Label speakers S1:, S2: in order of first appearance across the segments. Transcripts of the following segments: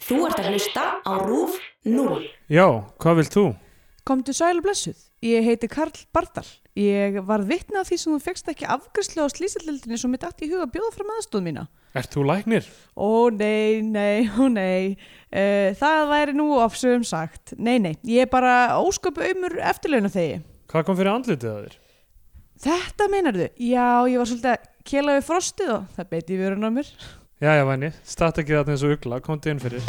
S1: Þú ert að hlusta á RÚF 0.
S2: Já, hvað vilt þú?
S3: Komdu sæl og blessuð. Ég heiti Karl Bardal. Ég var vitna að því sem þú fegst ekki afgriðslu á slísillildinni sem mitt átti í huga að bjóða fram aðstóð mína.
S2: Ert þú læknir?
S3: Ó nei, nei, ó nei. Uh, það væri nú ofsögum sagt. Nei, nei, ég er bara ósköpu auðmur eftirlauna þegi.
S2: Hvað kom fyrir andlitið að þér?
S3: Þetta meinarðu? Já, ég var svolítið að kela við frostið og það beiti í vörun á mér.
S2: Já, já, væni, start ekki þarna eins og ugla, komdu inn fyrir.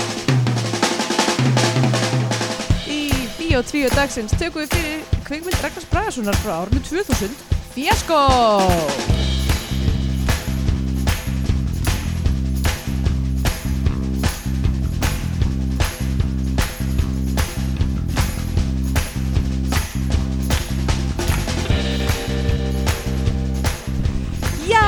S3: Í Bíó 2 dagsins tökum við fyrir kveikmynd Ragnars Bragasonar frá árinu 2000 Fiasko! Já,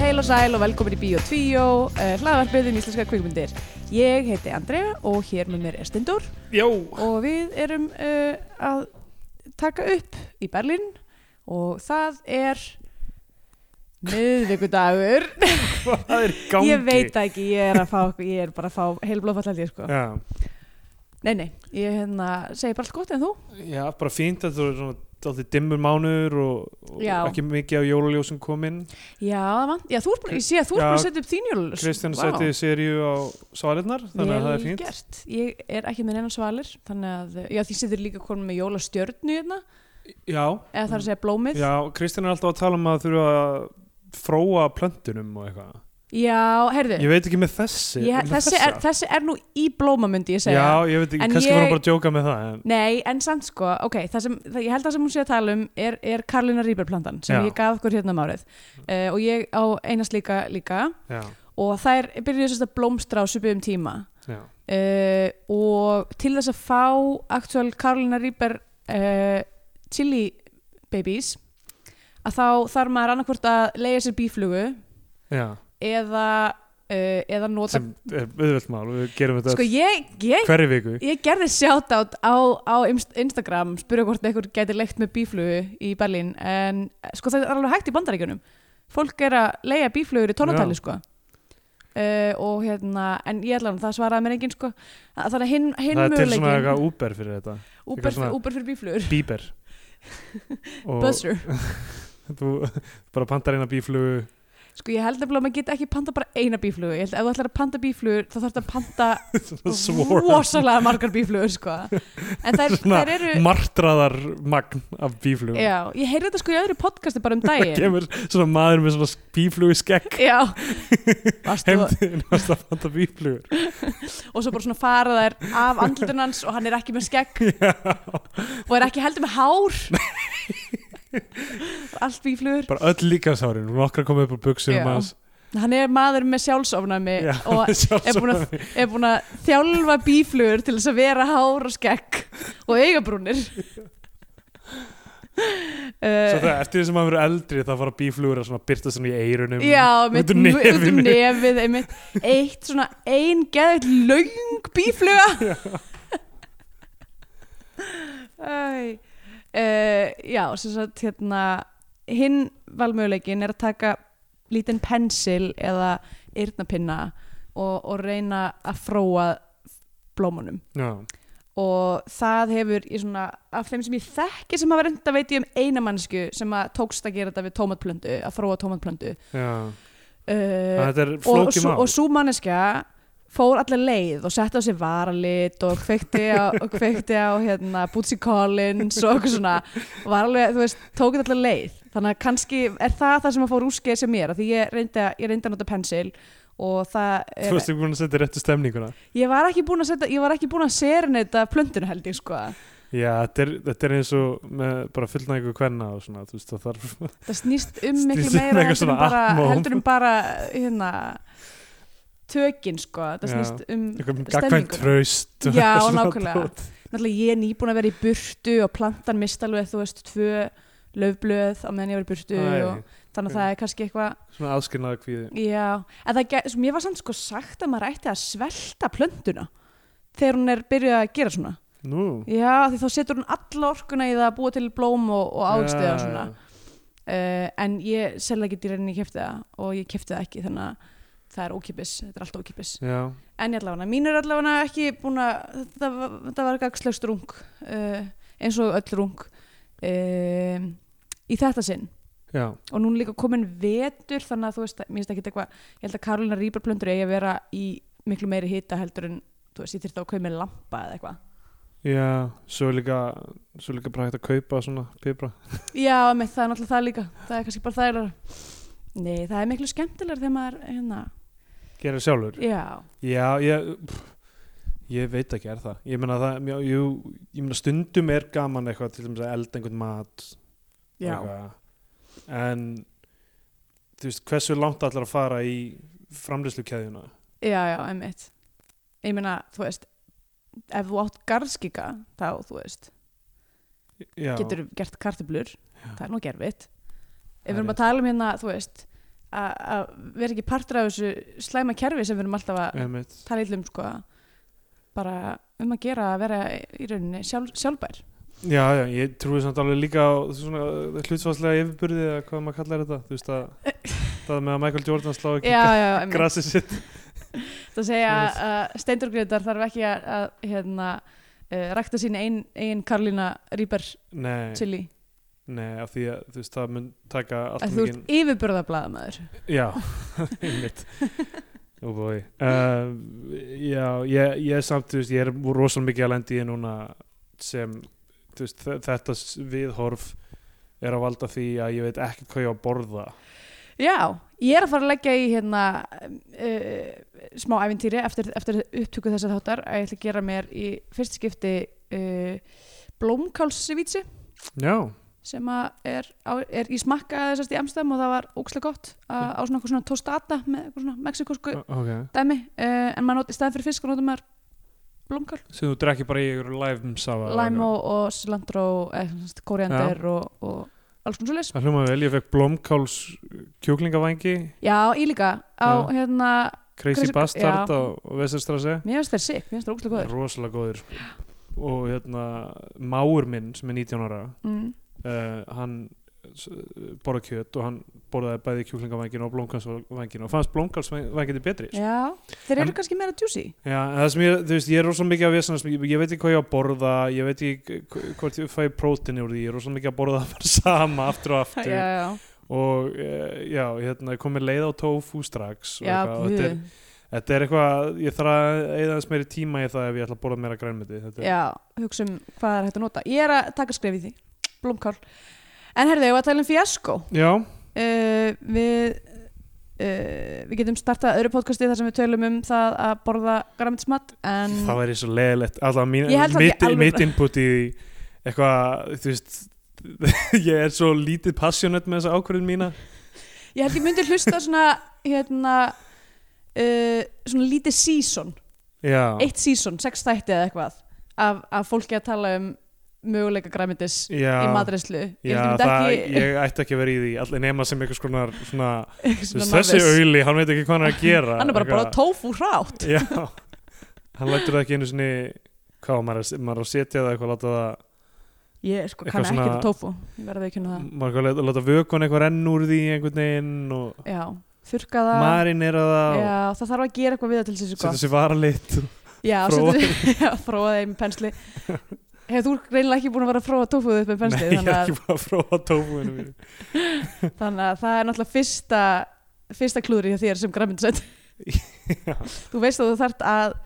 S3: heil og sæl og velkomin í Bíó 2 uh, hlaðvarpið um íslenska kveikmyndir Ég heiti Andrea og hér með mér er Steindór
S2: Jó,
S3: og við erum uh, að taka upp í Berlín og það er miðvikudagur
S2: hvað er í gangi?
S3: ég veit það ekki, ég er, að fá, ég er bara að fá heilblóðfall held ég sko
S2: Já,
S3: nei, nei, ég hérna, segi bara allt gott en þú
S2: já bara fínt að þú er svona alltaf dimmur mánuður og, og
S3: Já.
S2: ekki mikið af jólaljósum kominn.
S3: já, man, já þú er búin, ég sé að þú er
S2: Já,
S3: búin að setja upp þín jólus
S2: Kristján setti sériu á svalinnar, þannig að það er fínt.
S3: gert, ég er ekki með neina svalir þannig að, já því setur líka konum með jólastjörnu hérna,
S2: Já,
S3: eða það er að segja blómið
S2: já, Kristján er alltaf að tala um að þurfa að fróa plöntunum og eitthvað.
S3: já heyrðu,
S2: Ég veit ekki með þessi.
S3: Eh. ég,
S2: með
S3: þessi, er,
S2: þessa.
S3: þessi er nú í blómamöndi ég segja
S2: Já, ég veit ekki,
S3: En
S2: kannski vorum
S3: ég-
S2: bara að djóka með það. En...
S3: Nei, en samt sko, ok, það sem, það, ég held að það sem hún sé að tala um er, er Karlina Rýberplantan sem
S2: Já.
S3: ég gaf okkur hérna um árið uh, og ég á einast líka líka
S2: Já,
S3: og þær byrjuðu sérst að blómstra á svipum tíma
S2: já,
S3: uh, og til þess að fá aktuál Karlina Rýber uh, chili babies að þá þarf maður annarkvort að leiða sér bíflugu
S2: já.
S3: eða, uh, eða nota
S2: sem er auðvelt mál við gerum þetta
S3: Sko ég, ég
S2: hverju viku
S3: Ég gerði shoutout á, á Inst- Instagram, spurði hvort einhver gæti leikt með bíflugu í Berlín en eh, sko það er alveg hægt í bandaríkjunum fólk er að leia bíflugur í tónatali
S2: Já.
S3: sko uh, og hérna, en ég ætla hann, það svaraði mér enginn sko, Að- þannig að hinn, hinn
S2: það er til svona
S3: möguleikin
S2: eitthvað Uber fyrir þetta
S3: Uber,
S2: eitthvað svona-
S3: Uber fyrir bíflugur,
S2: Bíber og
S3: Buzzer
S2: þú bara pantar eina bíflugu
S3: sko ég held nefnilega að maður geti ekki panta bara eina bíflugu, ég held að ef þú ætlar að panta bíflugur þá þarf þetta að panta
S2: svona svorm,
S3: rosalega margar bíflugur sko en þær,
S2: Svona
S3: þær eru
S2: martraðar magn af bíflugum
S3: Já, ég heyrði þetta sko í öðru podcasti bara um
S2: það
S3: daginn
S2: kemur svona maður með svona bíflugu skekk
S3: Já Varstu, og,
S2: heimdinn að panta bíflugur
S3: og svo bara svona fara þær af andlutun hans og hann er ekki með skegg
S2: Já.
S3: og er ekki heldur með hár Allt bíflugur
S2: bara öll líkasárin, hún okkar komið upp á
S3: Já.
S2: buksunum hans
S3: Hann er maður með sjálfsofnæmi
S2: Já,
S3: og
S2: sjálfsagt.
S3: er búin, að, er búin að þjálfa bíflugur til þess að vera hár og skegg og augabrúnir
S2: Svo
S3: uh,
S2: það, eftir því sem maður verður eldri þá fara bíflugur að svona byrta svona í eyrunum
S3: Já,
S2: út
S3: mitt,
S2: úr
S3: út um
S2: nefinu.
S3: nefið einmitt, eitt svona ein geðið löng bífluga Æ, uh, Já, sem sagt hérna hinn valmöguleikin er að taka lítinn pensil eða eyrnapinna og, og reyna að fróa blómunum
S2: Já.
S3: og það hefur í svona, af þeim sem ég þekki sem hafa reynda veit ég um eina mannsku sem að tókst að gera þetta við tómatplöndu að fróa tómatplöndu
S2: Já.
S3: uh,
S2: þetta er
S3: og,
S2: flókið
S3: sú-
S2: mál
S3: og svo manneskja fór allar leið og setti á sig varalit og kveikti á, og kveikti á hérna, Bootsy Collins og eitthvað svona var alveg, þú veist, tók þetta allar leið þannig að kannski er það það sem að fór úrskeið sem mér, af því ég reyndi að, ég reyndi að nota pensil og það
S2: Þú
S3: er,
S2: varst ekki búin að setja réttu stemninguna
S3: ég var ekki búin að setja, ég var ekki búin að serinita plöndinu held ég sko
S2: Já, þetta er, þetta er eins og með bara fullnægu kvenna og svona, þú veist, það þarf
S3: það snýst um miklu
S2: Snýst um eitthvað
S3: meira heldur
S2: svona
S3: um bara,
S2: atmóm.
S3: heldur um bara hérna, tökin sko, það
S2: Já.
S3: snýst um
S2: eitthvað með gagkvæmt
S3: stemninguna
S2: traust og
S3: Já,
S2: eitthvað svona
S3: nákvæmlega.
S2: dót.
S3: Náttúrulega ég er nýbúin að vera í burtu og plantan mist alveg, þú veist, tvö löfblöð á meðan ég var í burtu
S2: Æ,
S3: og þannig að það er kannski eitthvað,
S2: Svona afskilnaða kvíði
S3: já, en það, gæ- svo, mér var samt sko sagt að maður ætti að svelta plönduna þegar hún er byrjuð að gera svona.
S2: Nú
S3: Já, því þá setur hún alla orkuna í það að búa til blóm og, og ágstuða og Eh, svona. Uh, en ég selða ekki dýrinn ég kefti það og ég kefti það ekki þannig að það er ókipis, þetta er allt ókipis
S2: já,
S3: en ég allavega, mín er allavega ekki búin að þetta, var- þetta var gagslöst rung uh, eins og öll rung uh, í þetta sinn
S2: já,
S3: og núna líka komin vetur þannig að þú veist, mér finnst ekki eitthvað ég held að Karolina Rýbarblöndur eigi að vera í miklu meiri hita heldur en þú veist, ég þyrfti að kaupa með lampa eða eitthvað
S2: já svo er líka svo er líka bara hægt að kaupa svona pipra
S3: Já, með það er náttúrulega það líka það er kannski bara þægilega Nei, það er miklu skemmtilegar þegar maður hérna,
S2: gera sjálfur
S3: já,
S2: Já, ég, pff, ég veit ekki er það. Ég meina það, já, jú, ég meina stundum er gaman eitthvað til dæmis að elda einhvern mat og
S3: já,
S2: eitthvað. En þú veist, hversu langt ætlar að fara í framlýslukeðjuna?
S3: já, já, einmitt Ég meina, þú veist ef þú átt garðskika þá, þú veist,
S2: Já,
S3: getur gert kartöblur það er nú gerfitt
S2: Það
S3: Ef
S2: er
S3: við erum
S2: rétt.
S3: að tala um hérna, þú veist að að vera ekki partur af þessu slæma kerfi sem við erum alltaf að
S2: einmitt.
S3: tala illum, sko bara um að gera að vera í rauninni sjálf, sjálfbær
S2: Já, já, ég trúi samt alveg líka á svona hlutsvarslega yfirburði eða hvað maður kallar þetta, þú veist að það með að Michael Jordan slá
S3: Já,
S2: ekki
S3: já, einmitt
S2: grasið sitt.
S3: Það segja að Steindur Greitar þarf ekki að, að hérna, uh, rækta sín ein, ein Karlína Rýber
S2: Nei,
S3: chili
S2: nei, af því að þú veist, það mun taka
S3: að
S2: alltaf
S3: þú ert yfirbörðablaðamæður
S2: Já, einmitt Ó bói uh, Já, ég, ég samt, þú veist, ég er rosalega mikið að lendi í núna sem, þú veist, þe- þetta s- viðhorf er að valda því að ég veit ekki hvað ég á að borða
S3: Já, ég er að fara að leggja í hérna, uh, smá æfintýri eftir, eftir upptöku þessa þáttar að ég ætla að gera mér í fyrst skipti uh, blómkálssevítsi
S2: Já,
S3: sem að er, á, er í smakka þessast í Amstæðum og það var ókslega gott að,
S2: Mm.
S3: á svona, eitthvað svona tostata með eitthvað svona mexikosku
S2: ok
S3: dæmi uh, en maður notið staðan fyrir fisk og notar maður blómkál
S2: Sem þú drekki bara í ykkur læfum safa
S3: Lime og, og cilantro, eh, sem sagt, koriander og, og alls konar svolítið.
S2: Það hljóma vel, ég fekk blómkáls kjúklingavængi
S3: Já, ég líka á
S2: Já.
S3: hérna,
S2: Crazy
S3: Crazy-
S2: Bastard
S3: já.
S2: á Vesturstrasi
S3: mér finnst þér sikk, mér finnst þér ógæslega góður.
S2: Rosalega góður sko. Og hérna, máur minn sem er 19 ára
S3: Mm.
S2: uh, hann s- borða kjöt og hann borðaði bæði kjúklingavængin og blómkálsvængin og fannst blómkálsvængin betri sko.
S3: Já, þeir
S2: En-
S3: eru kannski meira juicy.
S2: Já, en það sem ég, þú veist, ég er rosalega mikið að vesna ég, ég veit ekki hvað ég á að borða, ég veit ekki hv- hvort ég fæ prótein úr því, ég er rosalega mikið að borða það bara sama aftur og
S3: Já,
S2: aftur
S3: já,
S2: og uh, já, hérna, ég kom með leið á tofu strax og
S3: já,
S2: eitthvað, og þetta,
S3: guð.
S2: er, þetta er eitthvað, ég þarf að eða eins meiri tíma í það ef ég ætla að borða meira grænmeti þetta er-
S3: já, hugsa um hvað er hægt að nota. Ég er að taka skref í því, blómkál. En herðu, ég var að tala um fiasko.
S2: já,
S3: Uh, við, uh, við getum startað öðru podcasti þar sem við tölum um það að borða græmitismat, en...
S2: það væri svo leðilegt allavega
S3: Ég held
S2: mín,
S3: að
S2: mitt,
S3: ég alveg-
S2: mitt input í því eitthvað, þú veist ég er svo lítið passionate með þessa ákvörðin mína
S3: Ég held ég myndi hlusta á svona hérna uh, svona lítið season
S2: já,
S3: eitt season, sex þætti eða eitthvað af, af fólki að tala um möguleika græmitis
S2: já,
S3: í matreyslu Ég
S2: já
S3: held ég myndi
S2: það,
S3: ekki
S2: ég ætti ekki að vera í því allir nema sem einhvers konar svona,
S3: ekki
S2: svona
S3: svona
S2: þessi
S3: novice.
S2: auðli, hann veit ekki hvað hann er að gera
S3: Hann er bara að borða
S2: eitthvað.
S3: tófu hrátt
S2: já, hann lætur það ekki einu sinni hvað, maður er, maður er að setja það eitthvað láta það,
S3: Ég sko
S2: Eitthvað
S3: kann ekki
S2: svona- Mm.
S3: þetta tófu Ég verði ekki hérna það
S2: maður er að láta- láta vökun eitthvað renn úr því einhvern veginn og
S3: Já, þurrka það
S2: marinera það og
S3: Já, það þarf að gera eitthvað við það til þessu
S2: setja
S3: gott
S2: sér varalit
S3: Já,
S2: prófa.
S3: setja- já, prófa þeim með pensli Hefur þú greinilega ekki búin að vera að prófa tófuð upp með
S2: Nei,
S3: pensli
S2: ég
S3: þannig
S2: er
S3: að-
S2: ekki bara að fróa tófuðinu mínu
S3: Þannig að það er náttúrulega fyrsta, fyrsta klúðri hjá þér sem græminsett. þú veist að þú þart að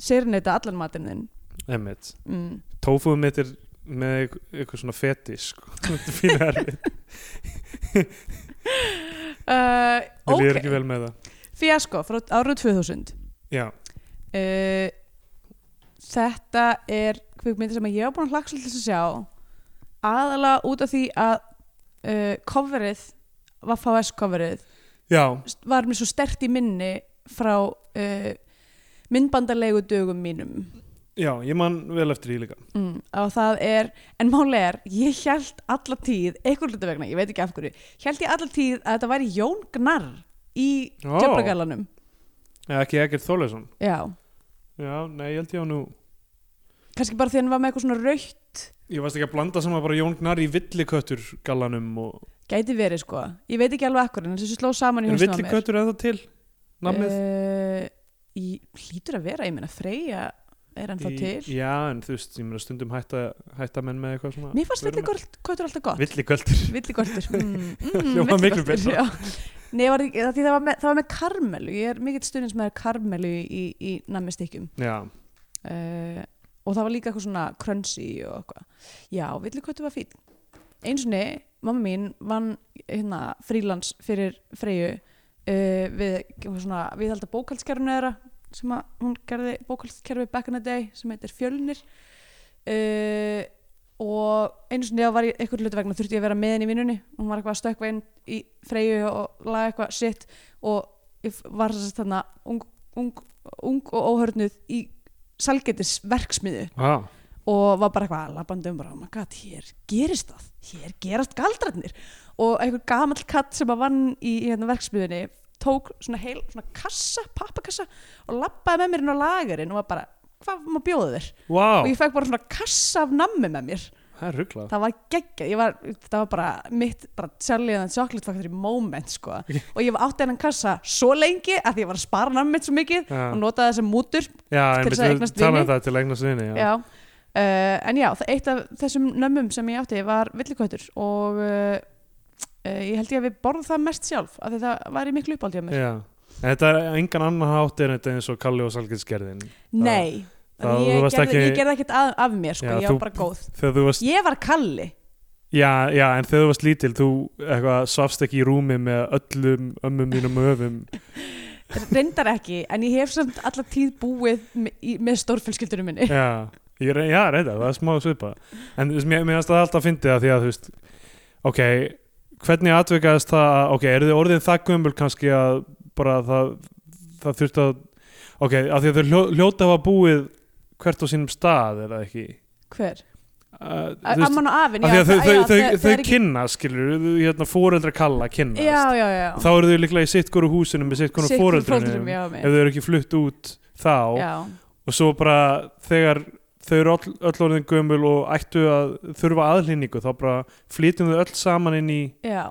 S3: sérneita allan matinn þinn.
S2: Emmett,
S3: Mm.
S2: tófuð mitt er með eit- eitthvað svona fetis sko. Þetta er fín erfið,
S3: Uh,
S2: ég líður
S3: ok,
S2: ekki vel með það
S3: fjasko frá árið 2000.
S2: Já,
S3: Uh, þetta er kvikmyndi sem ég hef búin að hlaksa til þess að sjá aðalega út af því að uh, coverið, Vaffa S coverið
S2: já,
S3: st- var mér svo stert í minni frá uh, myndbandarlegu dögum mínum.
S2: já, ég man vel eftir því líka
S3: Mm, og það er, en máli er ég held alla tíð, einhver hluta vegna ég veit ekki af hverju, held ég alla tíð að þetta væri Jón Gnarr í
S2: Ó.
S3: tjöflagallanum,
S2: Eða ekki Egert Þorleifsson
S3: já
S2: Já, nei, ég held ég á nú
S3: kannski bara því hann var með eitthvað svona rautt
S2: Ég varst ekki að blanda saman bara Jón Gnarr í villiköttur gallanum og...
S3: gæti verið sko, ég veit ekki alveg af hverju en þessu sló saman í
S2: Er
S3: hausnum á mér
S2: villiköttur eða til? namnið?
S3: Uh, í, hlýtur að vera, ég meina Freyja er ennþá
S2: Í-
S3: til
S2: Já, en þú veist, ég meina stundum hætta, hætta menn með eitthvað svona
S3: Mér fannst
S2: vörum-
S3: villigöldur alltaf gott
S2: Villigöldur
S3: Villigöldur mm, mm,
S2: Hljómar miklu
S3: villigöldur,
S2: betra.
S3: já. Nei, var, ekki- það, því það, var með, það var með karmelu Ég er mikill stundins með karmelu í, í nammistykkjum
S2: Já,
S3: uh, og það var líka eitthvað svona crunchy og eitthvað já, villikvötu var fín eins og niður, mamma mín vann hérna frílans fyrir Freyju uh, við eitthvað svona viðhalda bókaldskerfinu þeirra sem að hún gerði bókaldskerfi back in the day sem heitir Fjölnir uh, og einu sinni þá var ég eitthvað hlutu vegna þurfti ég að vera með henni í vinnunni hún var eitthvað að stökkva inn í Freyju og laga eitthvað sitt og ég var þess að þarna ung, ung, ung og óhörnuð í salgetis verksmiðu
S2: ah,
S3: og var bara eitthvað labbandi um bara, oh my god, hér gerist það hér gerast galdrarnir og einhver gamall katt sem að vann í, í hérna verksmiðunni tók svona heil svona kassa, pappakassa og labbaði með mér inn á lagarinn og var bara hvað má bjóða þér?
S2: wow,
S3: og ég fekk bara svona kassa af nammi með mér
S2: það er rugglað
S3: það var geggjað, ég var, það var bara mitt, bara Charlie and the Chocolate Factory moment sko, og ég var átti hennan kassa svo lengi að því ég var að spara nammi mitt svo mikið
S2: Já.
S3: og notaði þessum mútur
S2: Já, en
S3: til þess að
S2: við
S3: eignast
S2: talaðum
S3: vini.
S2: það til að eignast vini Já,
S3: já. Uh, en já, það, eitt af þessum nömmum sem ég átti var villikvættur og uh, uh, ég held ég að við borðum það mest sjálf af því það var í miklu uppáldi á mér
S2: já. En Þetta er engan annan hátt en þetta eins og Kalli og Salgitskerðin
S3: Nei,
S2: það-
S3: það,
S2: þú
S3: ég,
S2: varst
S3: gerði,
S2: ekki-
S3: ég gerði ekkert að, af mér sko,
S2: Já,
S3: ég
S2: þú-
S3: var bara góð
S2: Þegar þú varst,
S3: Ég var kalli
S2: já, já, en þegar þú varst lítil þú eitthvað svafst ekki í rúmi með öllum ömmum mínum og öfum
S3: reyndar ekki, en ég hef samt alla tíð búið me, í, með stórfjölskyldunum minni
S2: já, ég rey, já, reynda, það er smá svipa en þú veist, mér mér finnst það alltaf að fyndi það því að þú veist, ok hvernig atvikaðist það, að- ok, eru þið orðin það gömul kannski að bara það, það þurfti að ok, af því að þau hljó, hljóta hafa búið hvert á sínum stað, er það ekki
S3: Hver?
S2: Uh,
S3: A- Amman og afinn,
S2: af því
S3: já,
S2: að þau,
S3: það-
S2: þau,
S3: já,
S2: þau,
S3: það-
S2: þau,
S3: það er ekki-
S2: kynna skilur, hérna fóreldra kalla kynna
S3: Já, já, já
S2: þá eru þau líklega í sitt hverju húsinu með sitt hverju
S3: Sitt hvoru foreldrum,
S2: fóreldrunum
S3: já,
S2: ef
S3: mitt.
S2: þau eru ekki flutt út þá
S3: já,
S2: og svo bara þegar þau eru öll, öll orðin gömul og ættu að þurfa aðlýningu þá bara flytjum þau öll saman inn í
S3: já.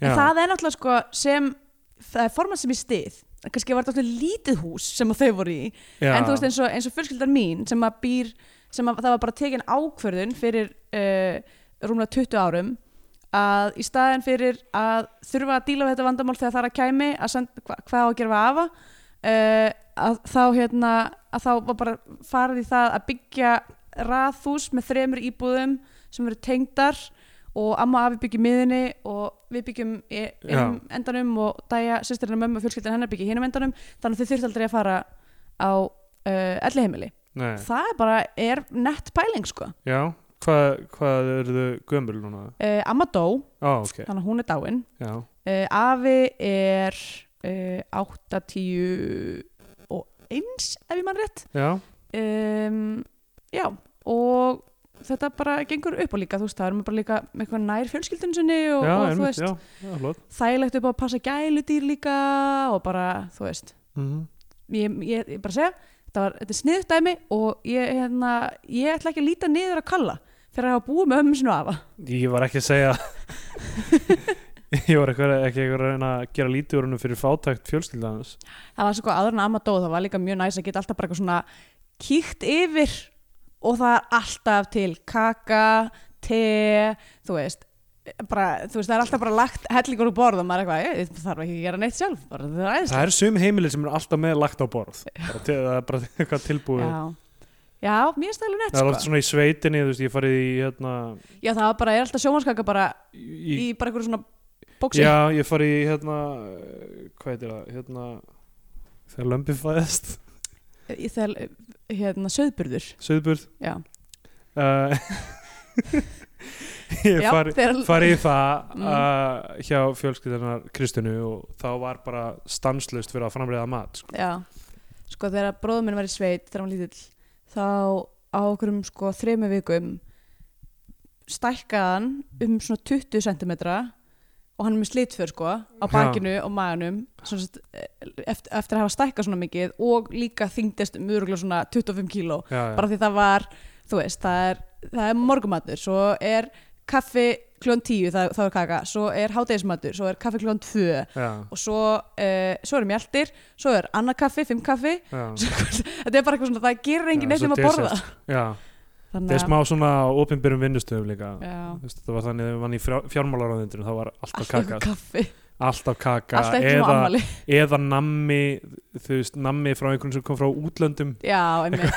S2: Já.
S3: En það er náttúrulega sko sem það er format sem ég stið kannski var þetta alltaf lítið hús sem að þau voru í
S2: já,
S3: en þú veist eins og, eins og fjölskyldar mín sem að býr, sem að það var bara tekin ákvörðun fyrir uh, rúmlega 20 árum að í staðin fyrir að þurfa að díla við þetta vandamál þegar það er að kæmi að senda, hva, hvað á að gera við afa uh, að þá hérna að þá var bara farið í það að byggja raðhús með þremur íbúðum sem eru tengdar og amma og afi byggja miðinni og við byggjum í einum endanum og dæja sýstirinn og mömmu og fjölskyldin hennar byggja hinum endanum þannig að þau þurft aldrei að fara á uh, elli heimili
S2: nei,
S3: það er bara er nett pæling sko
S2: já, hvað, hvað eru þau gömul núna?
S3: uh, amma dó,
S2: Á, ok,
S3: þannig að hún er dáin
S2: já,
S3: uh, afi er uh, 8, 10 og eins ef ég mann rétt
S2: já,
S3: um, já og þetta bara gengur upp og líka þú veist það er maður bara líka með eitthvað nær fjölskyldun sinni og,
S2: já,
S3: og þú
S2: einmitt,
S3: veist
S2: já, já, hlott
S3: þægilegt upp á að passa gæludýr líka og bara þú veist
S2: mm
S3: ég, ég, ég bara segja þetta, var, þetta er sniðugt dæmi og ég, hérna, ég ætla ekki að líta niður að kalla fyrir að hafa búið með ömmu sinu afa
S2: Ég var ekki að segja ég var ekki, ekki að reyna að gera lítið úr hennu fyrir fátækt fjölskyldans
S3: það var svo hvað aður en amma dóð það var líka mjög næs að geta alltaf bara eitthvað svona kíkt yfir og það er alltaf til kaka, te þú veist bara, þú veist, það er alltaf bara lagt hellingur úr borð og maður er eitthvað, ég þarf ekki að gera neitt sjálf bara, það er
S2: Það
S3: æðislega
S2: eru sum heimilið sem eru alltaf með lagt á borð Bara til- það er bara eitthvað tilbúið
S3: já. já, mér er stæðlega nett
S2: Það er
S3: sko.
S2: alltaf svona í sveitinni, þú veist, ég farið í hérna,
S3: já, það var bara, er alltaf sjómanskaka bara
S2: í,
S3: í bara einhverju svona bóksi
S2: Já, ég fari í hérna eh, hvað heitir það, hérna þegar lömbi fæðist
S3: í þegar, hérna, söðburður
S2: söðburð
S3: já
S2: uh, ég
S3: Já,
S2: fari,
S3: þegar-
S2: fari í það
S3: Mm.
S2: uh, hjá fjölskyldunar Kristinu og þá var bara stanslust fyrir að framræða mat sko.
S3: Já, sko þegar bróðum minn var í sveit þegar hann var lítill þá á okkurum sko þremu vikum stækkaðan um svona 20 cm og hann er með slitför sko á bakinu og maganum sem sagt, eftir, eftir að hafa stækkað svona mikið og líka þyngdist um öruglega svona 25 kíló
S2: já, já.
S3: bara því það var, þú veist, það er, það er morgumatur, svo er kaffi klón 10 það, það er kaka, svo er hádegismatur svo er kaffi klón 2
S2: já,
S3: og svo, uh, svo er mjaltir svo er annað kaffi, fimm kaffi
S2: já,
S3: þetta er bara eitthvað svona, það gerir engin
S2: Já,
S3: neitt
S2: svo
S3: um að borða
S2: dessert. já.
S3: þannig
S2: Það er smá svona opinberum vinnustöfum líka
S3: já,
S2: Þú veist, það var þannig að við vann í fjármálaráðundinu það var alltaf
S3: alltaf
S2: kaka
S3: eitthvað kaffi
S2: alltaf kaka
S3: alltaf eitthvað um
S2: eða,
S3: ammali
S2: eða nammi þú veist, nammi frá einhvern sem kom frá útlöndum
S3: já, einmitt,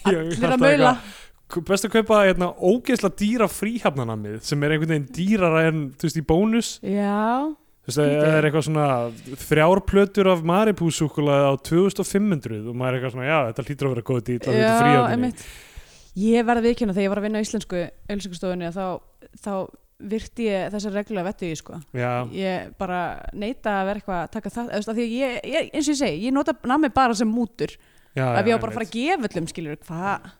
S2: Ég-
S3: allir
S2: alltaf
S3: að maula
S2: eitthvað, best að kaupa hérna, ógeðsla dýra fríhafnanammið sem er einhvern veginn dýrara en þú veist, í bónus
S3: já,
S2: þú veist, það er eitthvað svona þrjárplötur af maripúsúkulaði á 2500 og maður er eitthvað svona, já, þetta hlýtur að vera góð dýr að þetta
S3: já,
S2: fríhafninni
S3: einmitt ég verði viðkjöna þegar ég var að vinna á íslensku ölsingustofunni þá, þá virti ég þessa reglu að vettu í sko
S2: já,
S3: ég bara neita að vera eitthvað að taka það, eða, því að ég, ég, eins og ég segi ég nota nammi bara sem mútur
S2: já,
S3: ef ég
S2: já,
S3: á bara að fara að gefa öllum skilur hvað,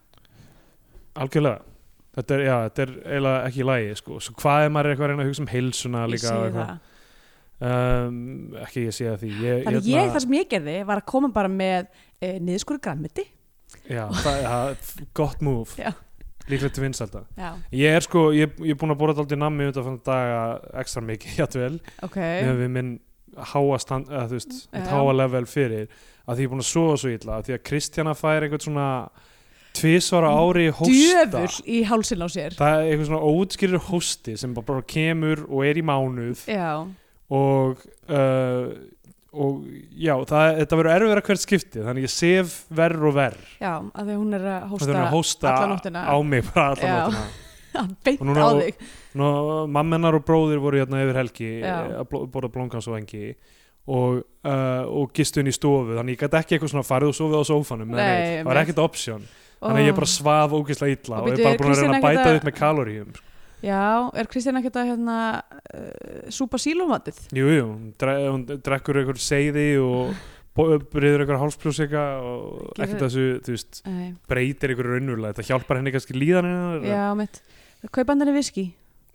S2: Algjörlega Þetta er, já, þetta er eiginlega ekki í lagi sko. Svo hvað er maður er eitthvað að reyna að hugsa um heilsuna
S3: ég
S2: líka og
S3: segi
S2: eitthvað?
S3: það
S2: um, Ekki ég sé að því Ég, hérna,
S3: þannig ég, það sem ég gerði var að koma bara með e, niðurskuru grammiti
S2: Já, það, ja, gott move
S3: Já.
S2: Líklegt til vinsalda
S3: já,
S2: Ég er sko, ég, ég er búin að bóra þetta aldrei nammi út af þannig daga ekstra mikið, játvel
S3: ok
S2: meðan við minn háa stand, eða, þú veist, mitt
S3: Já.
S2: háa level fyrir að því ég er búin að sofa svo illa af því að Kristjana fær einhvern svona tvisvara ári hósta
S3: Mm, djöfull í hálsin á sér
S2: Það er eitthvað svona óutskýrir hósti sem bara, bara kemur og er í mánuð
S3: já,
S2: og, uh, og já, það, þetta verður erfið að hvert skipti þannig ég sef verr og verr
S3: já, að því að hún er að
S2: þannig
S3: hósta
S2: að hósta
S3: alla nóttina.
S2: á mig bara alla
S3: Já.
S2: nóttina Og
S3: beint
S2: núna
S3: á
S2: á-
S3: þig
S2: Nú, mammenar og bróðir voru hérna yfir helgi
S3: Já.
S2: eh, að bló- borða blómkans og engi og, uh, og gistu inn í stofu þannig ég gæti ekki eitthvað svona farið og sofið á sófanum eða
S3: Nei,
S2: neitt. það var
S3: einmitt.
S2: ekkert option þannig að ég bara svaf ógeðslega illa og,
S3: Og
S2: ég er
S3: bíddu,
S2: bara
S3: er
S2: búin að reyna að
S3: Kristín
S2: bæta
S3: ekkert að-
S2: upp með kaloríum
S3: Já, er Kristján ekkert að hérna uh, súpa sílómatið?
S2: Jú, jú, hún, dre hún drekkur einhver seiði og bo- bryður einhver hálspljósika og
S3: Gerir-
S2: ekkert þessu, þú veist,
S3: Nei,
S2: breytir einhver raunverulega, það hjálpar henni kannski líðan hennar
S3: já, mitt. Kaupandar er viski,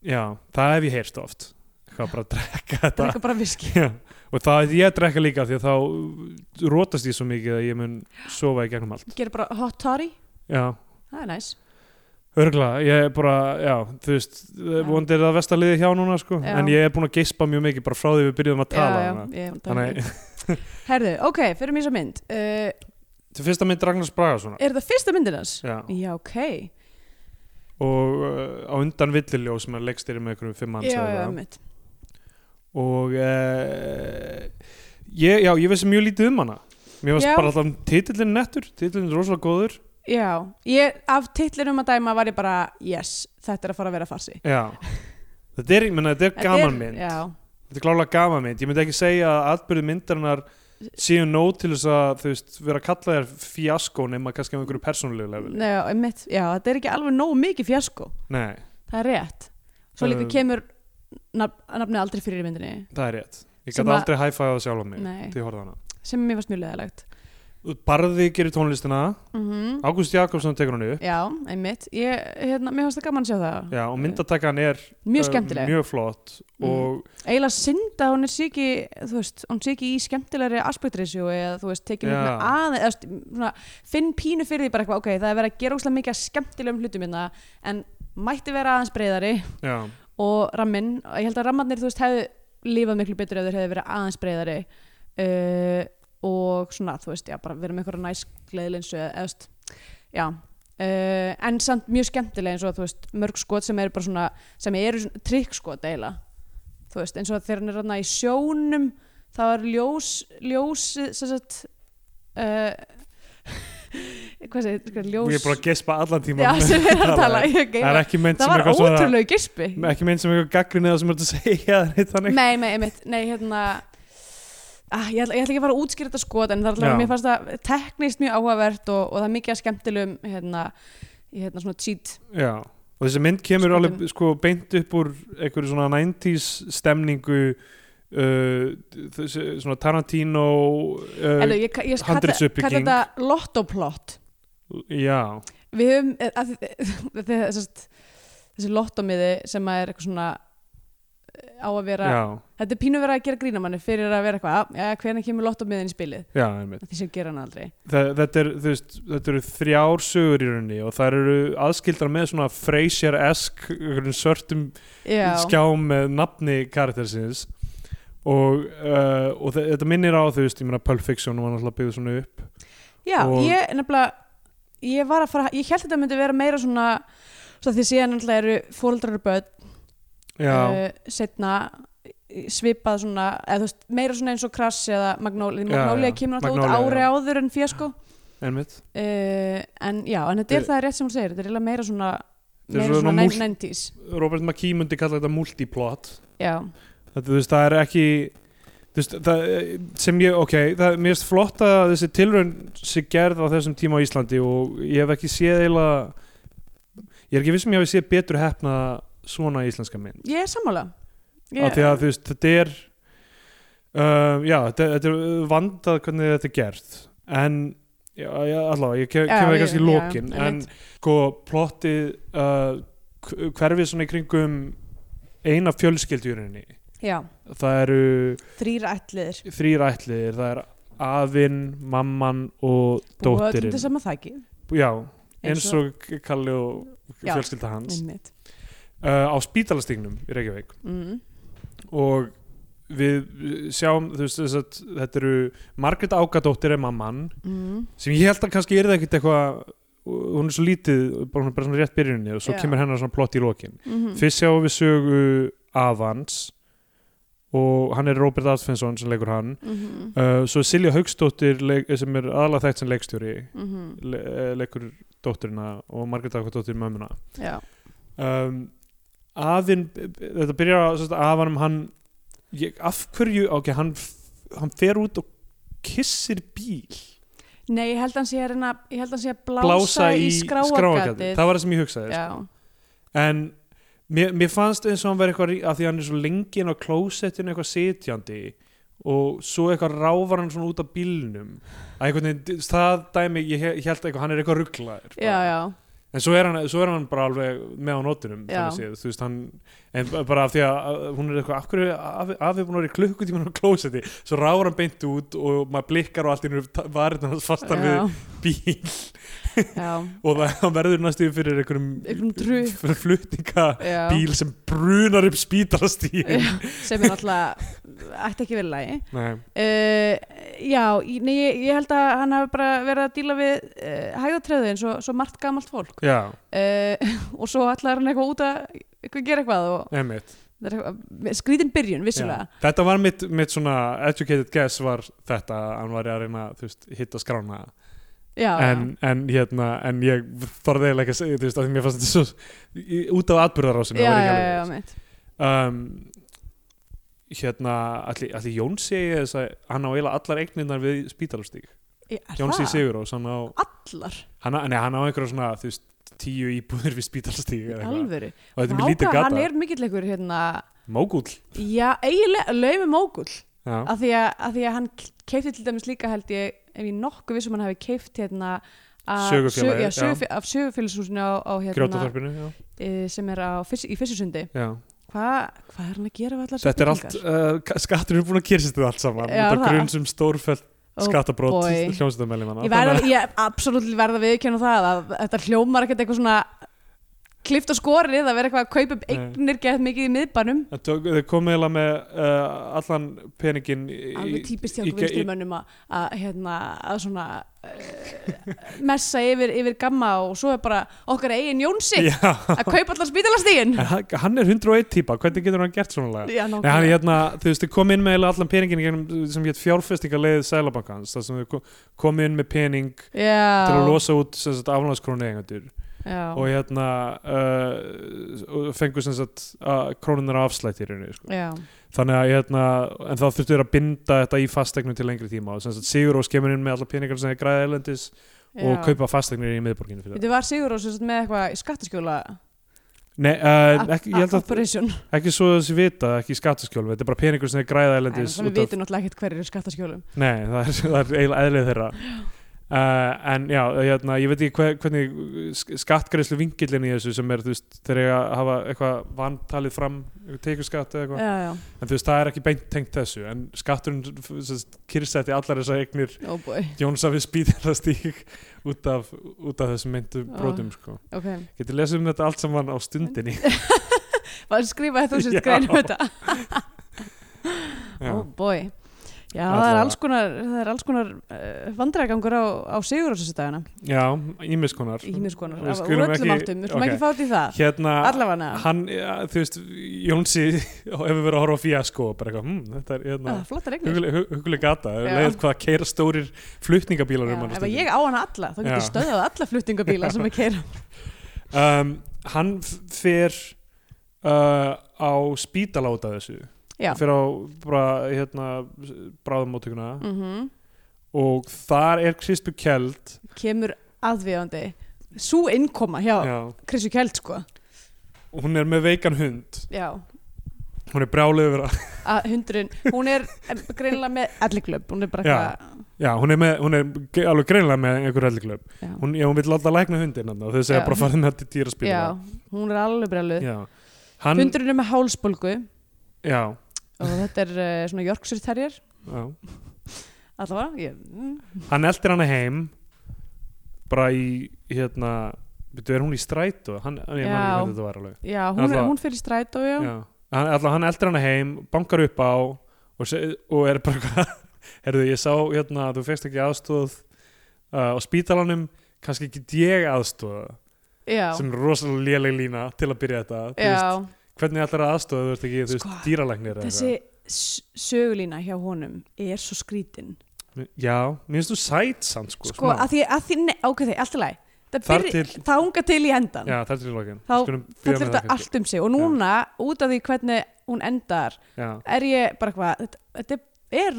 S2: já, það hef ég heyrst oft hvað bara að drekka þetta
S3: drekka bara viski.
S2: já. og það ég drekka líka því að þá rótast ég svo mikið að ég mun sofa í gegnum allt
S3: Gerir bara hot toddy,
S2: já,
S3: það er næs.
S2: örgla, ég er bara, já, þú veist
S3: Já.
S2: vonandi er það vestaliði hjá núna sko
S3: Já.
S2: en ég er búin að geispa mjög mikið bara frá því við byrjuðum að tala
S3: já,
S2: þannig að-
S3: já, ég,
S2: þannig
S3: um þannig. Herðu, ok, fyrir mér svo mynd. Uh,
S2: til fyrsta mynd Ragnars Braga svona
S3: er það fyrsta myndin hans?
S2: já.
S3: Já, ok.
S2: og uh, á undan villiljó sem er leikstýri með einhverjum fimm manns
S3: Já,
S2: eða
S3: já,
S2: eitthvað.
S3: mitt.
S2: og uh, ég, já, ég vissi mjög lítið um hana mér varst
S3: Já.
S2: bara alltaf titillin nettur titillin er rosalega góður
S3: Já, ég, af titlinum að dæma var ég bara, yes, þetta er að fara að vera farsi.
S2: já Þetta er, ég meina, þetta er
S3: Þetta
S2: gaman
S3: er-
S2: mynd.
S3: Já,
S2: Þetta er klálega gaman mynd. Ég myndi ekki segja að atbyrði myndarinnar séu nóg til þess að þú veist, vera að kalla þér fjasko nema kannski á einhverju persónulegu leveli.
S3: já, mitt, já, þetta er ekki alveg nógu mikið fjasko.
S2: Nei,
S3: Það er rétt. Svo líka
S2: Um,
S3: kemur nafn, nafnið aldrei fyrir í myndinni.
S2: það er rétt. Ég
S3: Sem
S2: gæti
S3: að-
S2: aldrei hæfæða það sjálf á mig
S3: Nei.
S2: til ég horfði á hana.
S3: sem mér fannst mjög leðalegt
S2: Barði gerir tónlistina,
S3: mm
S2: Ágúst Jakobsson tekur hann upp
S3: já, einmitt ég, hérna, mér fannst það gaman að sjá það
S2: Já, og myndatækan er
S3: mjög
S2: uh,
S3: skemmtileg, Mm.
S2: mjög flott og
S3: eiginlega synd að hún er síki þú veist, hún síki í skemmtilegri aspektrisju eða þú veist, tekið
S2: Já.
S3: mikla aðeins eða, þú veist, svona, finn pínu fyrir því bara eitthvað ok, það er verið að gera óslega mikið af skemmtilegum hlutum hérna, en mætti vera aðeins breyðari
S2: já,
S3: og ramminn, ég held að rammarnir þú veist hefðu lífað miklu betur ef þeir hefðu verið aðeins breyðari uh, og svona þú veist, já, bara verið með einhverja næs gleðlinsu eða þú veist, já uh, en samt mjög skemmtileg eins og þú veist, mörg skot sem eru bara svona sem eru svona trikkskot eiginlega þú veist, eins og þegar hann er rann í sjónum þá er ljós ljós, sem sagt uh, hvað segir, hvað er ljós
S2: ég er bara að gespa allan tíma
S3: já, sem er að tala ég, ég,
S2: Það er ekki mynd
S3: það
S2: sem
S3: var
S2: eitthvað svona
S3: ótrúlegu gispi
S2: ekki mynd sem eitthvað gaggrin eða sem er að segja eða neitt þannig.
S3: Nei, nei, einmitt, nei, hérna ah, ég, ætla, ég ætla ekki að fara að útskýra þetta skot en það er alltaf,
S2: Já.
S3: mér fannst það teknist mjög áhugavert og, og það er mikið að skemmtilegum hérna, í, hérna svona cheat
S2: Já, og þessi mynd kemur
S3: Skotin.
S2: alveg sko, beint upp úr einhverju svona 90s stemningu uh, þessi, svona Tarantino uh,
S3: Eller, ég, ég kalla,
S2: handritsuppbygging.
S3: kalla þetta lottoplott
S2: Já,
S3: við höfum eh, að, að, að, að, að, þessi lottomiði sem að er eitthvað svona eh, á að vera
S2: já,
S3: þetta er pínu verið að gera grínamanni fyrir að vera eitthvað já, hvernig kemur lottómiðin í spilið
S2: já, einmitt
S3: því sem gera hann aldrei
S2: Þa- þetta, er, þú veist, þetta eru þrjár sögur í rauninni og það eru aðskildar með svona Frasier-esk einhverjum svörtum
S3: já,
S2: skjá með nafni karaktersins og, uh, og þe- þetta minnir á þú veist, ég meina Pulp Fiction var náttúrulega byggð svona upp
S3: já
S2: og-
S3: ég nefnilega ég var að fara, ég held þetta myndi vera meira svona svo því síðan náttúrulega eru fóreldrar og börn
S2: já,
S3: uh, setna svipað svona, eða þú veist, meira svona eins og krass eða Magnóli,
S2: Já,
S3: Magnóli
S2: já.
S3: kemur alltaf út
S2: Magnolia,
S3: ári
S2: já.
S3: áður en fjasko
S2: einmitt
S3: Uh, en já, en þetta er það rétt sem hún segir þetta er eiginlega meira svona,
S2: Eh, Þetta er
S3: meira
S2: svona
S3: svona,
S2: múlt-
S3: 90s
S2: Robert McKee myndi kalla þetta multiplot
S3: já,
S2: þetta, þú veist, það er ekki þú veist, það, sem ég, ok það, mér finnst flott að þessi tilraun sé gerð á þessum tíma á Íslandi og ég hef ekki séð eiginlega ég er ekki vissum ég hef séð betur hefna svona íslenska mynd
S3: ég er sammála ég,
S2: yeah. að því að þú veist, þetta er um, já, þetta, þetta er vandað hvernig þetta er gert en já, já, allavega, ég kem,
S3: Já,
S2: kemur
S3: ég-
S2: kannski í
S3: já,
S2: lokin en
S3: einmitt.
S2: sko, plottið uh, k- hverfið svona í kringum eina fjölskyldurinni
S3: já,
S2: það eru
S3: þrýra ætliðir
S2: þrýr ætliðir, það er afinn, mamman og dóttirinn
S3: þetta sem að þæki
S2: já, eins og Kalli og
S3: Já.
S2: fjölskylda hans
S3: einmitt
S2: uh, á spítalastignum í Reykjavík
S3: mm.
S2: og við sjáum þú veist, þess að, þetta eru Margrét Ágadóttir er mamman
S3: Mm.
S2: sem ég held að kannski er það ekkit eitthvað hún er svo lítið, bara, hún er bara svona rétt byrjunni og svo
S3: Já.
S2: kemur hennar svona plott í lokin
S3: Mm
S2: fyrst sjáum við sögu Avans og hann er Robert Atfinsson sem leikur hann
S3: -hmm.
S2: Uh, svo Silja Haugsdóttir leik, eh, sem er aðalega þekkt sem leikstjóri
S3: Mm -hmm.
S2: le, eh, leikur dótturina og Margrét Akvadóttir mömmuna
S3: já,
S2: um, aðinn þetta byrjar á sérst, afanum hann ég, af hverju, ok, hann f- hann fer út og kissir bíl
S3: nei, ég held að hann sé að reyna ég held að hann sé að blása,
S2: blása
S3: í
S2: í skráagatið
S3: skráagatið
S2: það var það sem ég hugsaði
S3: já,
S2: sko. en mér, mér fannst eins og hann verið eitthvað rí- af því að hann er svo lengi inn á klósettinu eitthvað sitjandi og svo eitthvað ráfar hann svona út af bílnum að einhvern veginn, það dæmi ég, he- ég held eitthvað, hann er eitthvað rugglaður
S3: já, já
S2: en svo er, hann, svo er hann bara alveg með á nótunum
S3: Já.
S2: þannig séð, þú veist hann en b- bara af því að að hún er eitthvað af hverju er afi, afi búin að vera í klukkutíman á klósetti svo ráður hann beint út og maður blikkar og allt í hennu varirna hans fastar
S3: já,
S2: við bíl
S3: já,
S2: og það hann verður næstu fyrir einhverjum
S3: Einhverjum trukk.
S2: fyrir flutninga
S3: já.
S2: bíl sem brunar upp spítalastíðin
S3: Já, sem er alltaf ætti ekki verið lægi
S2: Nei,
S3: Uh, já, í- nei, ég, ég held að hann hafi bara verið að díla við uh, hægðatröðu eins og svo margt gamalt fólk
S2: já,
S3: uh, og svo allar hann eitthvað út að eitthvað gera eitthvað og
S2: einmitt
S3: það er eitthvað, skrítin byrjun
S2: já.
S3: vissulega
S2: Þetta var mitt, mitt svona educated guess var þetta að hann var að reyna þú veist, hitta skrána
S3: já,
S2: en, en hérna en ég þorði eiginlega ekki að segja þú veist að mér fannst þetta svo í- út af atbyrðarásinu
S3: já,
S2: það
S3: já,
S2: var
S3: já,
S2: ekki
S3: já,
S2: alveg,
S3: mitt.
S2: um, hérna allir, allir Jón segi þess að hann á eiginlega allar eigninnar við spítalustík
S3: Ég- er
S2: Jón segi
S3: það?
S2: Sigur og hann á
S3: allar,
S2: hann, á- nei, hann á einhverja svona þú veist tíu íbúðir við spítalustík
S3: í
S2: og
S3: alvöru
S2: þetta er
S3: Vá,
S2: mjög lítið
S3: hvað hann
S2: gata
S3: er mikill einhver hérna,
S2: Mógull
S3: já, eiginlega laumi mógull,
S2: Já,
S3: af því að, að því að hann keifti til dæmis líka held ég ef ég nokkuð vissum hann hafi keift hérna að-
S2: Sögufélagið,
S3: sög- já,
S2: já.
S3: sögufé- af sögufélagshúsinu á, á hérna,
S2: grjótaþorpinu já,
S3: eh, sem er á, fyrst, í fyrstisundi
S2: já.
S3: Hva, hvað er hann að gera við allar
S2: Þetta er allt, uh, skatturinn er búin að kyrsa þetta allt saman
S3: Já,
S2: Þetta
S3: það.
S2: grunn sem stórfell
S3: Oh
S2: skattabrót
S3: boy.
S2: hljómsveitarmeðlimanna.
S3: ég,
S2: Þannig
S3: verð,
S2: að-
S3: ég absolutt verða viðkjönda það að þetta hljómar ekkert eitthvað svona klift og skorið að vera eitthvað að kaupa upp
S2: Nei.
S3: eignir gett mikið í miðbænum
S2: Það tök- Þau komið eiginlega með uh, allan peningin í-
S3: alveg típist hjá
S2: í-
S3: okkur vinstri mönnum að, að hérna að svona uh, messa yfir, yfir gamma og svo er bara okkar eigin Jónsi
S2: Já,
S3: að kaupa allar spítalastígin
S2: en hann- hann er 101 típa, hvernig getur hann gert svona lega? Nei,
S3: já,
S2: hann
S3: nákvæmlega.
S2: er hérna, þú veist, þau komið inn með eiginlega allan peningin í gegnum, sem hétt fjárfestingarleið Sælabankans, þar sem þau ko- komið inn með pening til að
S3: já,
S2: losa út sem sagt aflandskrónu eigendur
S3: já,
S2: og hérna uh, og fengu sem sagt uh, krónunar afslætt í rauninu, sko.
S3: já,
S2: þannig að hérna, en þá þurftu þeir að binda þetta í fastegnum til lengri tíma og sem sagt Sigur og skemur inn með alla peningar sem þeir græða erlendis og
S3: já.
S2: kaupa fastegnir í miðborginu fyrir það.
S3: Þetta var Sigur Rós með eitthvað skattaskjóla
S2: Nei, uh, ekki, ég held að
S3: operation
S2: ekki svo þessi vita, ekki í skattaskjólum, þetta er bara peningur sem þeir græða
S3: Æ,
S2: erlendis
S3: svo
S2: út
S3: Við
S2: af,
S3: vitum náttúrulega ekkert hverjir eru skattaskjólum
S2: nei, það er, það er eiginlega eðlið þeirra Uh, en já, hérna, ég veit ekki hver, hvernig skattgreðslu vingillin í þessu sem er, þú veist, þegar ég hafa eitthvað vantalið fram, tekur skatt eða eitthvað,
S3: já, já,
S2: en þú veist, það er ekki beint tengt þessu, en skatturinn kyrstætti allar þessar eignir
S3: oh boy
S2: Jónsafið spýðar að stík út af, út af þessum myndu
S3: Já.
S2: brotum, sko.
S3: ok,
S2: Getur lesið um þetta allt saman á stundinni.
S3: var skrifa þetta úr
S2: Já.
S3: sér greinu þetta
S2: Já.
S3: oh boy já, það er
S2: Allavega.
S3: alls konar, það er alls konar uh, vandrægangur á, á sigur á þessu dagana
S2: Já, ímiskonar.
S3: í mjög konar,
S2: Við
S3: af úr
S2: skulum
S3: öllum
S2: ekki-
S3: áttum, við skulum
S2: ok.
S3: ekki fátt í það
S2: Hérna,
S3: allavega,
S2: hann, ja, þú veist, Jónsi hefur verið að horfa á fíasko og bara eitthvað, hm, þetta er, hérna,
S3: Ah, flottar eignir
S2: huguleg, hu- huguleg gata,
S3: Já.
S2: leið hvað að keira stórir flutningabílar um
S3: Já,
S2: hann.
S3: ef ég á hana alla, þá getur
S2: Já.
S3: stöðað alla fluttingabíla sem er keira
S2: Um, hann f- fer uh, á spítala út af þessu.
S3: já,
S2: Fer á, bara, hérna, bráðumóttökuna
S3: mm
S2: og þar er Kristu Kjeld.
S3: kemur aðvíðandi sú innkoma hjá
S2: Já.
S3: Krissu Kjeld sko
S2: hún er með veikan hund
S3: já,
S2: hún er brjálið yfir að
S3: að hundurinn, hún er em, greinilega með elliklöp, hún er bara
S2: Já.
S3: eitthvað
S2: já, hún er, með, hún er ge- alveg greinlega með einhver helliklöp
S3: Já.
S2: hún, já, hún vil láta lækna hundin hann og þau segja
S3: Já.
S2: bara farið með þetta dýra spíla
S3: já, hún er alveg brjáluð
S2: já. Hann,
S3: hundurinn er með hálsbólgu
S2: já,
S3: og þetta er uh, svona Yorkshire Terrier
S2: já.
S3: allavega, ég, mm,
S2: hann eldir hana heim bara í hérna veitu, er hún í strætó hann, ég man ekki
S3: Já.
S2: hvernig þetta var alveg
S3: já, hún, er,
S2: Allavega.
S3: hún fyrir strætó já,
S2: já. Hann, allan, hann eldir hana heim, bankar upp á og, se- og er bara hvað herðu, ég sá hérna, þú fegst ekki aðstóð uh, á spítalanum kannski ekki ég aðstóða
S3: já,
S2: sem er rosalega léleg lína til að byrja þetta Þú
S3: já.
S2: veist, hvernig allar að aðstofa þú veist ekki, þú veist,
S3: Sko,
S2: dýralæknir eða
S3: þessi s- sögulína hjá honum er svo skrítin
S2: eitthvað. já, mér finnst þú sæt samt sko,
S3: sko,
S2: smá.
S3: að því, að því, ne, ok, því, allt í lagi það,
S2: Þar
S3: byrj,
S2: til-
S3: það unga til í endan
S2: já, það er til lokin
S3: Þá-
S2: Skulum byrja
S3: það
S2: með
S3: þurft að
S2: kannski.
S3: allt um sig og núna, út af því hvernig hún endar
S2: já,
S3: er ég bara eitthvað þetta, þetta er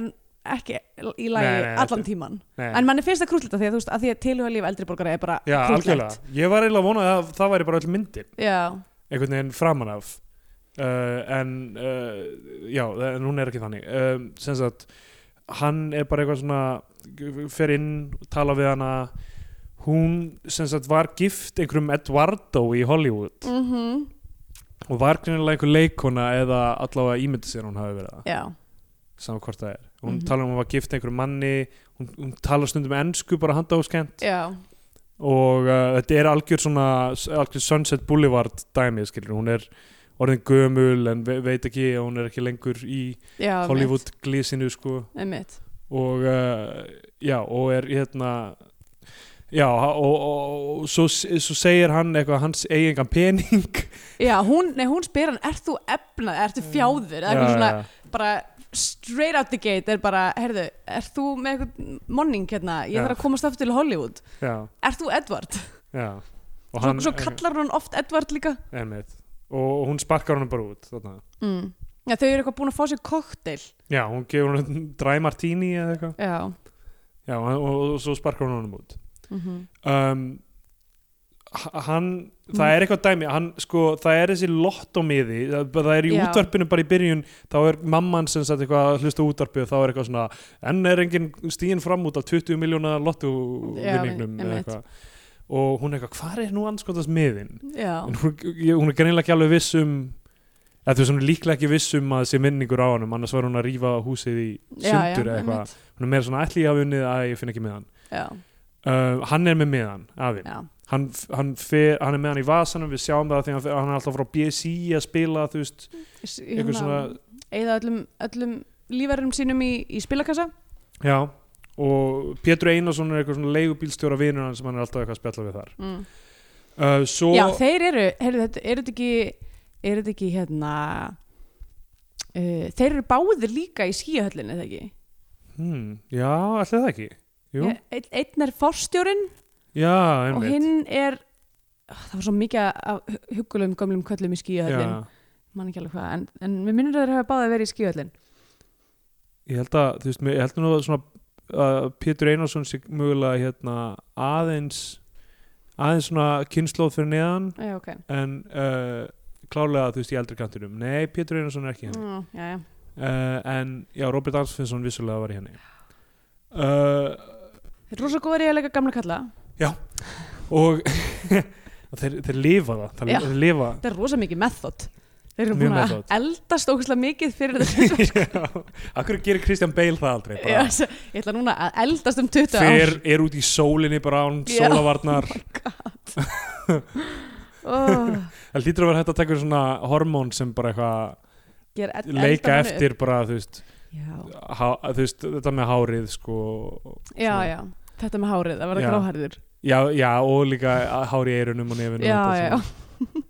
S3: ekki í lagi
S2: Nei, nei,
S3: allan
S2: þetta-
S3: tíman
S2: nei,
S3: en manni finnst það krúllita því að þú veist að því að tilhuga líf eldri borgara er bara
S2: já,
S3: krúllilegt.
S2: algjörlega ég var eiginlega að vona að það væri bara öll myndin
S3: já,
S2: einhvern veginn framan af uh, en uh, já, en hún er ekki þannig um, sem sagt, hann er bara eitthvað svona fer inn, tala við hana hún sem sagt var gift einhverjum Eduardo í Hollywood
S3: mm
S2: og var greinilega einhver leikona eða allavega ímyndi sér að hún hafi verið það
S3: já,
S2: saman hvort það er, hún
S3: Mhm.
S2: talar um að hún var gift einhverjum manni, hún, hún talar stundum ennsku bara handa áskend
S3: já,
S2: og uh, þetta er algjör svona algjör Sunset Boulevard dæmi skilur, hún er orðin gömul en ve veit ekki, að hún er ekki lengur í
S3: já
S2: Hollywood glísinu sko
S3: einmitt,
S2: og uh, já, og er hérna já, og, og, og, og svo, svo segir hann eitthvað, hans eigingan pening
S3: einmitt. já, hún, nei, hún spyr hann, ert þú efnað, ert þú fjáður eða
S2: Mm.
S3: eitthvað
S2: Já,
S3: svona,
S2: já.
S3: bara straight out the gate er bara, herðu, ert þú með eitthvað monning hérna, ég
S2: Já.
S3: þarf að komast aftur til Hollywood,
S2: já,
S3: ert þú Edward
S2: já og
S3: svo, svo kallar hún oft Edward líka
S2: Einmitt. og hún sparkar hann bara út þarna.
S3: mm. já, þau eru eitthvað búin að fá sér kokteil
S2: já, hún gefur hann dry martini eða eitthvað
S3: já,
S2: já, og, og, og svo sparkar hún hann út
S3: mm
S2: um, h- hann
S3: Mm.
S2: það er eitthvað dæmi, hann sko það er þessi lottomiði, það, það er í
S3: Já.
S2: útvarpinu bara í byrjun, þá er mamman sem sagt eitthvað að hlusta á útvarpið og þá er eitthvað svona enn er engin stíin fram út af 20 miljóna lottovinningnum
S3: Já,
S2: eða
S3: einmitt.
S2: eitthvað og hún er eitthvað, hvað er nú anskotast miðin?
S3: já,
S2: en hún, ég- hún er greinilega ekki alveg viss um eða þú veist, hún er líklega ekki viss um að það sé minningur á hann annars var hún að rífa húsið í
S3: já, já,
S2: sundur eða eitthvað
S3: einmitt.
S2: hún er meira svona ætli ég hafi unnið að ég finn ekki með hann
S3: já,
S2: uh, hann er með með hann, afi
S3: já,
S2: hann, hann, fer, hann er með hann í vasanum við sjáum það þegar hann, fer, hann er alltaf frá BSI að spila þú veist,
S3: S-
S2: einhver svona
S3: hérna, eða öllum, öllum lífærum sínum í, í spilakassa
S2: já, og Pétur Einarsson er eitthvað svona leigubílstjóra vinur hann sem hann er alltaf eitthvað að spjalla við þar
S3: mm.
S2: uh, svo,
S3: já, þeir eru, heyrðu, þetta, er þetta ekki er þetta ekki hérna uh, þeir eru báðir líka í skíahöllinni eða ekki
S2: hmm, já allir það ekki jú,
S3: Ég- einn- einn er forstjórinn
S2: já,
S3: og
S2: einmitt
S3: hinn er ah, það var svo mikið af hu- huggulegum gömlum köllum í skíahöllin,
S2: já.
S3: mann ekki alveg hvað en, en við minnum að þeir hafa báðið verið í skíahöllin
S2: ég held að þú veist, mér- ég held nú að svona að Pétur Einarsson sé mögulega hérna, aðeins aðeins svona kynnslóð fyrir neðan
S3: já, ok,
S2: en uh, klálega þú veist í eldri kantinum nei, Pétur Einarsson er ekki hérna. henni
S3: mm, já, já
S2: Eh, uh, en já, Robert Arnsfinnsson vissulega var í henni uh,
S3: Þeir eru rosa góður í að leika gamla kalla
S2: og þeir, þeir lifa það, það
S3: Já.
S2: þeir lifa
S3: Þetta er rosa mikið method Þeir eru
S2: Mjög
S3: búin að
S2: method.
S3: eldast ógustlega mikið fyrir þessu
S2: Akkur gerir Kristján Bale það aldrei
S3: Já,
S2: bara,
S3: s- Ég ætla núna að eldast um 20
S2: fer, er út í sólinni bara án
S3: Já.
S2: sólavarnar
S3: ár oh,
S2: það lítur að vera hægt að taka svona hormón sem bara eitthvað
S3: ég er eld-
S2: leika
S3: eldar hann upp.
S2: eftir bara þú veist,
S3: Já,
S2: há, þú veist þetta með hárið sko og
S3: já,
S2: svona.
S3: já Þetta með hárið, það var
S2: Já.
S3: gráhærður
S2: já, já, og líka hár í eirunum og nefinu
S3: Já, já,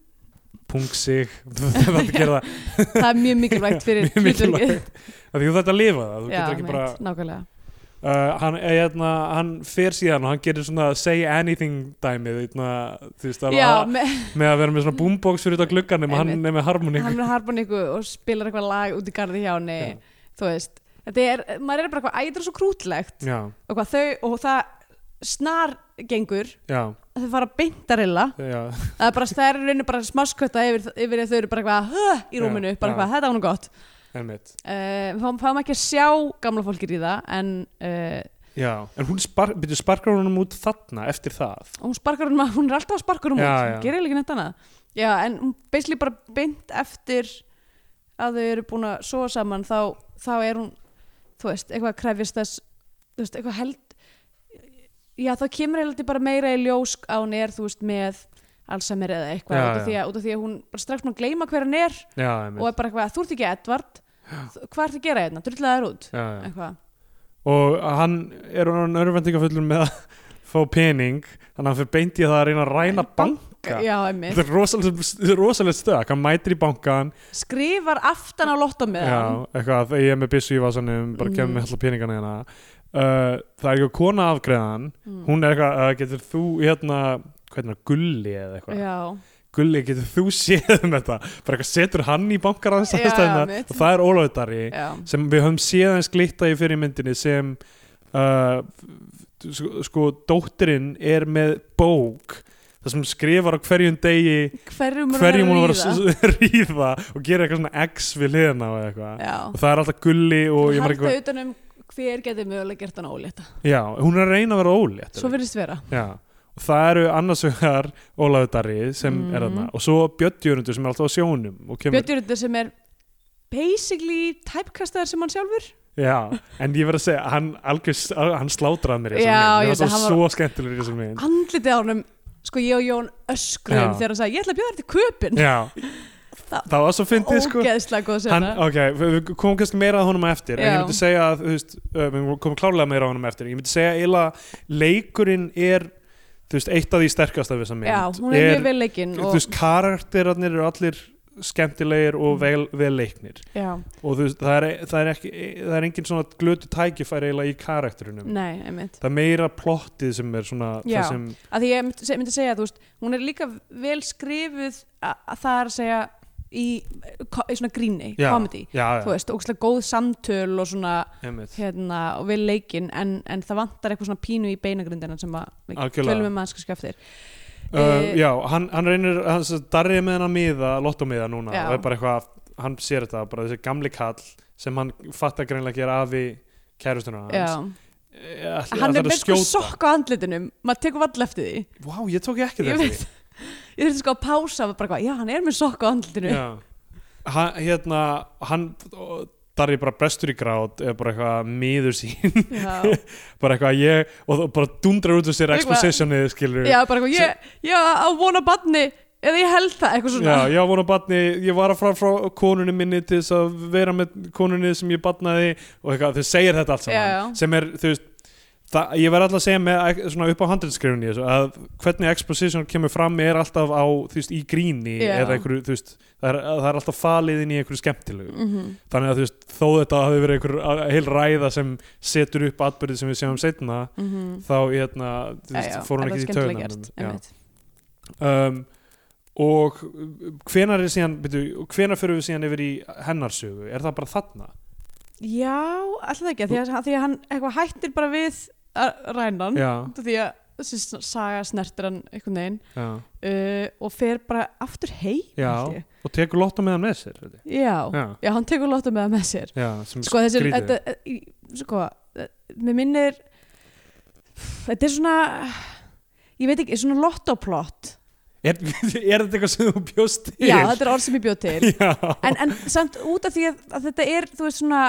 S2: pung sig það er að gera það
S3: það er mjög mikilvægt fyrir
S2: mjög mikilvægt
S3: hlutverkið.
S2: Af því þú þetta að lifa það, þú
S3: Já,
S2: getur ekki
S3: mitt,
S2: bara
S3: nákvæmlega
S2: uh, hann, eh, hérna, hann fer síðan og hann gerir svona say anything dæmið hérna, þú veist,
S3: Já,
S2: að,
S3: með,
S2: með að vera með svona boombox fyrir þetta gluggan nema hann
S3: Einmitt.
S2: er með harmoníku
S3: hann er harmoníku og spilar eitthvað lag út í garði hjá henni
S2: Já.
S3: þú veist, þetta er, maður er bara eitthvað æ, þetta er svo krútlegt
S2: já,
S3: og, hvað, þau, og það snar gengur
S2: já,
S3: að þau fara beintarilla
S2: já
S3: það er bara, það er í rauninu bara smaskvötta yfir, yfir að þau eru bara eitthvað "Huh," í rúminu,
S2: Já,
S3: bara
S2: já.
S3: eitthvað, þetta var nú gott
S2: Einmitt.
S3: uh, við fáum- fáum ekki að sjá gamla fólkir í það en uh,
S2: Já, en hún spar, byrju, sparkar honum út þarna eftir það
S3: hún sparkar hún, hún er alltaf að sparka
S2: Já,
S3: hún út,
S2: já.
S3: hún gerir ekki neitt annað já, en hún basically bara beint eftir að þau eru búin að sofa saman þá, þá er hún, þú veist, eitthvað að krefjast þess, þú veist, eitthvað held já, þá kemur eitthvað bara meira í ljós að hún er, þú veist, með Alzheimer eða eitthvað
S2: Já,
S3: út, af því
S2: já.
S3: að, út af því að hún bara strax búin að gleyma hver hann er
S2: Já,
S3: og er bara eitthvað, þú ert ekki Edvard hvað ert að gera hérna, drullega þær út
S2: já, já.
S3: eitthvað,
S2: Og hann er hann örvendingafullur með að fá pening þannig að hann fyrir beint í það að reyna að ræna banka
S3: já, emmi
S2: Þetta er rosalega, þetta er rosalega stök hann mætir í bankan
S3: skrifar aftan á lottum með
S2: já, eitthvað, að ég er með byssu í vasanum bara kemur
S3: Mm.
S2: með alltaf peningana hérna uh, Það er eitthvað kona afgreðan
S3: Mm.
S2: hún er eitthvað, uh, getur þú hérna hvernig, er, gulli eða eitthvað
S3: já,
S2: Gulli, getur þú séð um þetta bara eitthvað setur hann í bankar
S3: Já,
S2: og
S3: mitt.
S2: það er ólöðdari
S3: já
S2: sem við höfum séð hans glitta í fyrir myndinni sem uh, sko, sko dóttirinn er með bók það sem skrifar á hverjum degi
S3: hverjum hún
S2: hverjum hún var
S3: að ríða.
S2: að s- ríða og gera eitthvað svona x við hliðina á eitthvað
S3: Já.
S2: og það er alltaf gulli og ég
S3: halda
S2: maður
S3: eitthvað...
S2: eitthvað
S3: utan um hver getur mögulega gert hann ólétta
S2: já, hún er að reyna að vera ólétt
S3: svo virðist vera
S2: já og það eru annars vegar Ólafur Darri sem
S3: Mhm.
S2: er þarna og svo Björn Jörundur sem er alltaf á sjónum og kemur,
S3: Björn Jörgundur sem er basically typecastaðar sem hann sjálfur
S2: já, en ég verð að segja hann, algjör, hann slátraði mér í þessum
S3: Já,
S2: mynd, mér
S3: ég veit að
S2: var
S3: hann
S2: svo skemmtilegur í þessum mynd
S3: andlitið á hann sko ég og Jón öskrum
S2: Já.
S3: þegar hann sagði ég ætla að bjóða þér til köpin
S2: Já,
S3: Það-
S2: það var svo fyndið sko
S3: ógeðslega góð
S2: Hann,
S3: sena
S2: ok, við við komum kannski meira að honum á eftir en
S3: Já.
S2: ég myndi segja að, þú veist, uh, við komum klálega meira að honum á eftir ég myndi segja eiginlega leikurinn er þú veist, eitt af því sterkasta við þessa mynd
S3: já, hún er mjög vel leikinn
S2: þú
S3: og,
S2: veist, karakterarnir eru allir skemmtilegir og
S3: Mm.
S2: vel, vel leiknir
S3: já,
S2: og þú veist, það er, það er ekki það er engin svona glötu tækifæri eiginlega í karakterunum
S3: nei, einmitt
S2: það er meira plottið sem er svona
S3: Mm. Já.
S2: það sem,
S3: að því ég myndi, se- myndi segja, þú veist, hún er líka vel skrifuð að, að það er að segja í, ko- í svona gríni,
S2: já,
S3: comedy
S2: já,
S3: þú
S2: já,
S3: veist, ógeðslega góð samtöl og svona
S2: einmitt.
S3: hérna, og við leikinn en, en það vantar eitthvað svona pínu í beinagrindina sem að við
S2: Algjörlega.
S3: tölum um aðeins kannski eftir
S2: Uh,
S3: Eh,
S2: já, hann, hann reynir hann sem sagt darrið er með hennar miða, lottómiða núna
S3: Já.
S2: og er bara eitthvað, hann sér þetta bara þessi gamli kall sem hann fattar greinlega ekki er afi kærustunum
S3: Já.
S2: hans Eh, ætli- ætlar
S3: hann
S2: að
S3: er með sko
S2: skjóta.
S3: sokk á andlitinum maður tekur vall eftir því
S2: Vá, ég tók ekki
S3: ég
S2: þetta
S3: veit ég þurfti sko að pása og bara hvað, já hann er með sokk á andlitinu
S2: Já. hann, hérna, hann darrið bara brestur í grát er bara eitthvað miður sín
S3: já,
S2: bara eitthvað ég, og það bara dundrar út úr sér
S3: Eitthvað-
S2: expositionið skilur
S3: já bara hvað, ég, ég á vona badni eða ég held það, eitthvað svona
S2: Já, ég var á batni, ég var að fara frá konunni minni til þess að vera með konunni sem ég batnaði og eitthvað, þau segir þetta allt saman
S3: Já, já.
S2: sem er, þú veist það, ég verð alltaf að segja með, ek- svona upp á handriðskrifunni þessu, að hvernig exposition kemur fram er alltaf á, þú veist, í gríni
S3: Já.
S2: eða einhverju, þú veist, það er, það er alltaf falið inn í einhverju skemmtilegu
S3: Mhm.
S2: þannig að þú veist, þó þetta hafi verið einhver a- heil ræða sem setur upp atbyrði sem við sjáum setna,
S3: Mhm.
S2: þá, hérna, þú
S3: Já,
S2: veist,
S3: já,
S2: fór hún
S3: en það
S2: ekki
S3: er
S2: í
S3: skemmtilega
S2: taugarnar á
S3: gert,
S2: honum. Já
S3: einmitt.
S2: um, og hvenar er síðan byrju, hvenar fyrir við síðan yfir í hennarsögu er það bara þarna?
S3: já, alltaf ekki, af því að, af því að hann eitthvað hættir bara við að ræna hann
S2: Já,
S3: Út af því að þessi saga snertir hann einhvern veginn
S2: já,
S3: uh, og fer bara aftur heim
S2: já
S3: held ég.
S2: og tekur lottum með hann með sér veit ég.
S3: já.
S2: já,
S3: já, hann tekur lottum með það með sér
S2: já, sem
S3: sko þessi,
S2: skrýtið.
S3: þetta, í- sko eh, mér minnir þetta er svona ég veit ekki, svona lottoplott
S2: Er, er þetta eitthvað sem þú bjóst til?
S3: já, þetta er orð sem ég bjóð til
S2: Já.
S3: en, en samt út af því að, að þetta er þú veist svona,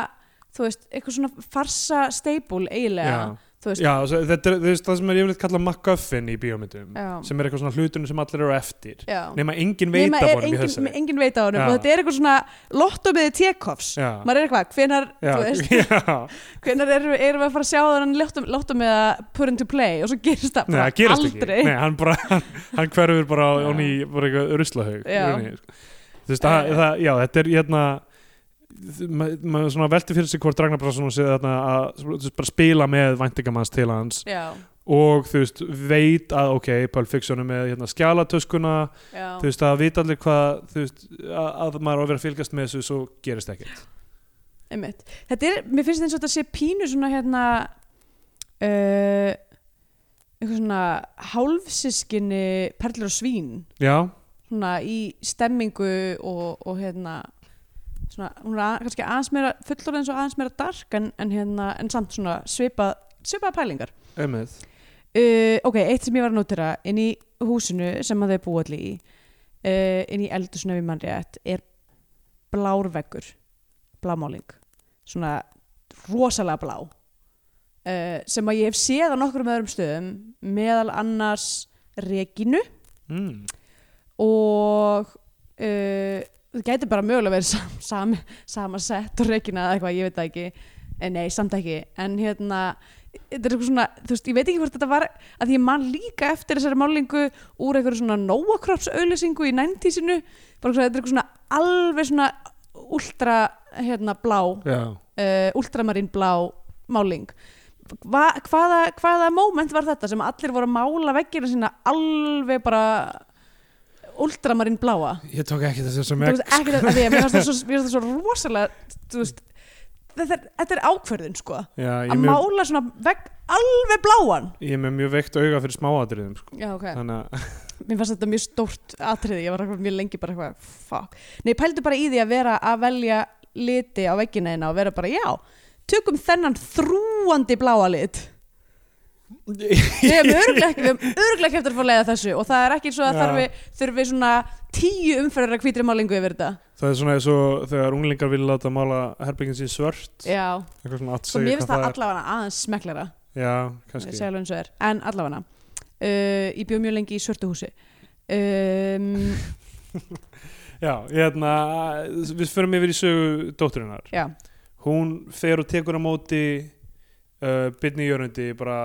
S3: þú veist, eitthvað svona farsa steipul eiginlega
S2: Já.
S3: þú veist,
S2: Já, svo þetta er þú veist, það sem er yfirleitt kallað MacGuffin í bíómyndum
S3: Já.
S2: sem er eitthvað svona hlutunum sem allir eru eftir
S3: já.
S2: nema engin
S3: Nema
S2: veita
S3: er
S2: bónum í
S3: engin,
S2: þessari
S3: engin veita á honum
S2: Já.
S3: og þetta er eitthvað svona lottomiði Tekovs
S2: Já,
S3: maður er eitthvað, hvenar,
S2: já,
S3: þú veist
S2: já.
S3: hvenar erum, við- erum við að fara að sjá þannig lottum, lottum með að put into play og svo gerist það
S2: Nei,
S3: bara
S2: það gerist
S3: aldrei
S2: ekki Nei, hann, bara, hann, hann hverfur bara á
S3: Já.
S2: onni bara eitthvað ruslahaug
S3: Já.
S2: rauninni, sko. Þú veist, það,
S3: Eh.
S2: það, já, þetta er hérna þ- ma- maður svona velti fyrir sig hvort Ragnar Brásson sé þarna að þú veist, bara spila með væntingamanns til hans
S3: já,
S2: og þú veist, veit að ok, Pulp Fiction er með hérna, skjálatöskuna
S3: já,
S2: þú veist, að vita allir hvað þú veist, að, að maður á að vera að fylgast með þessu svo gerist ekkert
S3: einmitt þetta er, mér finnst eins og þetta sé pínu svona hérna uh, eitthvað svona hálfsiskinni perlur og svín
S2: Já,
S3: svona í stemmingu og, og hérna svona, hún er að, kannski aðeins meira fullorðins og aðeins meira dark en, en hérna en samt svona svipað, svipað pælingar
S2: einmitt
S3: uh, ok, eitt sem ég var að notera inn í húsinu sem að þau búa allir í uh, inn í eldusinu við mann rétt er blárveggur blámáling svona rosalega blá uh, sem að ég hef séð á nokkrum öðrum stöðum meðal annars reginu
S2: mm.
S3: og uh, það gæti bara mögulega verið sam, sam, sama sett og reikina eða eitthvað, ég veit það ekki en nei, samt ekki, en hérna þetta er eitthvað svona, þú veist, ég veit ekki hvort þetta var að ég man líka eftir þessari málingu úr eitthvað svona nóakrops auðlýsingu í næntísinu, bara svona, þetta er eitthvað svona alveg svona ultra hérna blá,
S2: Já,
S3: uh, ultramarín blá máling Hva, hvaða, hvaða moment var þetta sem allir voru að mála veggina sína alveg bara ultramarinn bláa
S2: ég tók ekki þessu sem
S3: Þú veist, ekki það, af því að mér fannst það svo, mér fannst það svo rosalega þú veist, þetta, er, þetta er ákverðin sko
S2: Já, ég
S3: að
S2: er mjög,
S3: mála svona vegg alveg bláan
S2: ég er með mjög veikt auga fyrir smáatriðum sko.
S3: Já, ok.
S2: þannig að,
S3: Mér fannst þetta mjög stórt atriði, ég var eitthvað mjög lengi bara eitthvað, fuck. Nei, pældu bara í því að vera að velja liti á veggina eina og vera bara, já, tökum þennan þrúandi bláa lit. Við hefum örglega ekki, við hefum örglega ekki eftir að fá að leiða þessu og það er ekki svo að
S2: Já.
S3: þarfi, þurfi svona tíu umferðar að hvítri málingu yfir þetta.
S2: það er svona eins og þegar unglingar vilja láta mála herbyggin sín svört
S3: Já,
S2: eitthvað svona að
S3: svo Sko, mér
S2: segja
S3: finnst
S2: hvað það
S3: það
S2: er
S3: allavega aðeins smeklara.
S2: Já,
S3: Ég
S2: kannski
S3: segja alveg eins og er, en allavega uh, ég bjóð mjög lengi í svörtu húsi um,
S2: Já, hérna, við förum yfir í sögu dótturinnar
S3: já,
S2: hún fer og tekur á móti uh, Byrni Jörundi bara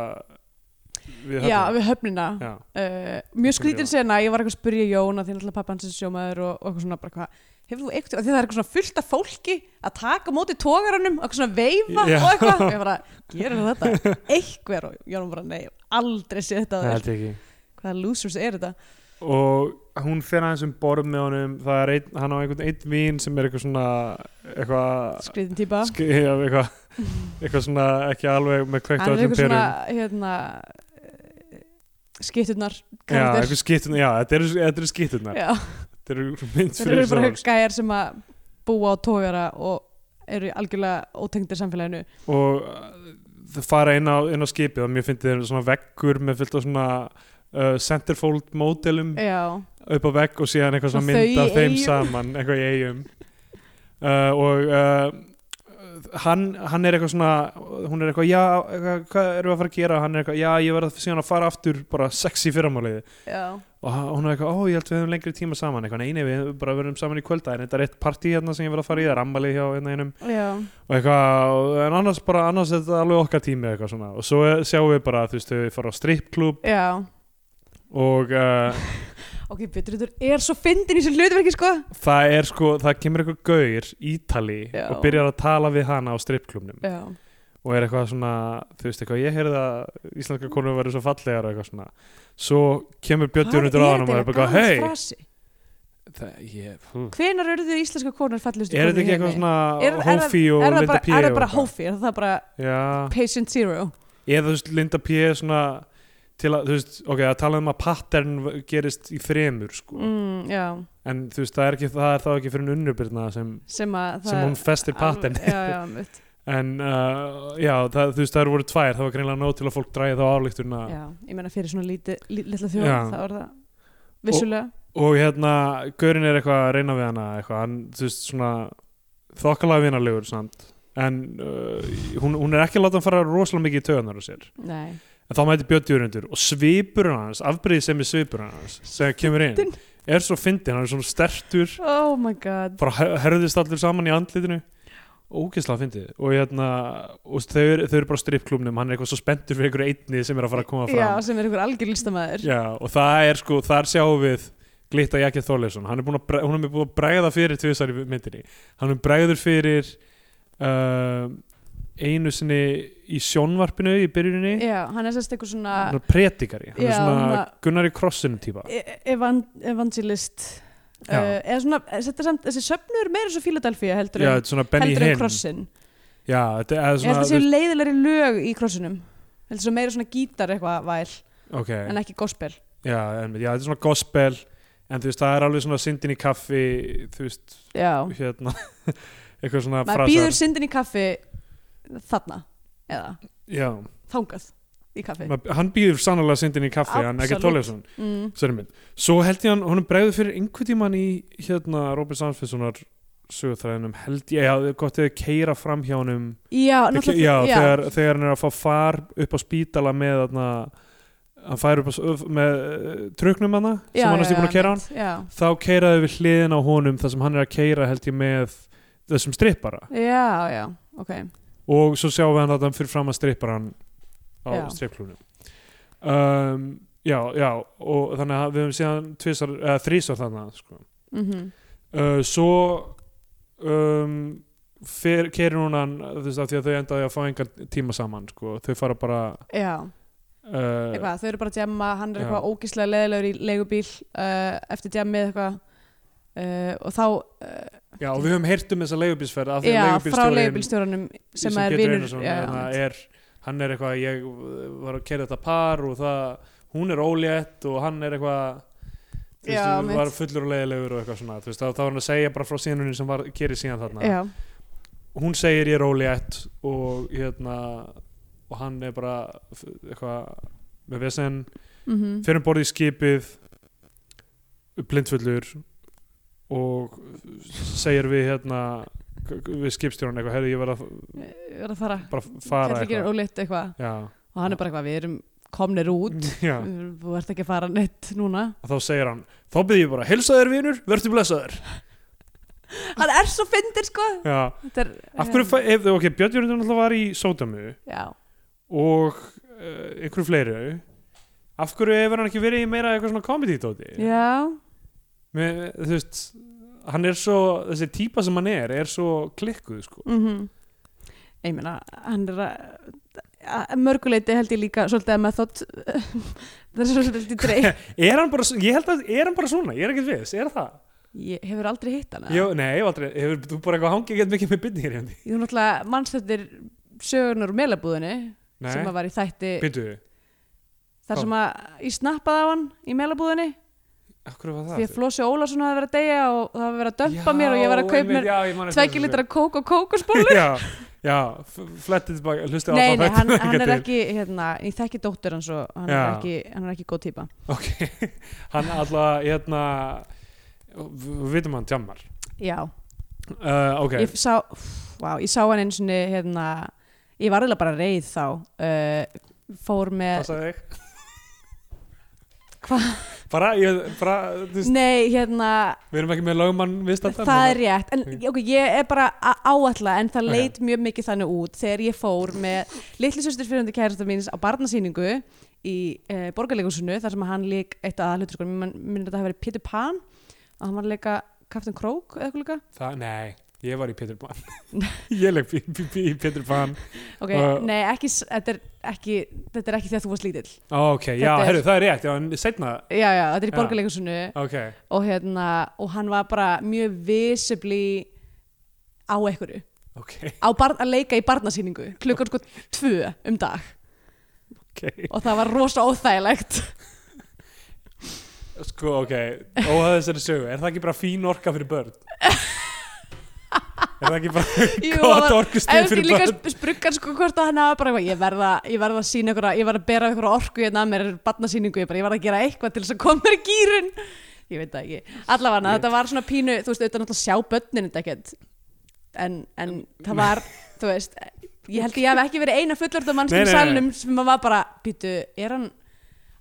S2: við
S3: já,
S2: höfnum.
S3: við höfnina
S2: Já,
S3: uh, mjög skrítin sena, ég var eitthvað að spyrja Jón að því náttúrulega pappa hans er sjómaður og, og eitthvað svona bara hvað, hefur þú eitthvað, því það er eitthvað svona fullt af fólki að taka á móti tógarunum og eitthvað svona veifa
S2: Já.
S3: og eitthvað og ég bara, gerir þetta eitthvað og Jón bara, nei, ég hef aldrei sé þetta
S2: það
S3: áður.
S2: held ég ekki
S3: hvaða losers er þetta
S2: og hún fer aðeins um borð með honum það er ein, hann á einhvern einn vín sem er eitthvað svona eitthvað
S3: skrítin típa
S2: sk- já, eitthvað, eitthvað svona ekki alveg með kveikt á
S3: hann er
S2: öllum
S3: eitthvað svona,
S2: perum
S3: hérna skitturnar
S2: já, eitthvað skýtun, já, þetta eru, þetta eru skýtunar
S3: já
S2: þetta eru mynd
S3: Þetta eru
S2: fyrir
S3: bara
S2: þess
S3: gæjar sem að búa á tógara og eru algjörlega ótengdir samfélaginu.
S2: og uh, þau fara inn á, inn á skipið og mér finnst þeir svona veggur með fullt af svona uh, centerfold módelum
S3: Já,
S2: upp á vegg og síðan eitthvað svona
S3: Svona þau
S2: mynd af
S3: í
S2: þeim
S3: eyjum.
S2: saman, eitthvað í eigum uh, og uh, hann, hann er eitthvað svona hún er eitthvað, já, eitthvað, hvað erum við að fara að gera hann er eitthvað, já, ég verð síðan að fara aftur bara sex í fyrramáliði
S3: já,
S2: og hann- hún er eitthvað, ó, ég held við hefum lengri tíma saman eitthvað, nei, nei, við hefum bara verðum saman í kvölda en þetta er eitt partí hérna sem ég verð að fara í, það er ammali hjá hérna einum
S3: já,
S2: og eitthvað, en annars bara, annars er þetta alveg okkar tími eitthvað svona og svo sjáum við bara, þú veist, þau fara á stripklub
S3: já.
S2: og uh,
S3: Ok, Bitrutur er svo fyndin í þessu hlutverki, sko.
S2: það er sko, það kemur eitthvað gaur ítali
S3: Já.
S2: og byrjar að tala við hana á stripklubnum
S3: Já,
S2: og er eitthvað svona, þú veist eitthvað, ég heyrði að íslenska konur verður svo fallegar og eitthvað svona svo kemur bjöttjörnundur á hann og er bara, hei
S3: frasi?
S2: er
S3: Hvenar eru þið íslenska konar fallegustu
S2: þetta ekki eitthvað
S3: Er- er
S2: svona
S3: það-
S2: hófi og
S3: Er það
S2: Linda
S3: bara,
S2: P
S3: er það
S2: og
S3: bara
S2: eitthvað?
S3: hófi? Er það bara
S2: Já,
S3: patient zero?
S2: eða þú veist, Linda P er svona til að, þú veist, ok, að tala um að pattern gerist í fremur, sko
S3: Mm, já,
S2: en þú veist, það er, ekki, það er þá ekki fyrir en unnubirna sem,
S3: sem að það...
S2: sem hún festir pattern
S3: Já, já, mitt.
S2: en uh, já, það, þú veist, það voru tvær það var greinlega nóg til að fólk dræði þá álíktuna
S3: já, ég meina fyrir svona lítið, lítið þjóð
S2: Já.
S3: þá er það vissulega
S2: og hérna, Gaurin er eitthvað að reyna við hana eitthvað, hann, þú veist, svona þokkalega vinalegur samt en uh, hún, hún er ekki að láta hann fara rosalega mikið í töðanar á sér
S3: nei,
S2: en þá mæti Björn Jörundur og svipurinn hans afbrýðið sem er svipurinn hans sem kemur inn, er svo fyndin hann er svona stertur
S3: oh my god
S2: bara her- herðist allir saman í andlitinu ógeðslega fyndið og, hérna, og þau, eru- þau eru bara á strippklúbnum hann er eitthvað svo spenntur fyrir einhverju einni sem er að fara að koma
S3: já,
S2: fram
S3: sem er einhver algjör listamæður
S2: Já, og það er sko, þar sjáum við glitta Jakið Þorleifsson hann er búin að, bre- hún er búin að bregða fyrir tvisar í myndinni hann er bregður fyrir uh, einu sinni í sjónvarpinu í byrjuninni
S3: já, hann er sérst eitthvað svona
S2: hann er predikari, hann
S3: Já,
S2: er svona
S3: hann að-
S2: Gunnar í krossinum típa
S3: e- evan evangelist
S2: Já.
S3: uh, eða svona, þetta er samt, þessi söfnu er meira svo Philadelphia heldur
S2: Já,
S3: en,
S2: þetta er svona Benny
S3: heldur en
S2: Hinn
S3: krossin
S2: Já, þetta er
S3: ég held að
S2: svona
S3: það séu leiðilegri lög í krossinum heldur svo meira svona gítar eitthvað væl
S2: okay.
S3: en ekki gospel
S2: já, en, já, þetta er svona gospel en þú veist, það er alveg svona syndin í kaffi þú veist,
S3: já,
S2: hérna eitthvað svona
S3: maður býður syndin í kaffi þarna, eða
S2: já,
S3: þangað í kaffi
S2: maður, hann býður sannlega syndin í kaffi hann ekki
S3: Absolutt.
S2: Tólefsson
S3: mm.
S2: Sverri minn. Svo held ég hann, hún er bregðið fyrir einhvern tímann í hérna Robert Sandsfinssonar sögutræðinum held ég, já, gott eða keira fram hjá honum
S3: já,
S2: já,
S3: náttúrulega
S2: Þegar, þegar hann er að fá far upp á spítala með þarna hann fær upp á, s- upp með uh, truknum hana sem hann er stípun að keira hann
S3: einmitt, já,
S2: þá keiraði við hliðin á honum þar sem hann er að keira held ég með þessum strippara
S3: já, já, ok
S2: og svo sjáum við hann að hann fyrir fram að stripparan á
S3: Já.
S2: strippklúnum um, já, já og þannig að við höfum síðan tvisar, eða, þrísar þannig sko.
S3: mm
S2: uh, svo um, fer, kerir hún hann þú veist af því að þau endaði að fá engan tíma saman sko. þau fara bara
S3: já,
S2: uh,
S3: eitthvað, þau eru bara að djamma hann er
S2: Já.
S3: eitthvað ógíslega leðilegur í leigubíl uh, eftir djammið eitthvað uh, og þá uh,
S2: já, og við höfum heyrt um þessa leigubílsferð af því
S3: já,
S2: að
S3: frá
S2: leigubílstjórinn
S3: leigubílstjóranum sem,
S2: sem
S3: er
S2: Pétur
S3: vinur
S2: Einarsson
S3: já,
S2: hérna,
S3: einmitt.
S2: er, hann er eitthvað ég var að kera þetta par og það, hún er ólétt og hann er eitthvað þú
S3: Já,
S2: veist,
S3: mitt.
S2: var fullur og leiðilegur og eitthvað svona þú veist, þá þá var hann að segja bara frá sínunni sem var kerið síðan þarna
S3: já,
S2: hún segir ég er ólétt og hérna og hann er bara f- eitthvað með vesen
S3: mm
S2: fyrir um borðið í skipið blindfullur og segir við hérna við skipstjórn eitthvað, herri ég verð að
S3: er að fara
S2: bara fara
S3: Kallið gerir ólétt eitthvað
S2: Já, Mm.
S3: og hann er bara eitthvað, við erum komnir út
S2: já.
S3: þú ert ekki að fara neitt núna
S2: Og þá segir hann þá byrði ég bara, helsa þér vinur, verður blessaður
S3: hann er svo fyndir sko
S2: Já,
S3: Þetta er,
S2: af hverju, fæ- ef, ok, Björn Jörgundur náttúrulega var í Sódamu
S3: já,
S2: og uh, einhverju fleiri af hverju hefur hann ekki verið í meira eitthvað svona comedy dóti
S3: já,
S2: Með, þú veist, hann er svo þessi típa sem hann er, er svo klikkuð sko.
S3: mhm ég meina, hann er að að mörguleiti held ég líka svolítið að maður þótt það er svolítið dreif
S2: er hann bara, svo- ég held að, er hann bara svona ég er ekkert viss, er það?
S3: Ah. ég hefur aldrei hitt hana
S2: Jó, nei, ég hef aldrei, hefur þú bara eitthvað hangið gett mikið með hérna? byrni hér hjá
S3: ég þú náttúrulega mannstættir sögunar úr melabúðinni sem
S2: Nei,
S3: að var í þætti
S2: byrju,
S3: þar sem að ég snappaði á hann í melabúðinni
S2: af hverju var það?
S3: því að Flósi Ólason hafði verið að deyja og það hafði verið að dömpa
S2: Já,
S3: mér og ég var að kaupa
S2: einmitt,
S3: mér
S2: já, ég man eftir þessu.
S3: tveiki litra kók og kókosból
S2: já, já, f- flettið tilbaka hlustu á
S3: Nei,
S2: þá
S3: nei, hann,
S2: þættina
S3: hann er
S2: hingað til.
S3: ekki, hérna, ég þekki dóttur hans og hann, er
S2: Já.
S3: ekki, hann er ekki góð típa.
S2: ok, hann alltaf hérna v- við vitum hann tjammar
S3: Já,
S2: uh, ok,
S3: ég sá, wow, ég sá hann eins og hérna, ég var eða bara reið þá, uh, fór með,
S2: passaði þig
S3: Hva?
S2: bara, ég, bara þú veist,
S3: nei, hérna,
S2: við erum ekki með lögumann viðstættan
S3: það er rétt, en ok, ég er bara að áætla, en það
S2: Ok.
S3: leit mjög mikið þannig út þegar ég fór með litli söstur fyrirhundi kærasta míns á barnasýningu í uh, borgarleikusinu, þar sem að hann lík eitt að hlutur, sko, mér minnir að það hafi verið Peter Pan og hann var að leika Captain Croak eða eitthvað líka.
S2: það, nei, ég var í Pétur Pan ég leik bí- bí- bí- í Pétur Pan
S3: Ok,
S2: Uh,
S3: nei, ekki, s- þetta er ekki, þetta er ekki þegar þú varst lítill.
S2: ok, já,
S3: Þetta er-
S2: herru, það er rétt já, en setna,
S3: Já, já, þetta er í
S2: Já.
S3: borgarleikursunu
S2: ok
S3: og hérna, og hann var bara mjög visibli á einhverju.
S2: ok,
S3: Á barn, að leika í barnasýningu, klukkan sko tvö um dag
S2: ok
S3: og það var rosa óþægilegt.
S2: sko, ok, óhæða þessari sögu er það ekki bara fín orka fyrir börn Er það ekki bara
S3: Jú,
S2: gott
S3: það-
S2: orkustig
S3: En ég
S2: fyrir
S3: líka
S2: börn?
S3: sp- spruggan sko hvort að hann hafa bara eitthvað, ég verð að, ég verð að sína ykkur að, ég verð að bera ykkur orku hérna að mér, barnasýningu, ég bara, ég verð að gera eitthvað til þess að koma mér í gýrun. Ég veit það ekki. Allavega,
S2: Ég-
S3: þetta var svona pínu, þú veist, auðvitað náttúrulega sjá börnin þetta ekkert. En, en það var, þú veist, ég held ég hef ekki verið eina fullorða
S2: Nei,
S3: mannskjum
S2: nei, nei.
S3: salnum sem var bara, býtu, er hann,